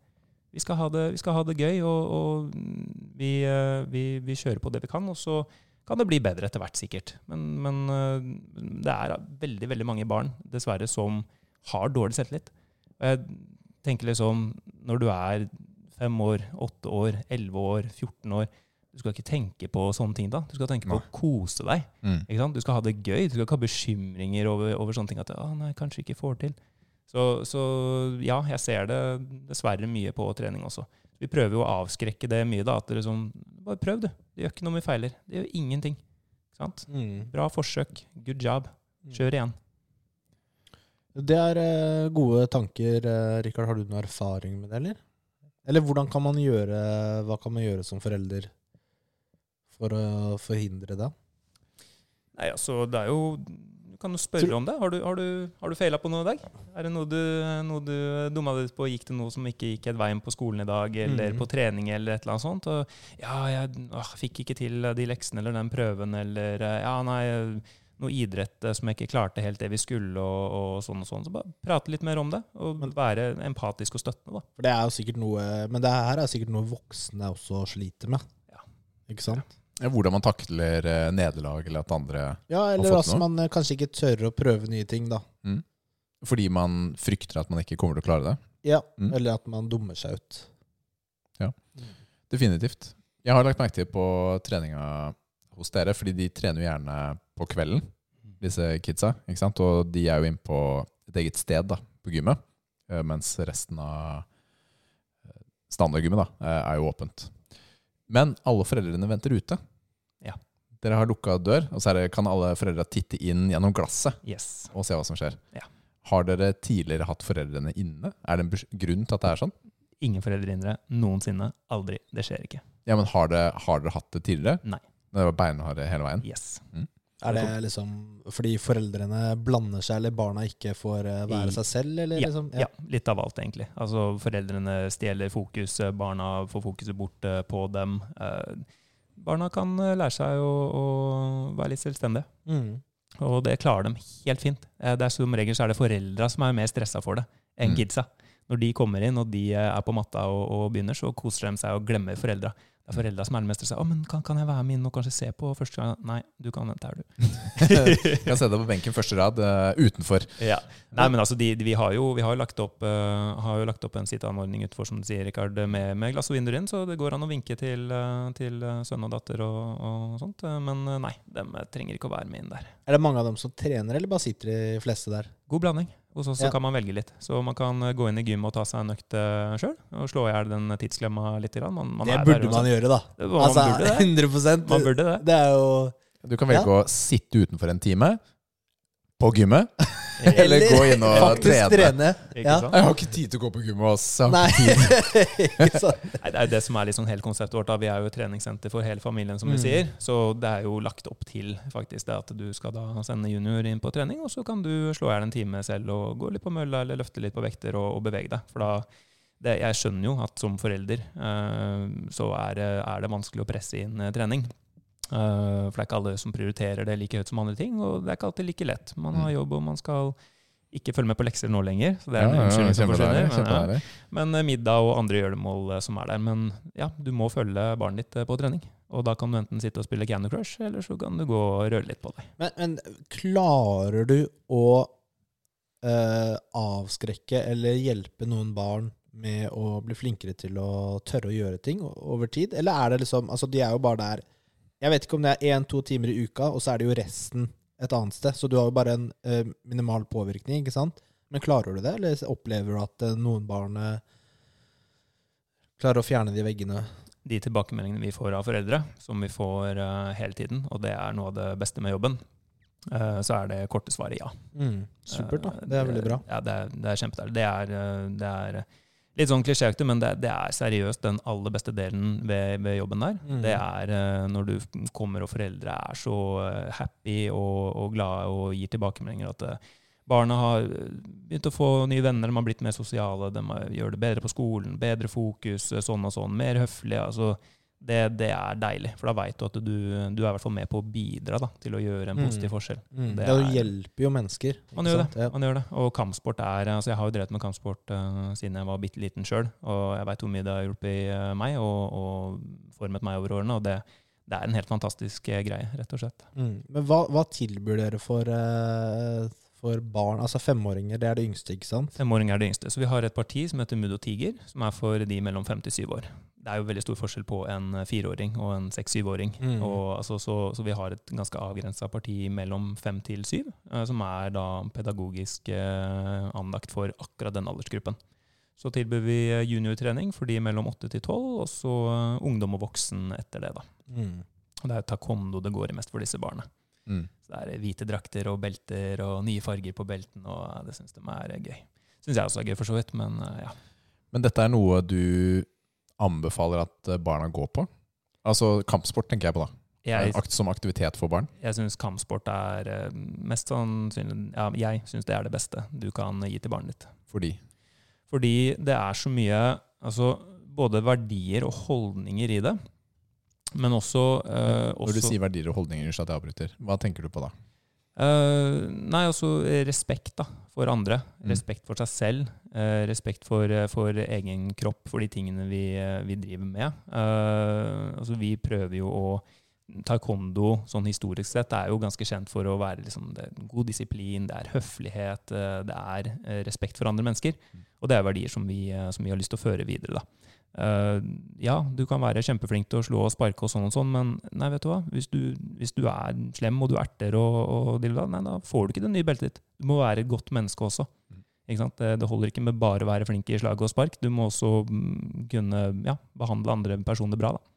C: Vi skal ha det, vi skal ha det gøy, og, og mm, vi, eh, vi, vi kjører på det vi kan. Og så kan det bli bedre etter hvert, sikkert. Men, men eh, det er veldig, veldig mange barn, dessverre, som har dårlig selvtillit. Og jeg tenker liksom, når du er fem år, åtte år, elleve år, 14 år. Du skal ikke tenke på sånne ting da. Du skal tenke på å kose deg.
B: Mm.
C: Ikke sant? Du skal ha det gøy. Du skal ikke ha bekymringer over, over sånne ting at «Å, nei, kanskje ikke får til. Så, så ja, jeg ser det dessverre mye på trening også. Vi prøver jo å avskrekke det mye. da, at det liksom, Bare prøv, du. Det gjør ikke noe om vi feiler. Det gjør ingenting. Ikke sant?
A: Mm.
C: Bra forsøk. Good job. Kjør igjen.
A: Det er eh, gode tanker. eh, Rikard, har du noe erfaring med det, eller? Eller hvordan kan man gjøre, hva kan man gjøre som forelder for å forhindre det?
C: Nei, altså, det er jo Du kan jo spørre om det. Har du, har du, har du feila på noe i dag? Er det noe du, noe du dumma deg ut på? Gikk det noe som ikke gikk helt veien på skolen i dag, eller
A: Mhm.
C: på trening, eller et eller annet sånt? Og, ja, jeg åh, fikk ikke til eh, de leksene eller den prøven, eller eh, ja, nei noe idrett eh, som jeg ikke klarte helt det vi skulle, og, og sånn og sånn. Så bare prate litt mer om det, og være empatisk og støttende, da.
A: For det er jo sikkert noe, Men det her er sikkert noe voksne også sliter med.
C: Ja.
A: Ikke sant?
B: Ja, Hvordan man takler eh, nederlag eller at andre
A: Ja, eller
B: fått
A: altså man eh, kanskje ikke tør å prøve nye ting, da.
B: Fordi man frykter at man ikke kommer til å klare det.
A: Ja,
B: Mm.
A: Eller at man dummer seg ut.
B: Definitivt. Jeg har lagt merke til på treninga hos dere, fordi de trener jo gjerne på kvelden, disse kidsa. ikke sant? Og de er jo inne på et eget sted da, på gymmet, eh, mens resten av eh, standardgymmet da, eh, er jo åpent. Men alle foreldrene venter ute.
C: Ja.
B: Dere har lukka dør, og så er det, kan alle foreldra titte inn gjennom glasset
C: Yes.
B: og se hva som skjer.
C: Ja.
B: Har dere tidligere hatt foreldrene inne? Er det en bes- grunn til at det er sånn?
C: Ingen foreldrehindre. Noensinne. Aldri. Det skjer ikke.
B: Ja, men Har dere, har dere hatt det tidligere?
C: Nei.
B: Det var beinharde hele veien?
C: Yes.
A: Er det liksom fordi foreldrene blander seg, eller barna ikke får eh, være seg selv, eller liksom?
C: Ja, litt av alt, egentlig. Altså, foreldrene stjeler fokus, eh, barna får fokuset bort eh, på dem. Eh, Barna kan eh, lære seg å, å være litt selvstendige,
A: Mm.
C: og det klarer dem helt fint. Eh, Det er Som regel så er det foreldra som er mer stressa for det, enn
B: Mm.
C: kidsa. Når de kommer inn og de eh, er på matta og, og begynner, så koser de seg og glemmer foreldra. Det er foreldra som er mest stressa. 'Å, men kan, kan jeg være med inn og kanskje se på første gang?' Nei, du kan vente her, du.
B: Jeg kan se deg på benken første rad eh, utenfor.
C: Ja. Nei, men altså, de, de, vi, har jo, vi har jo lagt opp, eh, har jo lagt opp en sitteanordning utenfor, som du sier, Rikard, med, med glass og vinduer inn, så det går an å vinke til, eh, til eh, sønn og datter og, og sånt. Eh, Men eh, nei, dem eh, trenger ikke å være med inn der.
A: Er det mange av dem som trener, eller bare sitter de fleste der?
C: God blanding. Hos oss så
A: Ja.
C: kan man velge litt. Så man kan eh, gå inn i gymmet og ta seg en økt eh, sjøl, og slå i hjel den tidsklemma litt. grann. Man, man
A: det
C: er der
A: burde man
C: uansett.
A: gjøre, da.
C: Det- Man
A: Altså,
C: burde det.
A: 100
C: Man burde det.
A: Det er jo
B: Du kan velge å sitte utenfor en time på gymmet,
C: Eller
B: eller gå inn og
A: faktisk
B: trene.
A: trene.
C: Ikke
A: Ja.
C: sant?
B: Jeg har ikke tid til å gå på gymmet. Også.
A: Nei. Ikke sant?
C: Nei, det er jo det som er liksom hele konseptet vårt. da. Vi er jo et treningssenter for hele familien, som du
A: Mm.
C: sier. Så det er jo lagt opp til faktisk det at du skal da sende junior inn på trening, og så kan du slå i hjel en time selv og gå litt på mølla eller løfte litt på vekter og, og bevege deg. For da det, Jeg skjønner jo at som forelder eh, så er, det- er det vanskelig å presse inn eh, trening. Eh, for det er ikke alle som prioriterer det like høyt som andre ting, og det er ikke alltid like lett. Man har jobb, og man skal ikke følge med på lekser nå lenger. Så det er en unnskyldning som forsvinner. men, ja.
B: kjempedeilig.
C: Men eh, middag og andre gjøremål eh, som er der. Men ja, du må følge barnet ditt eh, på trening. Og da kan du enten sitte og spille Candy Crush, eller så kan du gå og røre litt på deg.
A: Men, men klarer du å eh, avskrekke eller hjelpe noen barn med å bli flinkere til å tørre å gjøre ting o- over tid? Eller er det liksom Altså, de er jo bare der Jeg vet ikke om det er én-to timer i uka, og så er det jo resten et annet sted. Så du har jo bare en eh, minimal påvirkning, ikke sant? Men klarer du det, eller opplever du at eh, noen barn eh, klarer å fjerne de veggene?
C: De tilbakemeldingene vi får av foreldre, som vi får eh, hele tiden, og det er noe av det beste med jobben, eh, så er det korte svaret ja.
A: Mm, supert, da.
C: Eh,
A: Det er veldig bra.
C: Ja, det er, det er kjempedeilig. Det er, eh, det er eh, litt sånn klisjéaktig, men det, det er seriøst den aller beste delen ved, ved jobben der.
A: Mm.
C: Det er eh, når du kommer og foreldre er så eh, happy og, og glade og gir tilbakemeldinger at eh, barna har eh, begynt å få nye venner, de har blitt mer sosiale, de har- gjør det bedre på skolen, bedre fokus, eh, sånn og sånn, mer høflig. altså det, det er deilig, for da veit du at du, du er i hvert fall med på å bidra da, til å gjøre en
A: Mm.
C: positiv forskjell.
A: Mm,
C: det
A: ja, du
C: er-
A: hjelper jo mennesker. ikke
C: Man gjør,
A: sant?
C: det. man gjør det. Og kampsport er altså Jeg har jo drevet med kampsport eh, siden jeg var bitte liten sjøl, og jeg veit hvor mye det har hjulpet eh, meg og, og formet meg over årene. Og det, det er en helt fantastisk eh, greie, rett og slett.
A: Mm. Men hva, hva tilbyr dere for, eh, for barn? Altså femåringer, det er det yngste, ikke sant?
C: Femåring er det yngste. Så vi har et parti som heter Mudo Tiger, som er for de mellom fem til syv år. Det er jo veldig stor forskjell på en eh, fireåring og en seks-syvåring.
A: Mm.
C: Og, altså, så, så vi har et ganske avgrensa parti mellom fem til syv, eh, som er da pedagogisk eh, anlagt for akkurat den aldersgruppen. Så tilbyr vi eh, juniortrening for de mellom åtte til tolv, og så eh, ungdom og voksen etter det. da.
A: Mm.
C: Og det er jo taekwondo det går i mest for disse barna.
B: Mm.
C: Så det er hvite drakter og belter og nye farger på belten, og eh, det syns de er gøy. Syns jeg også er gøy, for så vidt, men eh, ja.
B: Men dette er noe du anbefaler at eh, barna går på? Altså kampsport, tenker jeg på da.
C: Jeg,
B: Akt, som aktivitet for barn.
C: jeg syns kampsport er eh, mest sannsynlig Ja, jeg syns det er det beste du kan gi til barnet ditt.
B: Fordi
C: Fordi det er så mye altså, Både verdier og holdninger i det. Men også, eh,
B: Når du
C: også
B: sier verdier og holdninger, unnskyld at jeg avbryter, hva tenker du på da?
C: Eh, nei, altså respekt da, for andre.
B: Mm.
C: Respekt for seg selv. eh, respekt for, eh, for egen kropp, for de tingene vi, eh, vi driver med. Eh, altså, vi prøver jo å Taekwondo sånn historisk sett er jo ganske kjent for å være liksom, det er god disiplin, det er høflighet, eh, det er eh, respekt for andre mennesker.
B: Mm.
C: Og det er verdier som vi, eh, som vi har lyst til å føre videre. da. Eh, ja, du kan være kjempeflink til å slå og sparke og sånn og sånn, men nei, vet du hva? Hvis du, hvis du er slem og du erter og, og dilla, nei, da får du ikke det nye beltet ditt. Du må være et godt menneske også. Ikke sant? Det, det holder ikke med bare å være flink i slag og spark. Du må også mm, kunne ja, behandle andre personer bra. Da.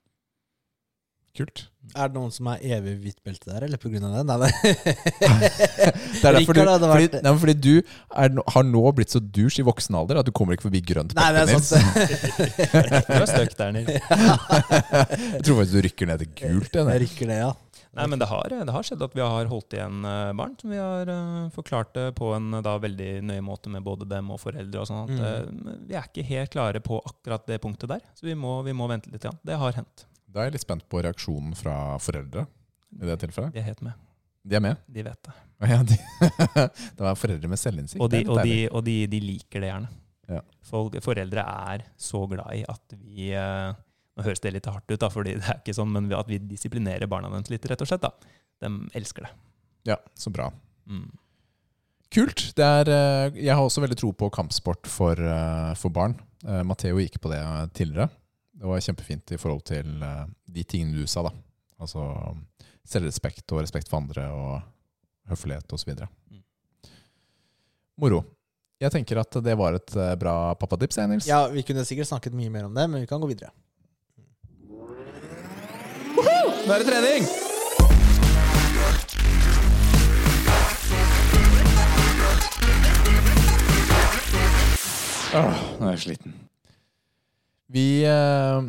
B: Kult.
A: Er det noen som er evig hvitt belte der, eller på grunn av det? Nei,
B: Det er derfor du,
A: Rikard hadde
B: fordi,
A: vært-
B: nei, men fordi du er, nå- har nå blitt så douche i voksen alder at du kommer ikke forbi grønt
A: Nei, det
B: belte,
A: er
B: Nils.
C: Du er støkt der nede.
B: Jeg tror faktisk du rykker ned til gult. jeg,
A: Jeg
B: nei.
A: rykker det, ja.
C: Nei, men det har, det har skjedd at vi har holdt igjen eh, barn, som vi har eh, forklart det på en eh, da veldig nøye måte med både dem og foreldre og sånn. at,
B: Mm.
C: eh, Vi er ikke helt klare på akkurat det punktet der, så vi må, vi må vente litt. igjen. Det har hendt.
B: Da er jeg litt spent på reaksjonen fra foreldre i det tilfellet.
C: De er helt med.
B: De er med.
C: De vet det.
B: Ja, de, det var foreldre med selvinnsikt.
C: Og
B: Det er
C: de,
B: litt
C: og de,
B: deilig.
C: og de, de liker det gjerne.
B: Ja.
C: Folk, foreldre er så glad i at vi eh, Nå høres det litt hardt ut, da, fordi det er ikke sånn, men vi- at vi disiplinerer barna deres litt, rett og slett. da. De elsker det.
B: Ja, så bra.
C: Mm.
B: Kult. Det er, eh, jeg har også veldig tro på kampsport for, eh, for barn. Eh, Matteo gikk på det eh, tidligere. Det var kjempefint i forhold til eh, de tingene du sa. da. Altså selvrespekt og respekt for andre og høflighet osv.
C: Mm.
B: Moro. Jeg tenker at det var et eh, bra pappadips, jeg, Nils.
A: ja. Vi kunne sikkert snakket mye mer om det, men vi kan gå videre.
B: Nå er det trening!
D: Nå er jeg sliten.
B: Vi eh,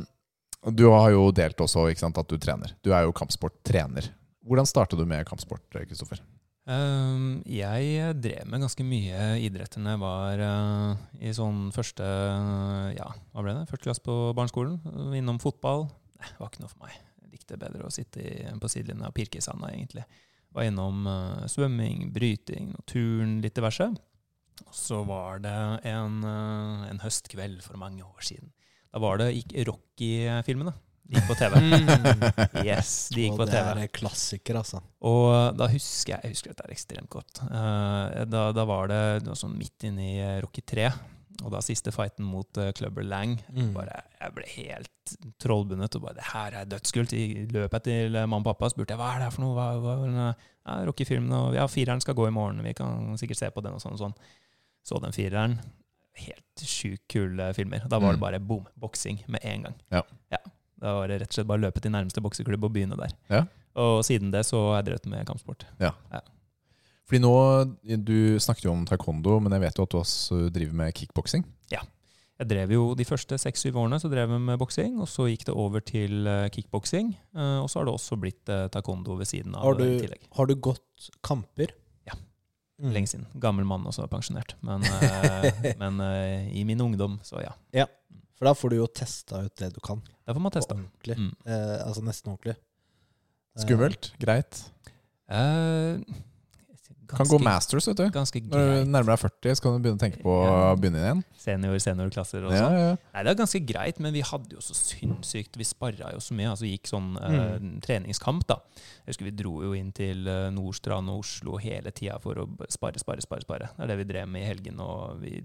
B: Du har jo delt også ikke sant, at du trener. Du er jo kampsporttrener. Hvordan starta du med kampsport, Kristoffer?
C: Ehm, jeg drev med ganske mye idrett da jeg var eh, i sånn første Ja, hva ble det? Første klasse på barneskolen. Eh, Innom fotball. Nei, det var ikke noe for meg. Jeg likte bedre å sitte i, på sidelinja og pirke i sanda, egentlig. Var innom eh, svømming, bryting, og turn, litt diverse. Og så var det en, eh, en høstkveld for mange år siden. Da var det gikk Rocky-filmene. De gikk på TV.
A: Mm.
C: Yes, de Mm. gikk
A: Og
C: på
A: det
C: TV.
A: er klassiker, altså.
C: Og da husker jeg, jeg husker dette er ekstremt godt. Eh, da, da var det, det var sånn midt inne i eh, Rocky 3, og da siste fighten mot eh, Clubber Lang.
A: Mm.
C: Bare, jeg ble helt trollbundet og bare 'det her er dødskult'. I løpet til eh, mamma og pappa og spurte jeg, hva er det her for noe. Hva, hva, er den, eh, ja, Rocky-filmene og ja, fireren skal gå i morgen, vi kan sikkert se på den og sånn og sånn. Så den fireren. Helt sjukt kule filmer. Da
B: Mm.
C: var det bare boom, boksing med en gang.
B: Ja.
C: Da var det rett og slett bare å løpe til nærmeste bokseklubb og begynne der.
B: Ja.
C: Og siden det så har jeg drevet med kampsport.
B: Fordi nå, Du snakket jo om taekwondo, men jeg vet jo at du også driver med kickboksing.
C: Jeg drev jo De første seks-syv årene så drev jeg med boksing, og så gikk det over til eh, kickboksing. eh, Og så har det også blitt eh, taekwondo ved siden av
A: Har
C: det i
A: du-
C: tillegg.
A: Har du gått kamper?
C: Ja.
A: Mm.
C: Lenge siden. Gammel mann, også pensjonert. Men, eh, men eh, i min ungdom, så ja.
A: For da får du jo testa ut det du kan.
C: Der får man
A: på
C: testa.
A: Ordentlig.
C: Mm.
A: Eh, altså nesten ordentlig. Eh,
B: Skummelt? Greit?
C: Eh,
B: Kan gå masters, vet du.
C: Ganske
B: Når du
C: greit.
B: nærmer deg 40, så kan du begynne å tenke på å
C: Ja.
B: begynne igjen.
C: Senior, seniorklasser og
B: Ja,
C: sånn.
B: ja.
C: Nei, det er ganske greit, men vi hadde jo så sinnssykt Vi sparra jo så mye. Altså gikk sånn eh, treningskamp, da. Jeg husker vi dro jo inn til eh, Nordstrand og Oslo hele tida for å b- spare, spare, spare. spare. Det er det vi drev med i helgen, og vi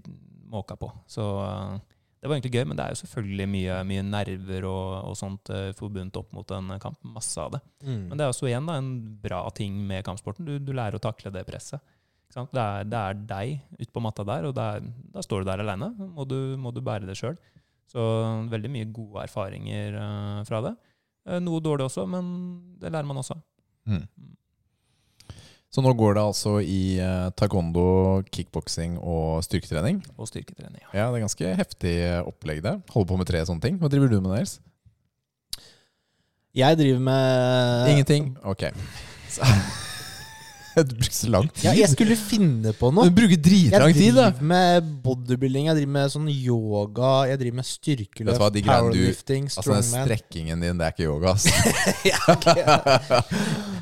C: måka på. Så eh, det var egentlig gøy, men det er jo selvfølgelig mye, mye nerver og, og sånt eh, forbundet opp mot en kamp. Masse av det.
A: Mm.
C: Men det er også igjen da, en bra ting med kampsporten. Du, du lærer å takle det presset. Ikke sant? Det, er, det er deg ute på matta der, og det er, da står du der aleine. Må, du- må du bære det sjøl. Så veldig mye gode erfaringer eh, fra det. Eh, Noe dårlig også, men det lærer man også.
B: Mm. Så nå går det altså i eh, taekwondo, kickboksing og styrketrening.
C: Og styrketrening. Ja.
B: Ja, det er ganske heftig opplegg det. Holder på med tre sånne ting. Hva driver du med, Nils?
A: Jeg driver med
B: Ingenting? Ok. Så- du bruker så lang tid.
A: Ja, jeg skulle finne på noe.
B: Du bruker
A: Jeg
B: dritlang tid, da!
A: driver med bodybuilding, jeg driver med sånn yoga, jeg driver med
B: Vet du hva,
A: styrkeløft,
B: de greiene du-
A: powerlifting,
B: Altså, den
A: strongman.
B: strekkingen din, det er ikke yoga, ass.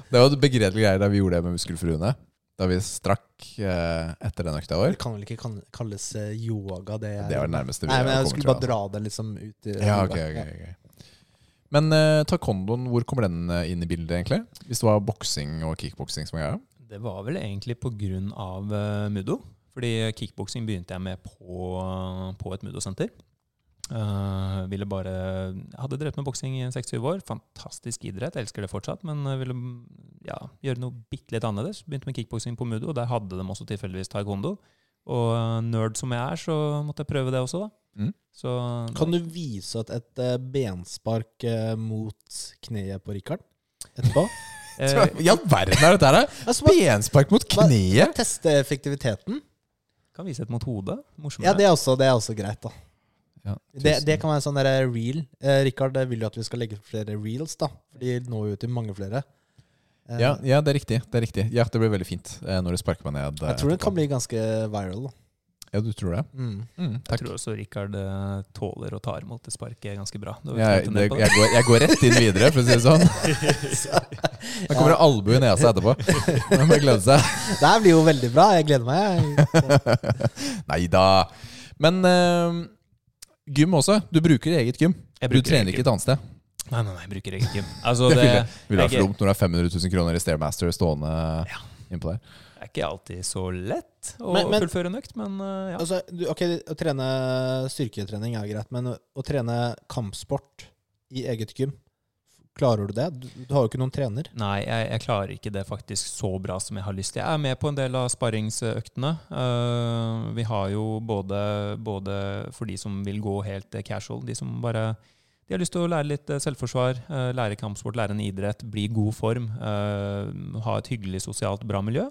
B: det var begredelige greier da vi gjorde det med Muskelfruene. Da vi strakk eh, etter den økta vår.
A: det kan vel ikke kan- kalles eh, yoga, det er
B: Det var det nærmeste vi
A: Nei, men
B: kommer
A: jeg skulle bare
B: til,
A: dra det liksom ut i
B: altså. Ja, ok, ok, ok. Men eh, taekwondoen, hvor kommer den eh, inn i bildet, egentlig? Hvis det var boksing og kickboksing som var greia?
C: Det var vel egentlig på grunn av eh, Mudo. Fordi kickboksing begynte jeg med på, på et Mudo-senter. Eh, ville bare Jeg hadde drevet med boksing i 6-7 år. Fantastisk idrett, jeg elsker det fortsatt. Men jeg ville ja, gjøre noe bitte litt annerledes. Begynte med kickboksing på Mudo, og der hadde de også tilfeldigvis taekwondo. Og eh, nerd som jeg er, så måtte jeg prøve det også, da.
B: Mm.
C: Så
A: Kan du vise et, et eh, benspark eh, mot kneet på Richard etterpå?
C: eh,
B: I all verden er dette her, da?
A: altså, bare
B: Benspark mot
A: Hva-
B: kneet!
A: teste effektiviteten.
C: Kan vise et mot hodet. Morsommere.
A: Ja, det er også, det er også greit, da.
B: Ja,
A: Det, det kan være sånn der reel. Eh, Richard eh, vil jo at vi skal legge ut flere reels, da. For de når jo ut til mange flere. Eh,
B: Ja, ja, det er riktig. Det er riktig. Ja, det blir veldig fint eh, når du sparker meg ned. eh,
A: jeg tror den
B: etterpå.
A: kan bli ganske viral. Da.
B: Ja, du tror det?
A: Mm.
B: Mm,
C: Jeg
B: takk.
C: tror også Rikard eh, tåler og tar imot det sparket ganske bra. Du har jo
B: Jeg,
C: trent en
B: det,
C: del på det.
B: jeg, går, jeg går rett inn videre, for å si det sånn. Da kommer det albue i nesa etterpå. Man må glede seg.
A: Det her blir jo veldig bra. Jeg gleder meg. jeg.
B: Nei da. Men eh, gym også. Du bruker eget gym.
C: Jeg
B: Du
C: bruker
B: trener
C: eget
B: ikke et annet sted.
C: Nei, nei, nei, jeg bruker ikke. Altså,
B: Det
C: det
B: ville,
C: er
B: ville vært
C: jeg-
B: for dumt når du har 500 000 kroner i Stairmaster stående innpå der.
C: ikke alltid så lett å
A: Men- men-
C: fullføre en økt, men eh, ja.
A: Altså, du, ok, Å trene styrketrening er greit, men å- å trene kampsport i eget gym, klarer du det? Du, du har jo ikke noen trener.
C: Nei, jeg, jeg klarer ikke det faktisk så bra som jeg har lyst til. Jeg er med på en del av sparringsøktene. Eh, vi har jo både, både for de som vil gå helt eh, casual, de som bare de har lyst til å lære litt eh, selvforsvar, eh, lære kampsport, lære en idrett, bli i god form, eh, ha et hyggelig sosialt bra miljø.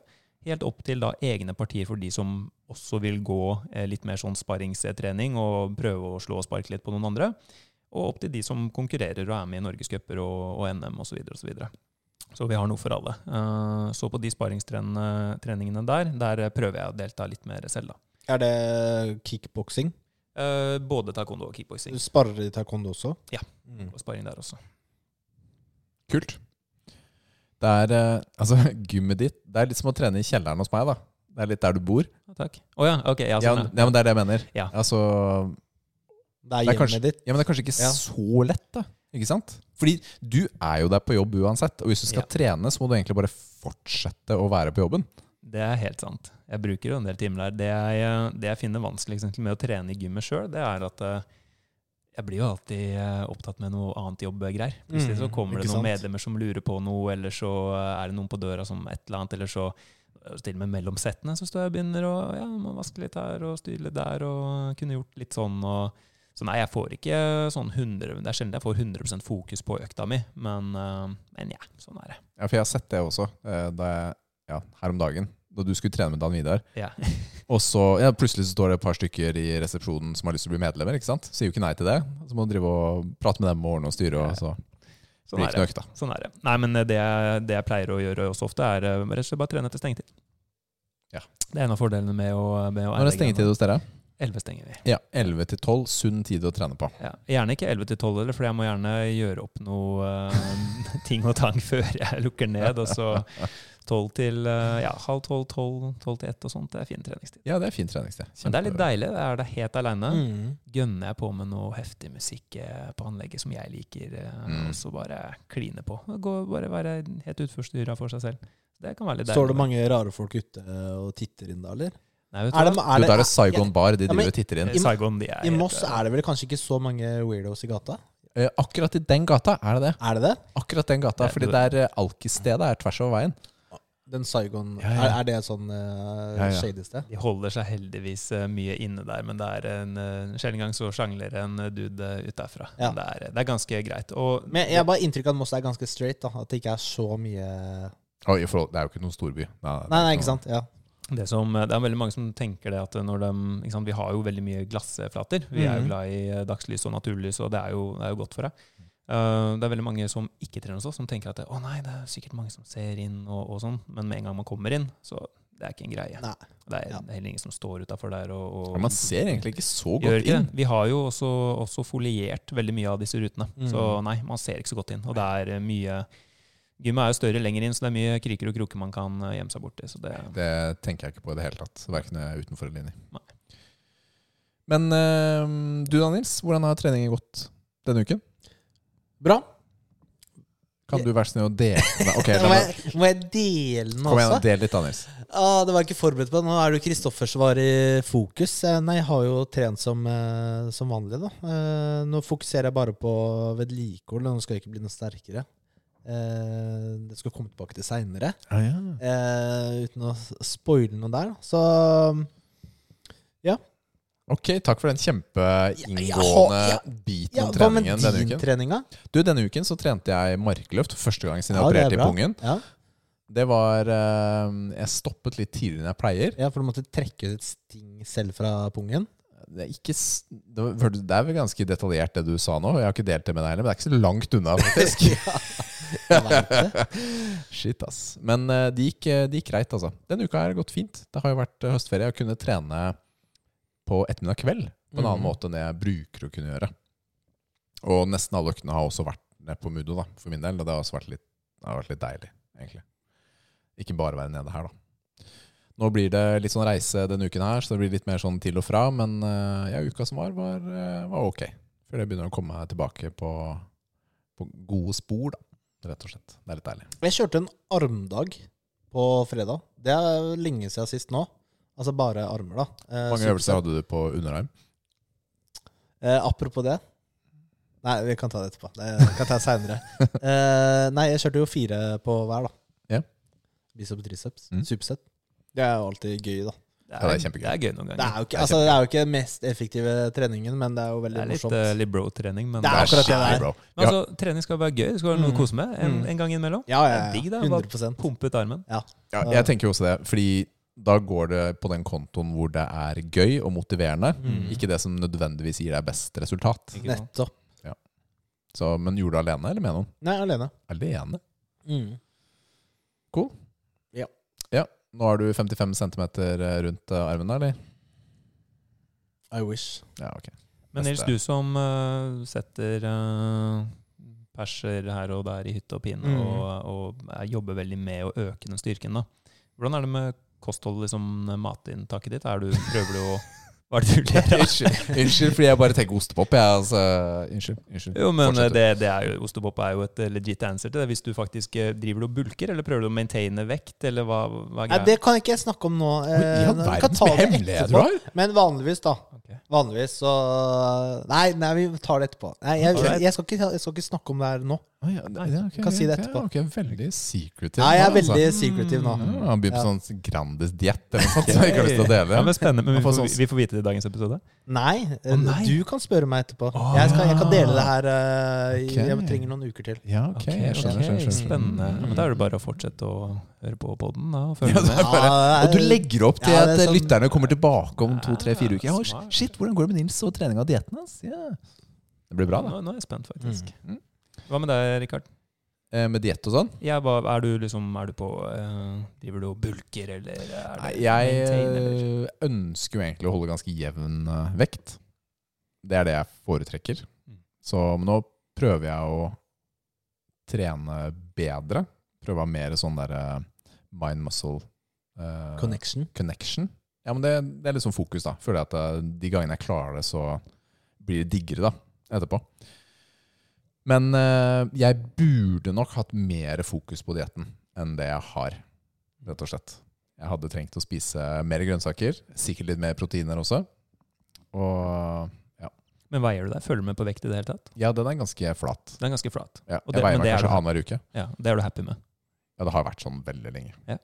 C: Helt opp til da egne partier for de som også vil gå eh, litt mer sånn sparringstrening og prøve å slå og sparke litt på noen andre. Og opp til de som konkurrerer og er med i norgescuper og, og NM osv. Så, videre og så, videre. så vi har noe for alle. Eh, Så på de sparringstreningene der, der prøver jeg å delta litt mer selv, da.
A: Er det kickboksing?
C: Eh, Både taekwondo og kickboksing.
A: Du sparer i taekwondo også?
C: Ja.
A: Mm.
C: Og sparring der også.
B: Kult. Det er eh, altså, gymmet ditt Det er litt som å trene i kjelleren hos meg, da. Det er litt der du bor.
C: Ja, takk. Å ja, ok. Ja,
B: Ja,
C: sånn,
B: men- ja, men det er det jeg mener.
C: Ja.
B: Altså,
A: Det er
B: Det er
A: hjemmet
B: kanskje-
A: ditt?
B: ja, men det er kanskje ikke
A: Ja.
B: så lett, da. Ikke sant? Fordi du er jo der på jobb uansett. Og hvis du skal
C: Ja.
B: trene, så må du egentlig bare fortsette å være på jobben.
C: Det er helt sant. Jeg bruker jo en del timer der. Det jeg, det jeg finner vanskeligst egentlig med å trene i gymmet sjøl, det er at eh, jeg blir jo alltid eh, opptatt med noe annet jobbgreier. Plutselig så
A: Mm,
C: kommer det
A: ikke
C: noen
A: sant?
C: medlemmer som lurer på noe, eller så eh, er det noen på døra som et eller annet, eller så eh, til og med mellom settene så står jeg og begynner å ja, må vaske litt her og styre litt der og kunne gjort litt sånn og Så nei, jeg får ikke sånn 100 Det er sjelden jeg får 100 fokus på økta mi, men, eh, men ja, sånn er det.
B: Ja, For jeg har sett det også eh, da jeg, ja, her om dagen. Da du skulle trene med Dan Vidar.
C: Ja.
B: Og så ja, plutselig så står det et par stykker i resepsjonen som har lyst til å bli medlemmer. ikke sant? Sier jo ikke nei til det. Så må du drive og prate med dem og ordne og styre. og så
C: Sånn
B: blir
C: er
B: det ikke
C: det.
B: noe økt, da.
C: Sånn er det. Nei, men det, jeg- det jeg pleier å gjøre også ofte, er eh, rett og slett bare trene etter stengetid.
B: Ja.
C: Det er en av fordelene med å, med å
B: Når er stengetid hos dere?
C: 11 stenger vi.
B: Ja, 11 til 12. Sunn tid å trene på.
C: Ja. Gjerne ikke 11 til 12, heller, for jeg må gjerne gjøre opp noe eh, ting og tang før jeg lukker ned. Og så 12 til eh, ja, halv 12, 12, 12 til 1 og sånt. Det er fin treningstid.
B: Ja, det er fint treningssted.
C: Men det er litt deilig. Er det helt aleine,
A: Mm.
C: gønner jeg på med noe heftig musikk eh, på anlegget som jeg liker, eh,
B: Mm.
C: og så bare kline på. Gå, bare være helt utforstyrra for seg selv. Det kan være litt
A: Står det mange rare folk ute og titter inn da, eller?
C: Nei, vet du
A: Er det,
C: hva?
B: Du,
A: er
B: der er
A: det,
B: Saigon Bar. De
A: Ja, men-
B: driver og titter inn.
A: I Mo-
C: Saigon, de er
A: I Moss
C: helt, eh,
A: er det vel kanskje ikke så mange weirdos i gata?
B: Eh, akkurat i den gata er det det.
A: Er det det?
B: Akkurat den gata,
C: Ja,
B: fordi
C: du-
B: der eh, alkisstedet er tvers over veien.
A: Den Saigon
B: Ja, ja.
A: Er, er det sånn uh,
B: Ja, ja.
A: shady sted?
C: De holder seg heldigvis eh, mye inne der, men det er en eh, sjelden gang så sjangler en eh, dude eh, ut derfra.
A: Ja.
C: Det, er, det er ganske greit. Og
A: Men jeg har bare inntrykk av at Moss er ganske straight. da At det ikke er så mye
B: Og i forhold, det er jo ikke noen storby. Nei, det er
A: Nei, nei,
B: noe-
A: ikke sant? Ja.
C: det, som, det er veldig mange som tenker det at når de ikke sant, Vi har jo veldig mye glassflater. Vi er
A: Mhm.
B: Mm.
C: jo glad i eh, dagslys og naturlys, og det er jo, det er jo godt for deg. Eh, det er veldig mange som ikke trener hos oss, som tenker at det, å nei, det er sikkert mange som ser inn, og, og sånn. Men med en gang man kommer inn, så det er ikke en greie.
A: Nei.
C: Det er,
A: Ja.
C: det er heller ingen som står utafor der og, og
B: Ja, man ser egentlig ikke så
C: Gjør
B: godt
C: ikke
B: inn.
C: det. Vi har jo også, også foliert veldig mye av disse rutene.
A: Mm.
C: Så nei, man ser ikke så godt inn. Og det er eh, mye Gymmet er jo større lenger inn, så det er mye kriker og kroker man kan eh, gjemme seg borti. Så det,
B: Det tenker jeg ikke på i det hele tatt. Verken utenfor eller inni.
C: Nei.
B: Men eh, du da, Nils. Hvordan har treningen gått denne uken?
A: Bra.
B: Kan du være så snill å dele Nei, Ok, la
A: må,
B: meg,
A: jeg, må jeg dele den
B: kom igjen,
A: også?
B: del litt, da, Nils.
A: Ah, det var jeg ikke forberedt på. Nå er det jo Kristoffers var i fokus. Eh, Nei, jeg har jo trent som, eh, som vanlig, da. Eh, nå fokuserer jeg bare på vedlikehold. Nå skal jeg ikke bli noe sterkere. Eh, det skal jeg komme tilbake til seinere. Eh, uten å spoile noe der. da. Så
B: Ok, takk for den
A: Ja, jeg har-
B: kjempeinngående
A: ja,
B: biten
A: ja,
B: om
A: hva med
B: treningen denne
A: din
B: uken.
A: trening, da?
B: Du, Denne uken så trente jeg markløft for første gang siden jeg
A: Ja, det er
B: opererte i
A: bra.
B: pungen.
A: Ja.
B: Det var eh, Jeg stoppet litt tidligere enn jeg pleier.
A: ja, for du måtte trekke ut et sting selv fra pungen?
B: Det er, ikke, s- det var- hørte- det er vel ganske detaljert det du sa nå. Jeg har ikke delt det med deg heller, men det er ikke så langt unna, faktisk.
A: Jeg vet det.
B: Shit, ass. Men eh, det gikk, eh, det gikk greit, altså. Denne uka har gått fint. Det har jo vært eh, høstferie. Jeg har kunnet trene på ettermiddag kveld på en annen
A: Mhm.
B: måte enn det jeg bruker å kunne gjøre. Og nesten alle øktene har også vært nede på Mudo, da, for min del. Og det har også vært litt, det har vært litt deilig, egentlig. Ikke bare være nede her, da. Nå blir det litt sånn reise denne uken her, så det blir litt mer sånn til og fra. Men eh, ja, uka som var, var, eh, var ok. Før jeg begynner å komme meg tilbake på, på gode spor, da. Rett og slett. Det er litt deilig.
A: Jeg kjørte en armdag på fredag. Det er lenge siden sist nå. Altså bare armer, da. Eh,
B: Hvor mange
A: så-
B: øvelser hadde du på underarm?
A: Eh, apropos det Nei, vi kan ta det etterpå. Det kan ta seinere. eh, nei, jeg kjørte jo fire på hver, da.
B: Ja.
A: Bicep og triceps.
B: Mm.
A: Superset. Det er jo alltid gøy, da.
C: det,
B: Ja,
C: er,
B: det er kjempegøy.
C: det er gøy noen
A: Det er
C: ganger.
A: jo ikke, altså, det er jo ikke den mest effektive treningen, men det er jo veldig
C: Det er litt,
A: morsomt.
C: eh, litt bro-trening, men,
A: Det er akkurat det
B: skikkelig
A: der.
B: bra.
C: men altså, trening skal være gøy. Det skal være noe å kose med en,
A: Mm.
C: en gang innimellom.
A: ja, ja,
C: det er
A: ja.
C: digg, da.
A: 100
C: Pumpe ut armen.
B: Ja, jeg tenker jo også det, fordi da går det på den kontoen hvor det er gøy og motiverende,
A: Mm.
B: ikke det som nødvendigvis gir deg best resultat.
C: Ikke sant?
A: Nettopp.
B: Så, men gjorde du det alene eller med noen?
A: Nei, alene.
B: Alene.
A: Mm.
B: Nå har du 55 cm rundt eh, armen, da, eller?
A: I wish.
B: Ja, ok.
C: Men Nils,
B: Neste.
C: du som eh, setter eh, perser her og der i hytte og pine,
A: Mm.
C: og, og eh, jobber veldig med å øke den styrken, da. hvordan er det med kosthold, liksom, matinntaket ditt? Er du, prøver du å Hva er det du ler av?
B: Unnskyld, unnskyld, fordi jeg bare tenker ostepop. Jeg, altså, unnskyld. unnskyld.
C: Jo, men eh,
B: Fortsett.
C: det, det er jo, Ostepop er jo et eh, legit answer til det. Hvis du faktisk eh, driver du og bulker, eller prøver du å maintaine vekt, eller hva, hva er
A: Nei,
C: greia?
A: det kan jeg ikke snakke om nå. Eh,
B: Oi, I
A: vi
B: all
A: kan
B: verdens
A: ta det
B: hemmelighet du
A: etterpå.
B: har!
A: Men vanligvis, da.
C: Ok.
A: Vanligvis så Nei, nei vi tar det etterpå. Nei, jeg,
C: Alright.
A: jeg, skal ikke, jeg skal ikke snakke om det her nå.
B: Å, ja, det- ja, ok,
A: Kan si det
B: ok,
A: etterpå.
B: Ok, veldig secretive.
A: Nei, jeg er
B: nå, altså.
A: veldig secretive nå.
B: Ja, han begynner på
A: Ja.
B: sånn Grandis-diett eller noe sånt. Som jeg ikke har lyst til å dele.
C: Ja, men spennende, men vi
B: Jeg får
C: får,
B: sånn-
C: vi får vite det i dagens episode.
A: Nei, eh,
B: Å, nei.
A: du kan spørre meg etterpå. Jeg, skal, jeg kan dele det her. eh, i-
B: Ok.
A: Jeg trenger noen uker til.
B: Ja, ok. Jeg skjønner,
C: ok,
B: skjønner, skjønner.
C: Spennende. Ja, men da er det bare å fortsette å høre på podden da, og følge
B: Ja, det
C: med.
B: er bare,
A: Ja,
B: og du legger opp til
A: ja,
B: at
A: det er sånn-
B: lytterne kommer tilbake om to, tre, fire uker. Ja,
C: Smart.
B: shit, hvordan går det med Nils og treninga og dietten hans? Ja. Det blir bra, da.
C: Nå, nå er jeg spent, faktisk.
B: Mm.
C: Hva med deg, Rikard?
B: Eh, Med diett og sånn?
C: Jeg var, er, du liksom, er du på eh, Driver du og bulker, eller er du
B: Nei, jeg
C: maintain, eller?
B: eh, ønsker jo egentlig å holde ganske jevn eh, vekt. Det er det jeg foretrekker.
C: Mm.
B: Så men nå prøver jeg å trene bedre. Prøve å ha mer sånn der eh, mind muscle eh,
A: Connection.
B: connection. Ja, men det, det er liksom fokus, da. Føler jeg at eh, de gangene jeg klarer det, så blir det diggere, da, etterpå. Men eh, jeg burde nok hatt mer fokus på dietten enn det jeg har, rett og slett. Jeg hadde trengt å spise mer grønnsaker, sikkert litt mer proteiner også. Og
C: Men veier du deg? Følger du med på vekt i det hele tatt?
B: ja, den er ganske flat.
C: Den er ganske flat.
B: Ja,
C: Og
B: jeg
C: det-
B: veier
C: men
B: meg
C: det er
B: kanskje
C: du-
B: annenhver uke.
C: Ja, Det er du happy med.
B: Ja, det har vært sånn veldig lenge.
C: Ja.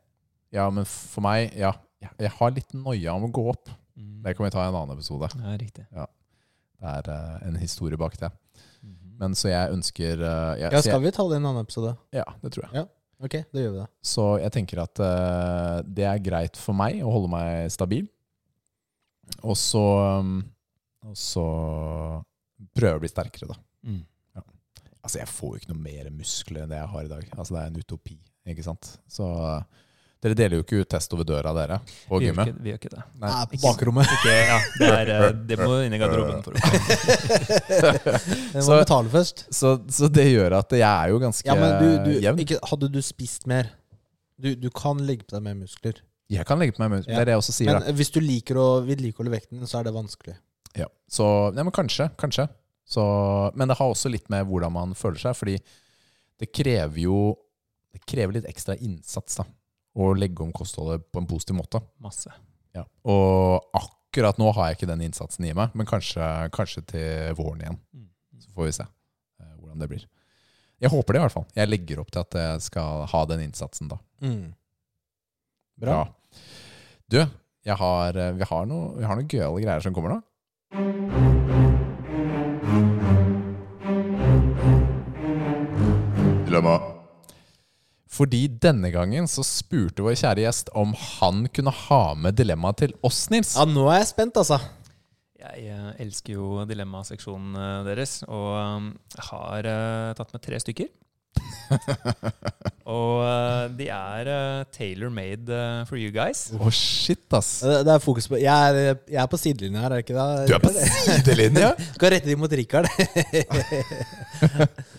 B: Ja, men for meg Ja, jeg- jeg har litt noia om å gå opp.
C: Mm.
B: Det kan vi ta i en annen episode.
C: Ja, riktig.
B: Det er eh, en historie bak det. Men så jeg ønsker eh, jeg,
A: Ja,
B: så jeg,
A: skal vi ta det i en annen episode?
B: ja, det tror jeg.
A: Ok, da gjør vi det.
B: Så jeg tenker at eh, det er greit for meg å holde meg stabil. Og så um, Og så prøve å bli sterkere, da.
C: Mm.
B: Altså, jeg får jo ikke noe mer muskler enn det jeg har i dag. Altså, det er en utopi, ikke sant? Så dere deler jo ikke ut test over døra, dere, på
C: Vi, gjør
B: gymmet.
C: ikke, vi gjør ikke det.
B: Nei.
A: Nei, på bakrommet.
C: Ikke, ja, det, er, eh, det må inn i garderoben. for å
A: Jeg må
B: Så-
A: betale først.
B: Så, så det gjør at jeg er jo ganske
A: Ja, men du, du,
B: jevn.
A: ikke, hadde du spist mer Du, du kan legge på deg mer muskler.
B: Jeg kan legge på meg muskler, det er det jeg også sier.
A: Men hvis du liker å vedlikeholde vekten din, så er det vanskelig.
B: da. Ja. Så ja, men kanskje, kanskje. Så, men det har også litt med hvordan man føler seg, fordi det krever jo det krever litt ekstra innsats da, å legge om kostholdet på en positiv måte.
C: Masse.
B: Ja. Og akkurat nå har jeg ikke den innsatsen i meg, men kanskje, kanskje til våren igjen.
C: Mm.
B: Så får vi se eh, hvordan det blir. Jeg håper det, i hvert fall. Jeg legger opp til at jeg skal ha den innsatsen da.
A: Bra.
B: Mm. Ja. Du, jeg har, eh, vi har noe- vi har noen gøyale greier som kommer nå. Dilemma. Fordi denne gangen så spurte vår kjære gjest om han kunne ha med dilemmaet til oss, Nils.
A: Ja, nå er jeg spent, altså.
C: Jeg eh, elsker jo dilemmaseksjonen eh, deres, og eh, har eh, tatt med tre stykker. og eh, de er eh, tailor-made eh, for you guys.
B: Å, shit, ass.
A: Det, det er fokus på Jeg er, jeg er på sidelinja her, er det ikke det?
B: Du er på sidelinja!
A: Skal rette de mot Richard.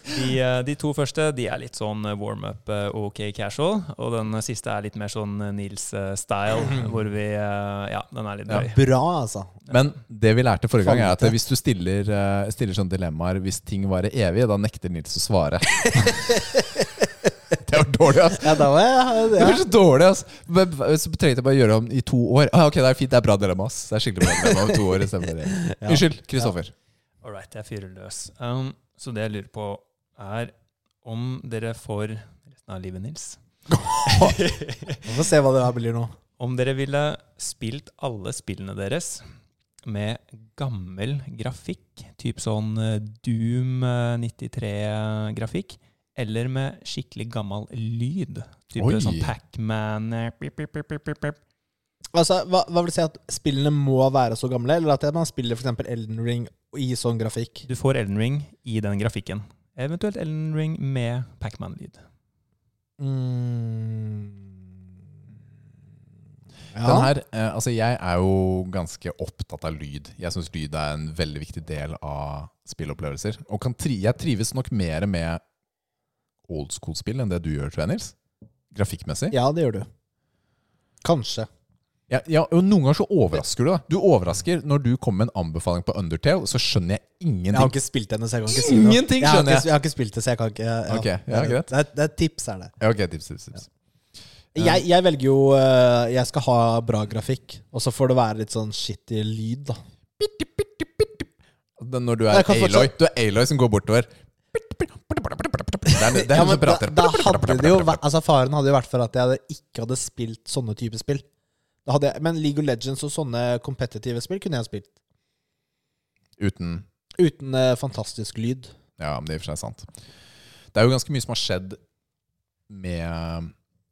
C: De, eh, de to første de er litt sånn eh, warm-up, eh, ok casual. Og den siste er litt mer sånn Nils-style, hvor vi eh, Ja, den er litt drøy.
A: Bra, altså.
B: Men det vi lærte forrige gang, er at
A: Fant det.
B: hvis du stiller, eh, stiller sånne dilemmaer hvis ting varer evig, da nekter Nils å svare. det var dårlig, ass.
A: Ja, da var jeg
B: Det
A: ja.
B: var så dårlig, ass. Men Så trengte jeg bare å gjøre det om i to år. Ah, ok, det er fint. Det er bra dilemma, ass. Det er skikkelig bra dilemma om to år. det Stemmer det.
A: Ja.
B: Unnskyld, Kristoffer.
C: All right, jeg fyrer løs. Um, så det jeg lurer på, er om dere får resten av livet, Nils
A: Vi får se hva det her blir nå.
C: Om dere ville spilt alle spillene deres med gammel grafikk, typ sånn eh, Doom eh, 93-grafikk, eller med skikkelig gammel lyd, type
B: Oi.
C: sånn Pac-Man eh, pip, pip, pip, pip, pip, pip.
A: Altså, hva, hva vil du si at spillene må være så gamle, eller at man spiller for eksempel Elden Ring i sånn grafikk?
C: Du får Elden Ring i den grafikken. Eventuelt Elden Ring med Pac-Man-lyd.
A: Mm. Ja.
B: Den her, eh, altså jeg er jo ganske opptatt av lyd. Jeg syns lyd er en veldig viktig del av spillopplevelser. Og kan tri jeg trives nok mer med old school-spill enn det du gjør, tror jeg, Nils. Grafikkmessig.
A: Ja, det gjør du. Kanskje.
B: Ja, ja, og Noen ganger så overrasker du. da Du overrasker Når du kommer med en anbefaling på Undertale, så skjønner jeg
A: Jeg har
B: ingenting.
A: ikke spilt ennå, så jeg kan ikke si noe.
B: Ingenting
A: Jeg har,
B: skjønner
A: ikke,
B: jeg!
A: jeg har ikke spilt det, så jeg kan ikke ja.
B: Ok, ja,
A: Det er-
B: greit.
A: Det, er- det er et tips, er det.
B: Ja, Ok, tips, tips, tips Ja.
A: Jeg, jeg velger jo eh, Jeg skal ha bra grafikk, og så får det være litt sånn shitty lyd, da.
B: Den- Når du
A: Jeg
B: er
A: kan fortsatt-
B: Aloy Du er Aloy som går bortover. Det er, det er
A: Ja, men
B: hun som prater.
A: Da, da hadde det jo vært- altså Faren hadde jo vært for at jeg hadde- ikke hadde spilt sånne type spill. Da hadde jeg, men League of Legends og sånne kompetitive spill kunne jeg ha spilt.
B: Uten
A: Uten eh, fantastisk lyd.
B: Ja, men det er i og for seg sant. Det er jo ganske mye som har skjedd med eh,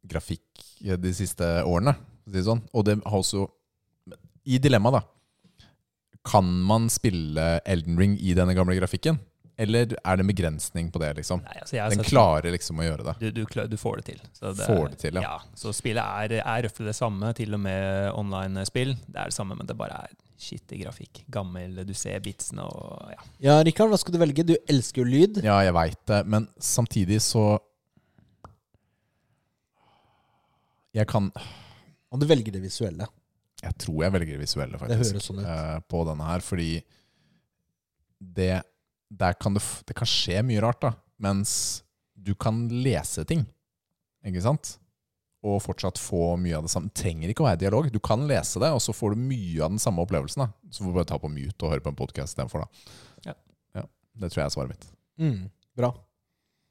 B: grafikk eh, de siste årene, for å si det sånn. Og det har også I dilemmaet, da. Kan man spille Elden Ring i denne gamle grafikken? Eller er det en begrensning på det, liksom?
C: Nei, altså jeg har
B: Den
C: sett-
B: klarer liksom å gjøre det.
C: du, du, klar- du får det til. Så
B: Får det til, ja.
C: ja. Så spillet er, er røftelig det samme, til og med online-spill. Det er det samme, men det bare er skittig grafikk. Gammel, du ser bitsene og ja.
A: Ja, Rikard, hva skal du velge? Du elsker jo lyd.
B: Ja, jeg veit det, men samtidig så Jeg kan
A: Og du velger det visuelle.
B: Jeg tror jeg velger det visuelle,
A: Det
B: faktisk.
A: høres sånn ut.
B: eh, på denne her, fordi det, der kan det, f- det kan skje mye rart, da. Mens du kan lese ting, ikke sant? Og fortsatt få mye av det samme. Det trenger ikke å være dialog. Du kan lese det, og så får du mye av den samme opplevelsen. da. Så får du bare ta på mute og høre på en podkast istedenfor, da.
C: Ja.
B: Ja, det tror jeg er svaret mitt.
A: Mm, bra.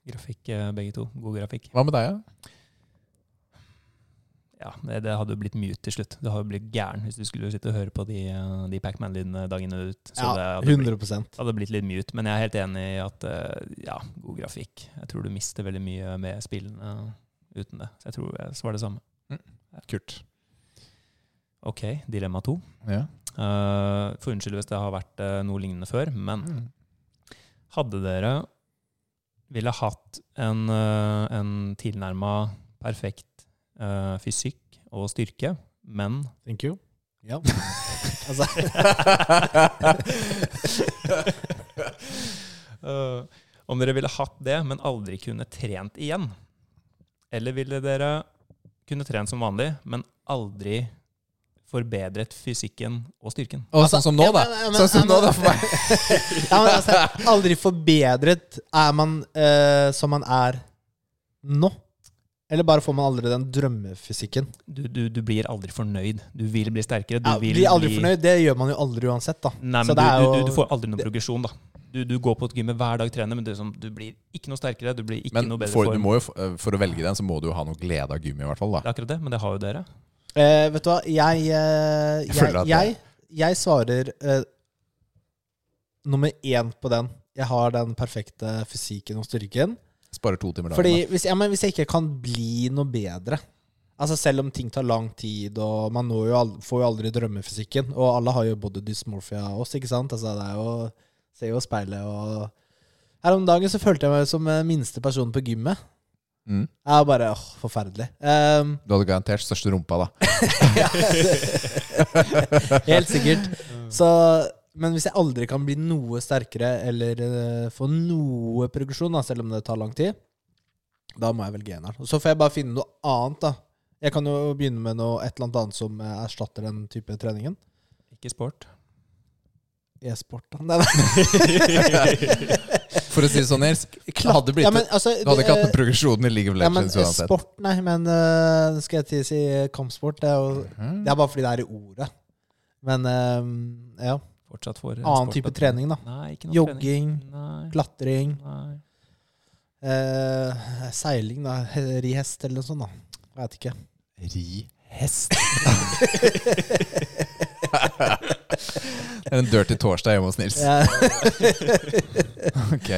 C: Grafikk, eh, begge to. God grafikk.
B: Hva med deg, ja?
C: ja, det, det hadde jo blitt mute til slutt. Du hadde jo blitt gæren hvis du skulle sitte og høre på de, eh, de Pacman-lydene dagen ut. Så det
A: Ja,
C: hadde blitt-
A: 100
C: det hadde blitt litt mute, men jeg er helt enig i at eh, ja, god grafikk. Jeg tror du mister veldig mye med spillene uten det. Så jeg tror jeg svarer det samme.
B: Kult.
C: Ok, dilemma to.
B: Ja.
C: Uh, for unnskyld hvis det har vært eh, noe lignende før,
B: Mm.
C: men
A: Mm.
C: hadde dere ville hatt en, eh, en tilnærma perfekt eh, fysikk og styrke, men
A: Thank you. Ja. altså,
C: Eh, om dere ville hatt det, men aldri kunne trent igjen. Eller ville dere kunne trent som vanlig, men aldri forbedret fysikken og styrken?
B: Og sånn som nå,
A: Altså, ja,
B: da.
A: men- ja, men-
B: Sånn som
A: ja,
B: nå,
A: men-
B: da, for meg.
A: ja, men altså, aldri forbedret er man eh, som man er nå. Eller bare får man aldri den drømmefysikken.
C: Du, du, du blir aldri fornøyd. Du vil bli sterkere. Du
A: Ja,
C: vil
A: blir aldri
C: bli-
A: fornøyd, det gjør man jo aldri uansett, da.
C: Nei,
A: Så
C: men du,
A: det er
C: du,
A: jo-
C: du, du får aldri noen progresjon, da. Du, du går på et gym hver dag, trener, men du, er sånn- du blir ikke noe sterkere. Du blir ikke
B: Men
C: noe bedre
B: for, du
C: form.
B: må jo, f- eh, for å velge den, så må du jo ha noe glede av gummi, i hvert fall.
C: Det
B: da.
C: er akkurat det, men det har jo dere.
A: Eh, vet du hva, jeg eh,
B: Jeg
A: jeg,
B: føler at det-
A: jeg, jeg svarer eh, nummer én på den. Jeg har den perfekte fysikken og styrken.
B: Sparer to timer dagen.
A: Fordi hvis, ja, men hvis jeg ikke kan bli noe bedre Altså Selv om ting tar lang tid, og man når jo aldri, får jo aldri drømmefysikken Og alle har jo body dysmorphia også, ikke sant? Altså det er jo Ser jo speilet og Her om dagen så følte jeg meg som eh, minste person på gymmet.
B: Da. Mm.
A: Jeg var bare åh, forferdelig. Ehm,
B: Du hadde garantert største rumpa, da.
A: Helt sikkert. Så, men hvis jeg aldri kan bli noe sterkere eller eh, få noe progresjon, da, selv om det tar lang tid, da må jeg velge eneren. Og Så får jeg bare finne noe annet, da. Jeg kan jo begynne med noe, et eller annet annet som eh, erstatter den type treningen.
C: Ikke sport.
A: E-sport, da. Nei, nei.
B: For å si det sånn, Nils. Det hadde blitt,
A: Ja, men, altså,
B: du hadde ikke hatt
A: det,
B: noen progresjon i League of
A: eh, ja, men
B: Legends
A: eh,
B: uansett.
A: sport, nei, men eh, skal jeg til å si eh, kampsport? Det er, jo,
B: Mhm.
A: det er bare fordi det er i ordet. Men eh, ja.
C: Fortsatt for eh,
A: Annen
C: sport,
A: type
C: da.
A: trening, da.
C: Nei, ikke noe
A: Jogging,
C: trening. Nei.
A: klatring.
C: Nei.
A: Eh, seiling, da. He- Ri hest eller noe sånt, da. Jeg vet ikke.
B: Ri hest. det er en dirty torsdag hjemme hos Nils.
A: Ja.
B: Ok.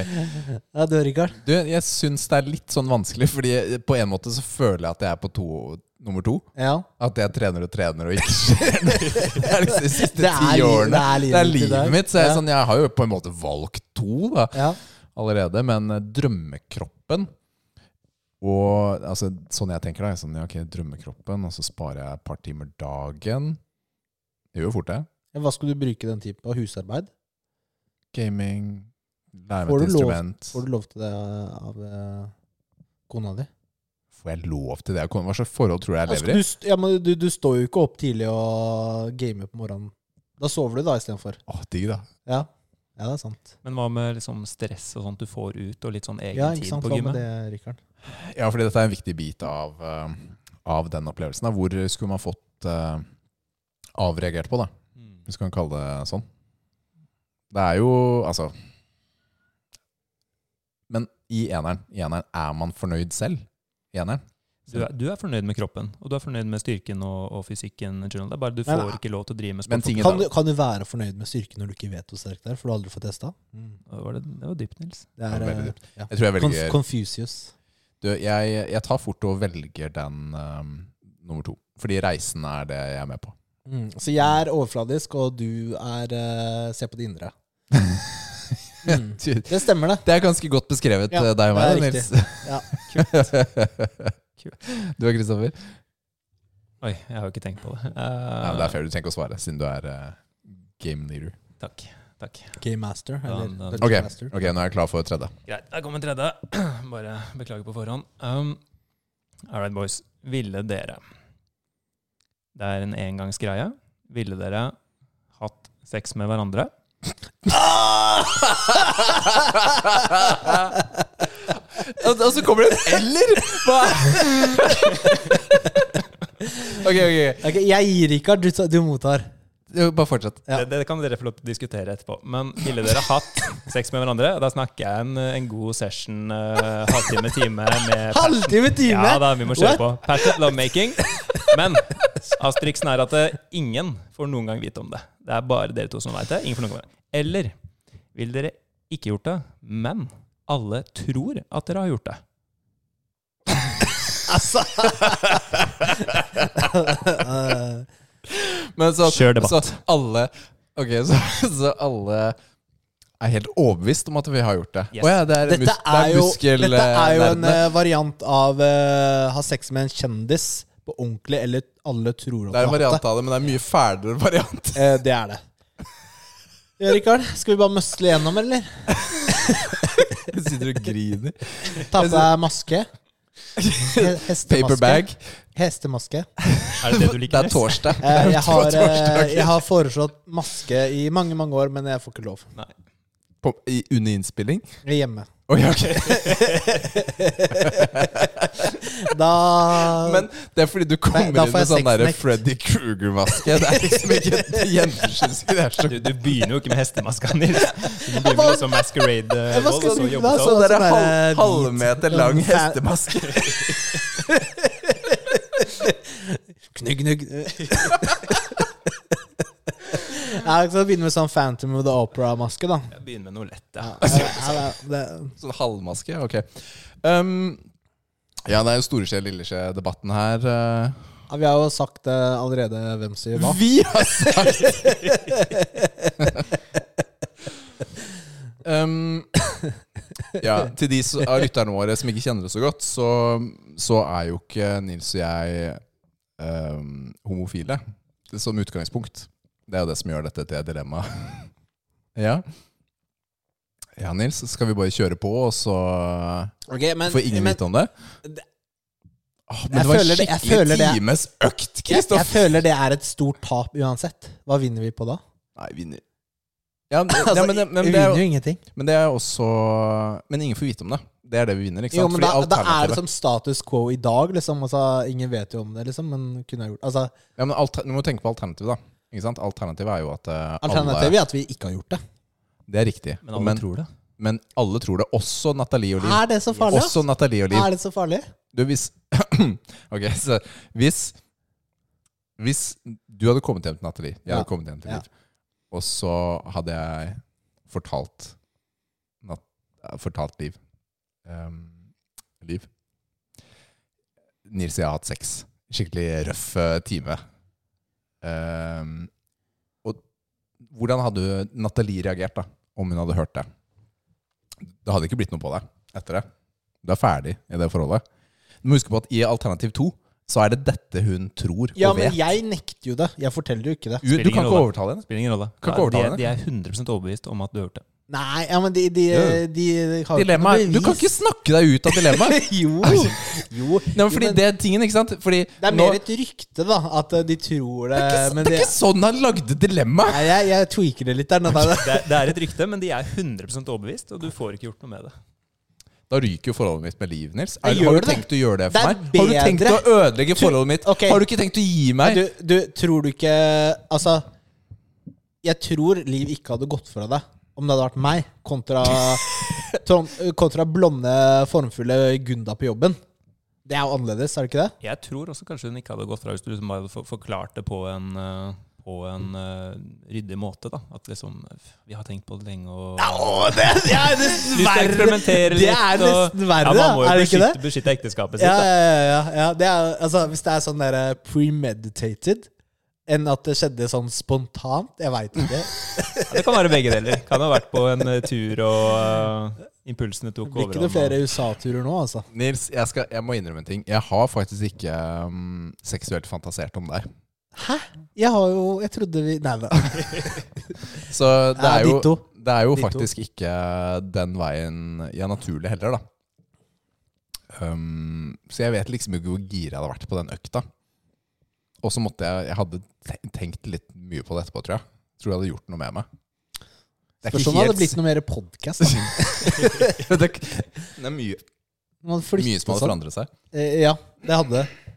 A: ja, du, Rikard.
B: Du, jeg syns det er litt sånn vanskelig, fordi på en måte så føler jeg at jeg er på to, nummer to.
A: Ja.
B: At jeg trener og trener og ikke skjer noe. Det er liksom de siste
A: Det er
B: ti
A: li-
B: årene.
A: det er livet
B: Det er
A: mitt i dag.
B: livet mitt. Så jeg,
A: Ja.
B: er sånn, jeg har jo på en måte valgt to da,
A: Ja.
B: allerede, men eh, drømmekroppen og altså, sånn jeg tenker da, jeg er sånn, ja, ok, drømmekroppen, og så sparer jeg et par timer dagen. Det gjør jo fort det.
A: Ja, Hva skal du bruke den tiden på? Husarbeid?
B: Gaming, lære
A: Får
B: meg et
A: du lov-
B: instrument.
A: Får du lov til det eh, av eh, kona di?
B: Får jeg lov til det? Hva slags forhold tror du jeg
A: Ja,
B: lever
A: skal
B: i?
A: Altså, du, st- ja, men du, du står jo ikke opp tidlig og gamer på morgenen. Da sover du da istedenfor.
B: Åh, digg da.
A: Ja. ja, det er sant.
C: Men hva med liksom stress og sånt du får ut, og litt sånn egen
A: Ja, ikke
C: tid
A: sant?
C: på
A: Hva med
C: gymmet?
A: det, Rikard?
B: Ja, fordi dette er en viktig bit av, eh, av den opplevelsen. Da. Hvor skulle man fått eh, avreagert på, da?
C: Mm.
B: hvis man kan kalle det sånn. Det er jo Altså Men i eneren, i eneren er man fornøyd selv? I eneren?
C: Du, er, du er fornøyd med kroppen, og du er fornøyd med styrken og, og fysikken. in general. Det er bare du
A: Men-
C: får ikke lov til å drive
B: Men
C: med sport.
B: ting er
A: Kan du,
B: da-
A: kan du være fornøyd med styrken når du ikke vet hvor sterk det er? For du har aldri fått testa?
C: Nå var det, det var dypt, Nils.
A: Det
B: Mm. Ja,
A: er
B: veldig
A: eh,
B: dypt.
A: ja.
B: Jeg tror jeg
A: Conf
B: velger
A: Confucius.
B: du, jeg, jeg tar fort og velger den eh, nummer to. Fordi reisen er det jeg er med på.
A: Mm. Så jeg er overfladisk, og du er eh, Se på det indre. Mm.
B: Det
A: Det stemmer, det.
B: er ganske godt beskrevet,
A: Ja,
B: eh, deg og meg,
A: det er
B: Nils.
A: Ja.
B: Du er Kristoffer?
C: Oi, jeg har jo ikke tenkt på det. Eh,
B: Ja, men det er fair, du trenger ikke å svare, siden du er eh, game leader.
C: Eh, Takk. takk.
A: Game Master.
C: Ja,
A: Eller
C: men-
A: Dungeon
B: eh, Ok,
A: Master.
B: ok, nå er jeg klar for tredje.
C: Greit, der kommer tredje. Bare beklager på forhånd. Um, all right, boys. Ville dere Det er en engangsgreie. Ville dere hatt sex med hverandre?
B: Og og så kommer det et eller! Hva? ok, ok.
A: Ok, jeg gir Rikard, du, ta- du mottar.
B: Jo, Bare fortsett.
A: Ja.
C: Det, det kan dere få lov til å diskutere etterpå. Men ville dere hatt sex med hverandre? Da snakker jeg en, en god session, eh, halvtime, time med passion.
A: Halvtime, time!
C: Ja da, vi må kjøre på. Passionate lovemaking. Men asteriksen er at eh, ingen får noen gang vite om det. Det er bare dere to som veit det. Ingen får noen gang vite. Eller vil dere ikke gjort det, men alle tror at dere har gjort det?
A: Altså Eh,
B: Men så,
C: Kjør debatt.
B: Så alle, ok, så, så alle er helt overbevist om at vi har gjort det.
C: Yes.
B: Å ja, det er,
A: Dette
B: mus, det
A: er
B: er
A: jo,
B: muskel...
A: dette er jo en
B: nervene.
A: eh, variant av eh, ha sex med en kjendis på ordentlig, eller alle tror at
B: Det er en
A: du har hatt
B: variant av det, men det er en mye fælere variant.
A: det. Eh, det er det. Ja, Rikard, skal vi bare møsle gjennom, eller?
B: Jeg sitter og griner.
A: Ta på deg maske. He- Hestemaske.
B: Paperbag.
A: Hestemaske.
C: Er det det du
B: Det
C: liker
B: er torsdag.
A: Eh, jeg, har, eh,
B: Torsdag.
A: jeg har foreslått maske i mange, mange år, men jeg får ikke lov.
B: På, i, under innspilling?
A: Jeg er hjemme.
B: Oi, ok.
A: Da
B: Men det er fordi du kommer
A: Nei, da får
B: inn med
A: jeg
B: sånn der
A: sexnekt.
B: Freddy Kruger-maske. Det er liksom ikke det gjennomskinnslige. Det er så
C: Du, du begynner jo ikke med hestemaska, Nils. Du begynner med liksom masquerade. eh,
A: Hva skal
C: og så
A: du-
C: jobber
A: hva
C: du
A: så-
B: Så det er
A: sånn der,
B: halv, halvmeter lang
A: sånn fa-
B: hestemaske.
A: Knugg, knugg. Jeg skal begynne med sånn Phantom of the Opera-maske,
B: altså?
A: da.
C: Jeg begynner med noe lett, ja.
A: Ja, ja, det- det-
B: Sånn halvmaske, ok. Um, ja, det er jo storeskje, lilleskje-debatten her. eh.
A: ja, vi har jo sagt eh, allerede hvem som gjør hva.
B: Vi har sagt um, Ja, til de som- av lytterne våre som ikke kjenner det så godt, så, så er jo ikke Nils og jeg um, homofile som utgangspunkt. Det er jo det som gjør dette til et dilemma. ja. ja, Nils, skal vi bare kjøre på, og så
A: Ok, men,
B: får ingen
A: men
B: vite om det? Åh, men
A: Jeg
B: det var
A: føler
B: en
A: det- jeg
B: skikkelig
A: føler det-
B: times økt,
A: jeg, jeg
B: Kristoffer!
A: føler det er et stort tap uansett. Hva vinner vi på da?
B: Nei, vinner. Ja, men,
A: Altså,
B: ja, men, det- men
A: vi
B: det er
A: vinner
B: jo
A: jo ingenting.
B: Men det er også Men ingen får vite om det. Det er det vi vinner. ikke sant?
A: Jo, men da, da
B: Fordi
A: er det
B: alternativet-
A: som status quo i dag, liksom. Altså, ingen vet jo om det, liksom, men kunne ha gjort Altså,
B: ja, men alter, Du må tenke på alternativet, da. Ikke sant? Alternativet er jo at eh,
A: alternativet er at vi ikke har gjort det.
B: alle Det er riktig.
C: Men alle
B: men,
C: tror det.
B: men alle tror det. Også Nathalie og Liv.
A: Er det så farlig? ass?
B: Også Nathalie og Liv.
A: Er det så farlig?
B: Du, hvis Ok, så hvis Hvis du hadde kommet hjem til Nathalie, jeg
A: Ja.
B: hadde kommet hjem til Liv, og så hadde jeg fortalt Nat, eh, Fortalt Liv ehm, Liv Nils og jeg har hatt sex. Skikkelig røff eh, time. Ehm, og hvordan hadde Nathalie reagert da, om hun hadde hørt det? Det hadde ikke blitt noe på deg etter det. Du er ferdig i det forholdet. Du må huske på at i alternativ 2 så er det dette hun tror
A: Ja,
B: og
A: men
B: vet.
A: jeg nekter jo det. Jeg forteller jo ikke det.
B: Du, du
C: ingen
B: kan ikke
C: rolle.
B: overtale henne.
C: Spiller ingen rolle.
B: Kan ikke
C: Ja,
B: overtale
C: de, de er 100 overbevist om at du har gjort det.
A: Nei, ja, men de, de,
B: Jo.
A: de har jo ikke noe
B: Dilemmaet. Du kan ikke
A: bevis.
B: snakke deg ut av dilemmaet.
A: Jo. jo.
B: Nei, men fordi
A: Jo, men
B: det er tingen, ikke sant? Fordi
A: det er
B: nå-
A: mer et rykte, da. At eh, de tror det.
B: det, er ikke,
A: men
B: det er
A: det-
B: ikke sånn han lagde dilemmaet!
A: Nei, jeg, jeg tweaker det litt der. nå, Tara.
C: Det, det er et rykte, men de er 100 overbevist, og du får ikke gjort noe med det.
B: Da ryker jo forholdet mitt med liv, Nils.
A: Jeg
B: Er, har
A: gjør
B: du
A: det.
B: tenkt å gjøre det
A: Det
B: for
A: er
B: meg? Har du tenkt å
A: bedre.
B: ødelegge forholdet mitt?
A: Ok.
B: Har du ikke tenkt å gi meg?
A: Du, du, tror du ikke Altså, jeg tror Liv ikke hadde gått fra deg om det hadde vært meg, kontra, tom- kontra blonde, formfulle Gunda på jobben. Det er jo annerledes, er det ikke det?
C: Jeg tror også kanskje hun ikke hadde gått fra hvis du liksom bare hadde for- forklart det på en, eh, på en eh, ryddig måte. da. At liksom Vi har tenkt på det lenge, og
A: det, er nesten
C: Lyst til å eksperimentere litt.
A: Det er
C: og-
A: nesten verre,
C: ja, man må jo
A: er det ikke
C: beskytte,
A: det?
C: beskytte ekteskapet sitt.
A: Ja,
C: da.
A: ja, ja, ja. Det er, altså, hvis det er sånn der eh, premeditated enn at det skjedde sånn spontant. Jeg veit ikke.
C: Ja, det kan være begge deler. Kan ha vært på en eh, tur, og eh, impulsene tok
A: Blir
C: overhånd.
A: ikke det flere USA-turer nå, altså?
B: Nils, jeg, skal, jeg må innrømme en ting. Jeg har faktisk ikke um, seksuelt fantasert om deg.
A: Hæ? Jeg har jo Jeg trodde vi Nei da.
B: Så det
A: Ja,
B: er jo,
A: ditto.
B: det er jo
A: Ditto.
B: faktisk ikke den veien jeg er naturlig heller, da. Um, så jeg vet liksom ikke hvor gira jeg hadde vært på den økta. Og så måtte jeg Jeg hadde te- tenkt litt mye på det etterpå, tror jeg. Tror jeg hadde gjort noe med meg. Det
A: Spørs om det hadde blitt noe mer podkast.
B: det, er- det er mye, mye som hadde forandret seg.
A: sånn. Ja, det hadde det.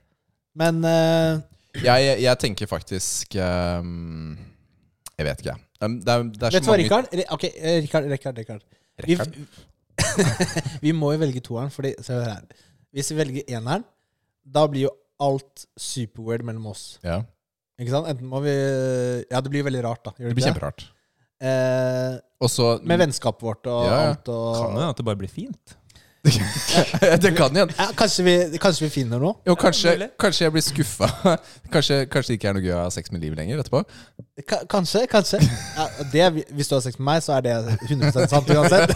A: Men eh,
B: Jeg, jeg tenker faktisk um, Jeg vet ikke, jeg. Um, Det er, det er
A: Vet du hva,
B: så mange
A: Rikard? Re- Ok, eh, Rikard, Rikard, Rikard. Vi,
B: Rikard?
A: vi må jo velge toeren, fordi Se hør her. Hvis vi velger eneren, da blir jo alt superweird mellom oss.
B: Ja,
A: Ikke sant? Enten må vi Ja, det blir veldig rart, da. Gjør
B: det
A: det ikke det?
B: blir kjemperart.
A: Eh,
B: Og så
A: med vennskapet vårt og
B: Ja, ja.
A: alt og
C: Kan jo at det bare blir fint.
B: Det kan igjen.
A: ja, kanskje, vi, kanskje vi finner noe?
B: Jo, kanskje,
C: mulig.
B: kanskje jeg blir skuffa. Kanskje, kanskje det ikke er noe gøy å ha sex med liv lenger etterpå.
A: Ka- kanskje, kanskje. Ja, det, hvis du har sex med meg, så er det 100 sant uansett.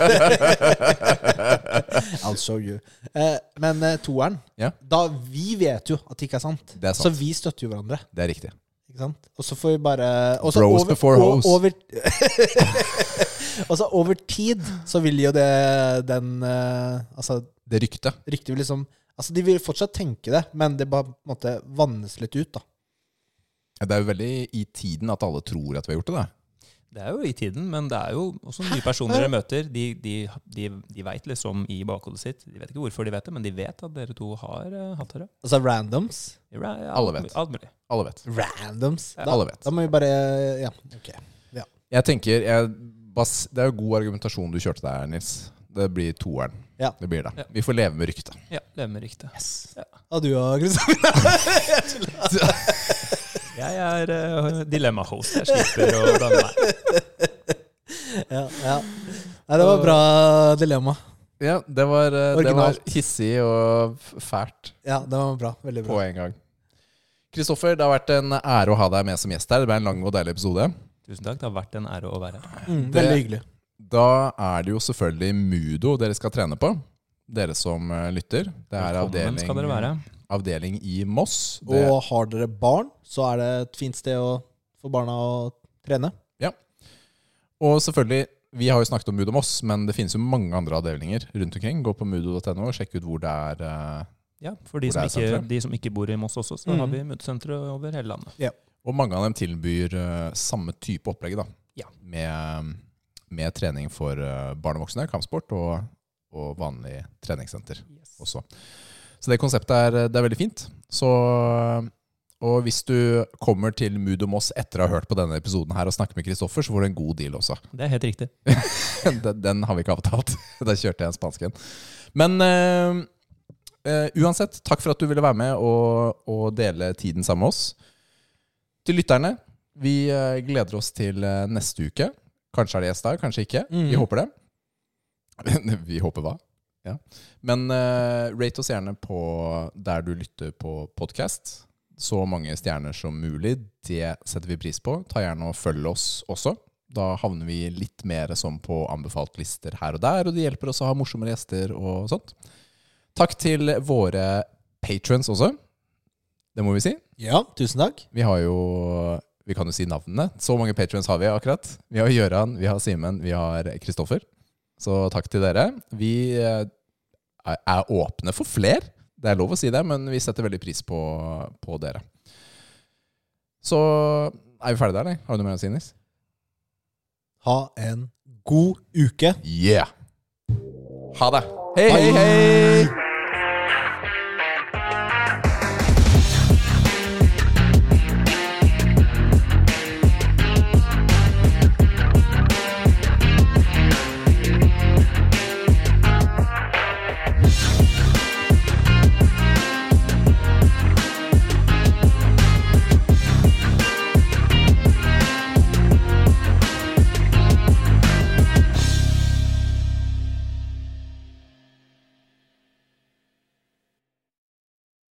A: I'll show you. Eh, men eh, toeren
B: Ja.
A: da, Vi vet jo at det ikke er sant,
B: Det er sant.
A: så vi støtter jo hverandre.
B: Det er riktig.
A: Ikke sant? Og så får vi bare og så
B: Bros
A: over,
B: before
A: og-
B: hoes.
A: Over, og så over tid så vil jo det den eh, Altså,
B: Det ryktet.
A: ryktet vil liksom Altså, De vil fortsatt tenke det, men det bare på en måte vannes litt ut. da
B: Ja, Det er jo veldig i tiden at alle tror at vi har gjort det. da.
C: Det er jo i tiden, men det er jo også nye personer dere møter. De, de, de, de veit liksom i bakhodet sitt De vet ikke hvorfor de vet det, men de vet at dere to har eh, hatt dere.
A: Altså randoms.
C: Ja, ja,
B: Alle vet.
C: Alt mulig.
B: Alle vet.
A: Randoms. Da,
B: Alle vet.
A: da må vi bare Ja, ok.
B: Jeg tenker, jeg, bas, Det er jo god argumentasjon du kjørte der, Nils. Det blir toeren.
A: Ja.
B: Det blir det.
C: Ja.
B: Vi får leve med ryktet.
C: Ja, leve med ryktet.
A: Og du og Kristoffer?
C: Jeg er eh, dilemma-host. Jeg slipper å blande meg.
A: Ja, ja. Nei, det var bra dilemma.
B: Ja, det var, eh, det var
A: Originalt.
B: hissig og f- fælt
A: Ja, det var bra. Veldig
B: på
A: bra.
B: en gang. Kristoffer, det har vært en ære å ha deg med som gjest her. Det ble en lang og deilig episode.
C: Tusen takk. Det har vært en ære å være her.
A: Mm,
B: Det-
A: veldig hyggelig.
B: Da er det jo selvfølgelig Mudo dere skal trene på. Dere som eh, lytter. Det er
C: Velkommen skal dere være.
B: avdeling, eh, avdeling i Moss. Det,
A: Og har dere barn, så er det et fint sted å for barna å trene.
B: og selvfølgelig, vi har jo snakket om Mudo Moss, men det finnes jo mange andre avdelinger rundt omkring. Gå på mudo.no og sjekk ut hvor det er. eh,
C: Ja, For de
B: Hvor
C: som,
B: det er
C: ikke,
B: senteret.
C: de som ikke bor i Moss også, så
A: Mhm.
C: har vi møtesenteret over hele landet.
B: Og mange av dem tilbyr eh, samme type opplegg, da.
C: Ja.
B: Med, med trening for eh, barn og voksne, kampsport og, og vanlig treningssenter. også. Så det konseptet er, det er veldig fint. Så, og hvis du kommer til Mood og Moss etter å ha hørt på denne episoden her og snakker med Kristoffer, så får du en god deal også.
C: Det er helt riktig.
B: Den, den har vi ikke avtalt. Der kjørte jeg en spansk en. Men eh, eh, uansett, takk for at du ville være med og, og dele tiden sammen med oss. Til lytterne, vi eh, gleder oss til eh, neste uke. Kanskje er det gjest der, kanskje ikke.
A: Mhm.
B: Vi håper det. vi håper hva? Ja. Men eh, rate oss gjerne på der du lytter på podkast. Så mange stjerner som mulig. Det setter vi pris på. Ta gjerne og følg oss også. Da havner vi litt mer som på anbefalt lister her og der, og det hjelper oss å ha morsommere gjester og sånt. Takk til våre patrons også. Det må vi si.
A: Ja, tusen takk.
B: Vi har jo Vi kan jo si navnene. Så mange patrons har vi akkurat. Vi har Gøran, vi har Simen, vi har Kristoffer. Så takk til dere. Vi eh, er er åpne for fler. Det er lov å si det, men vi setter veldig pris på, på dere. Så er vi ferdige der, eller? Har du noe mer å si, Nils?
A: Ha en god uke.
B: Yeah! Ha det! Hei, hei, hei!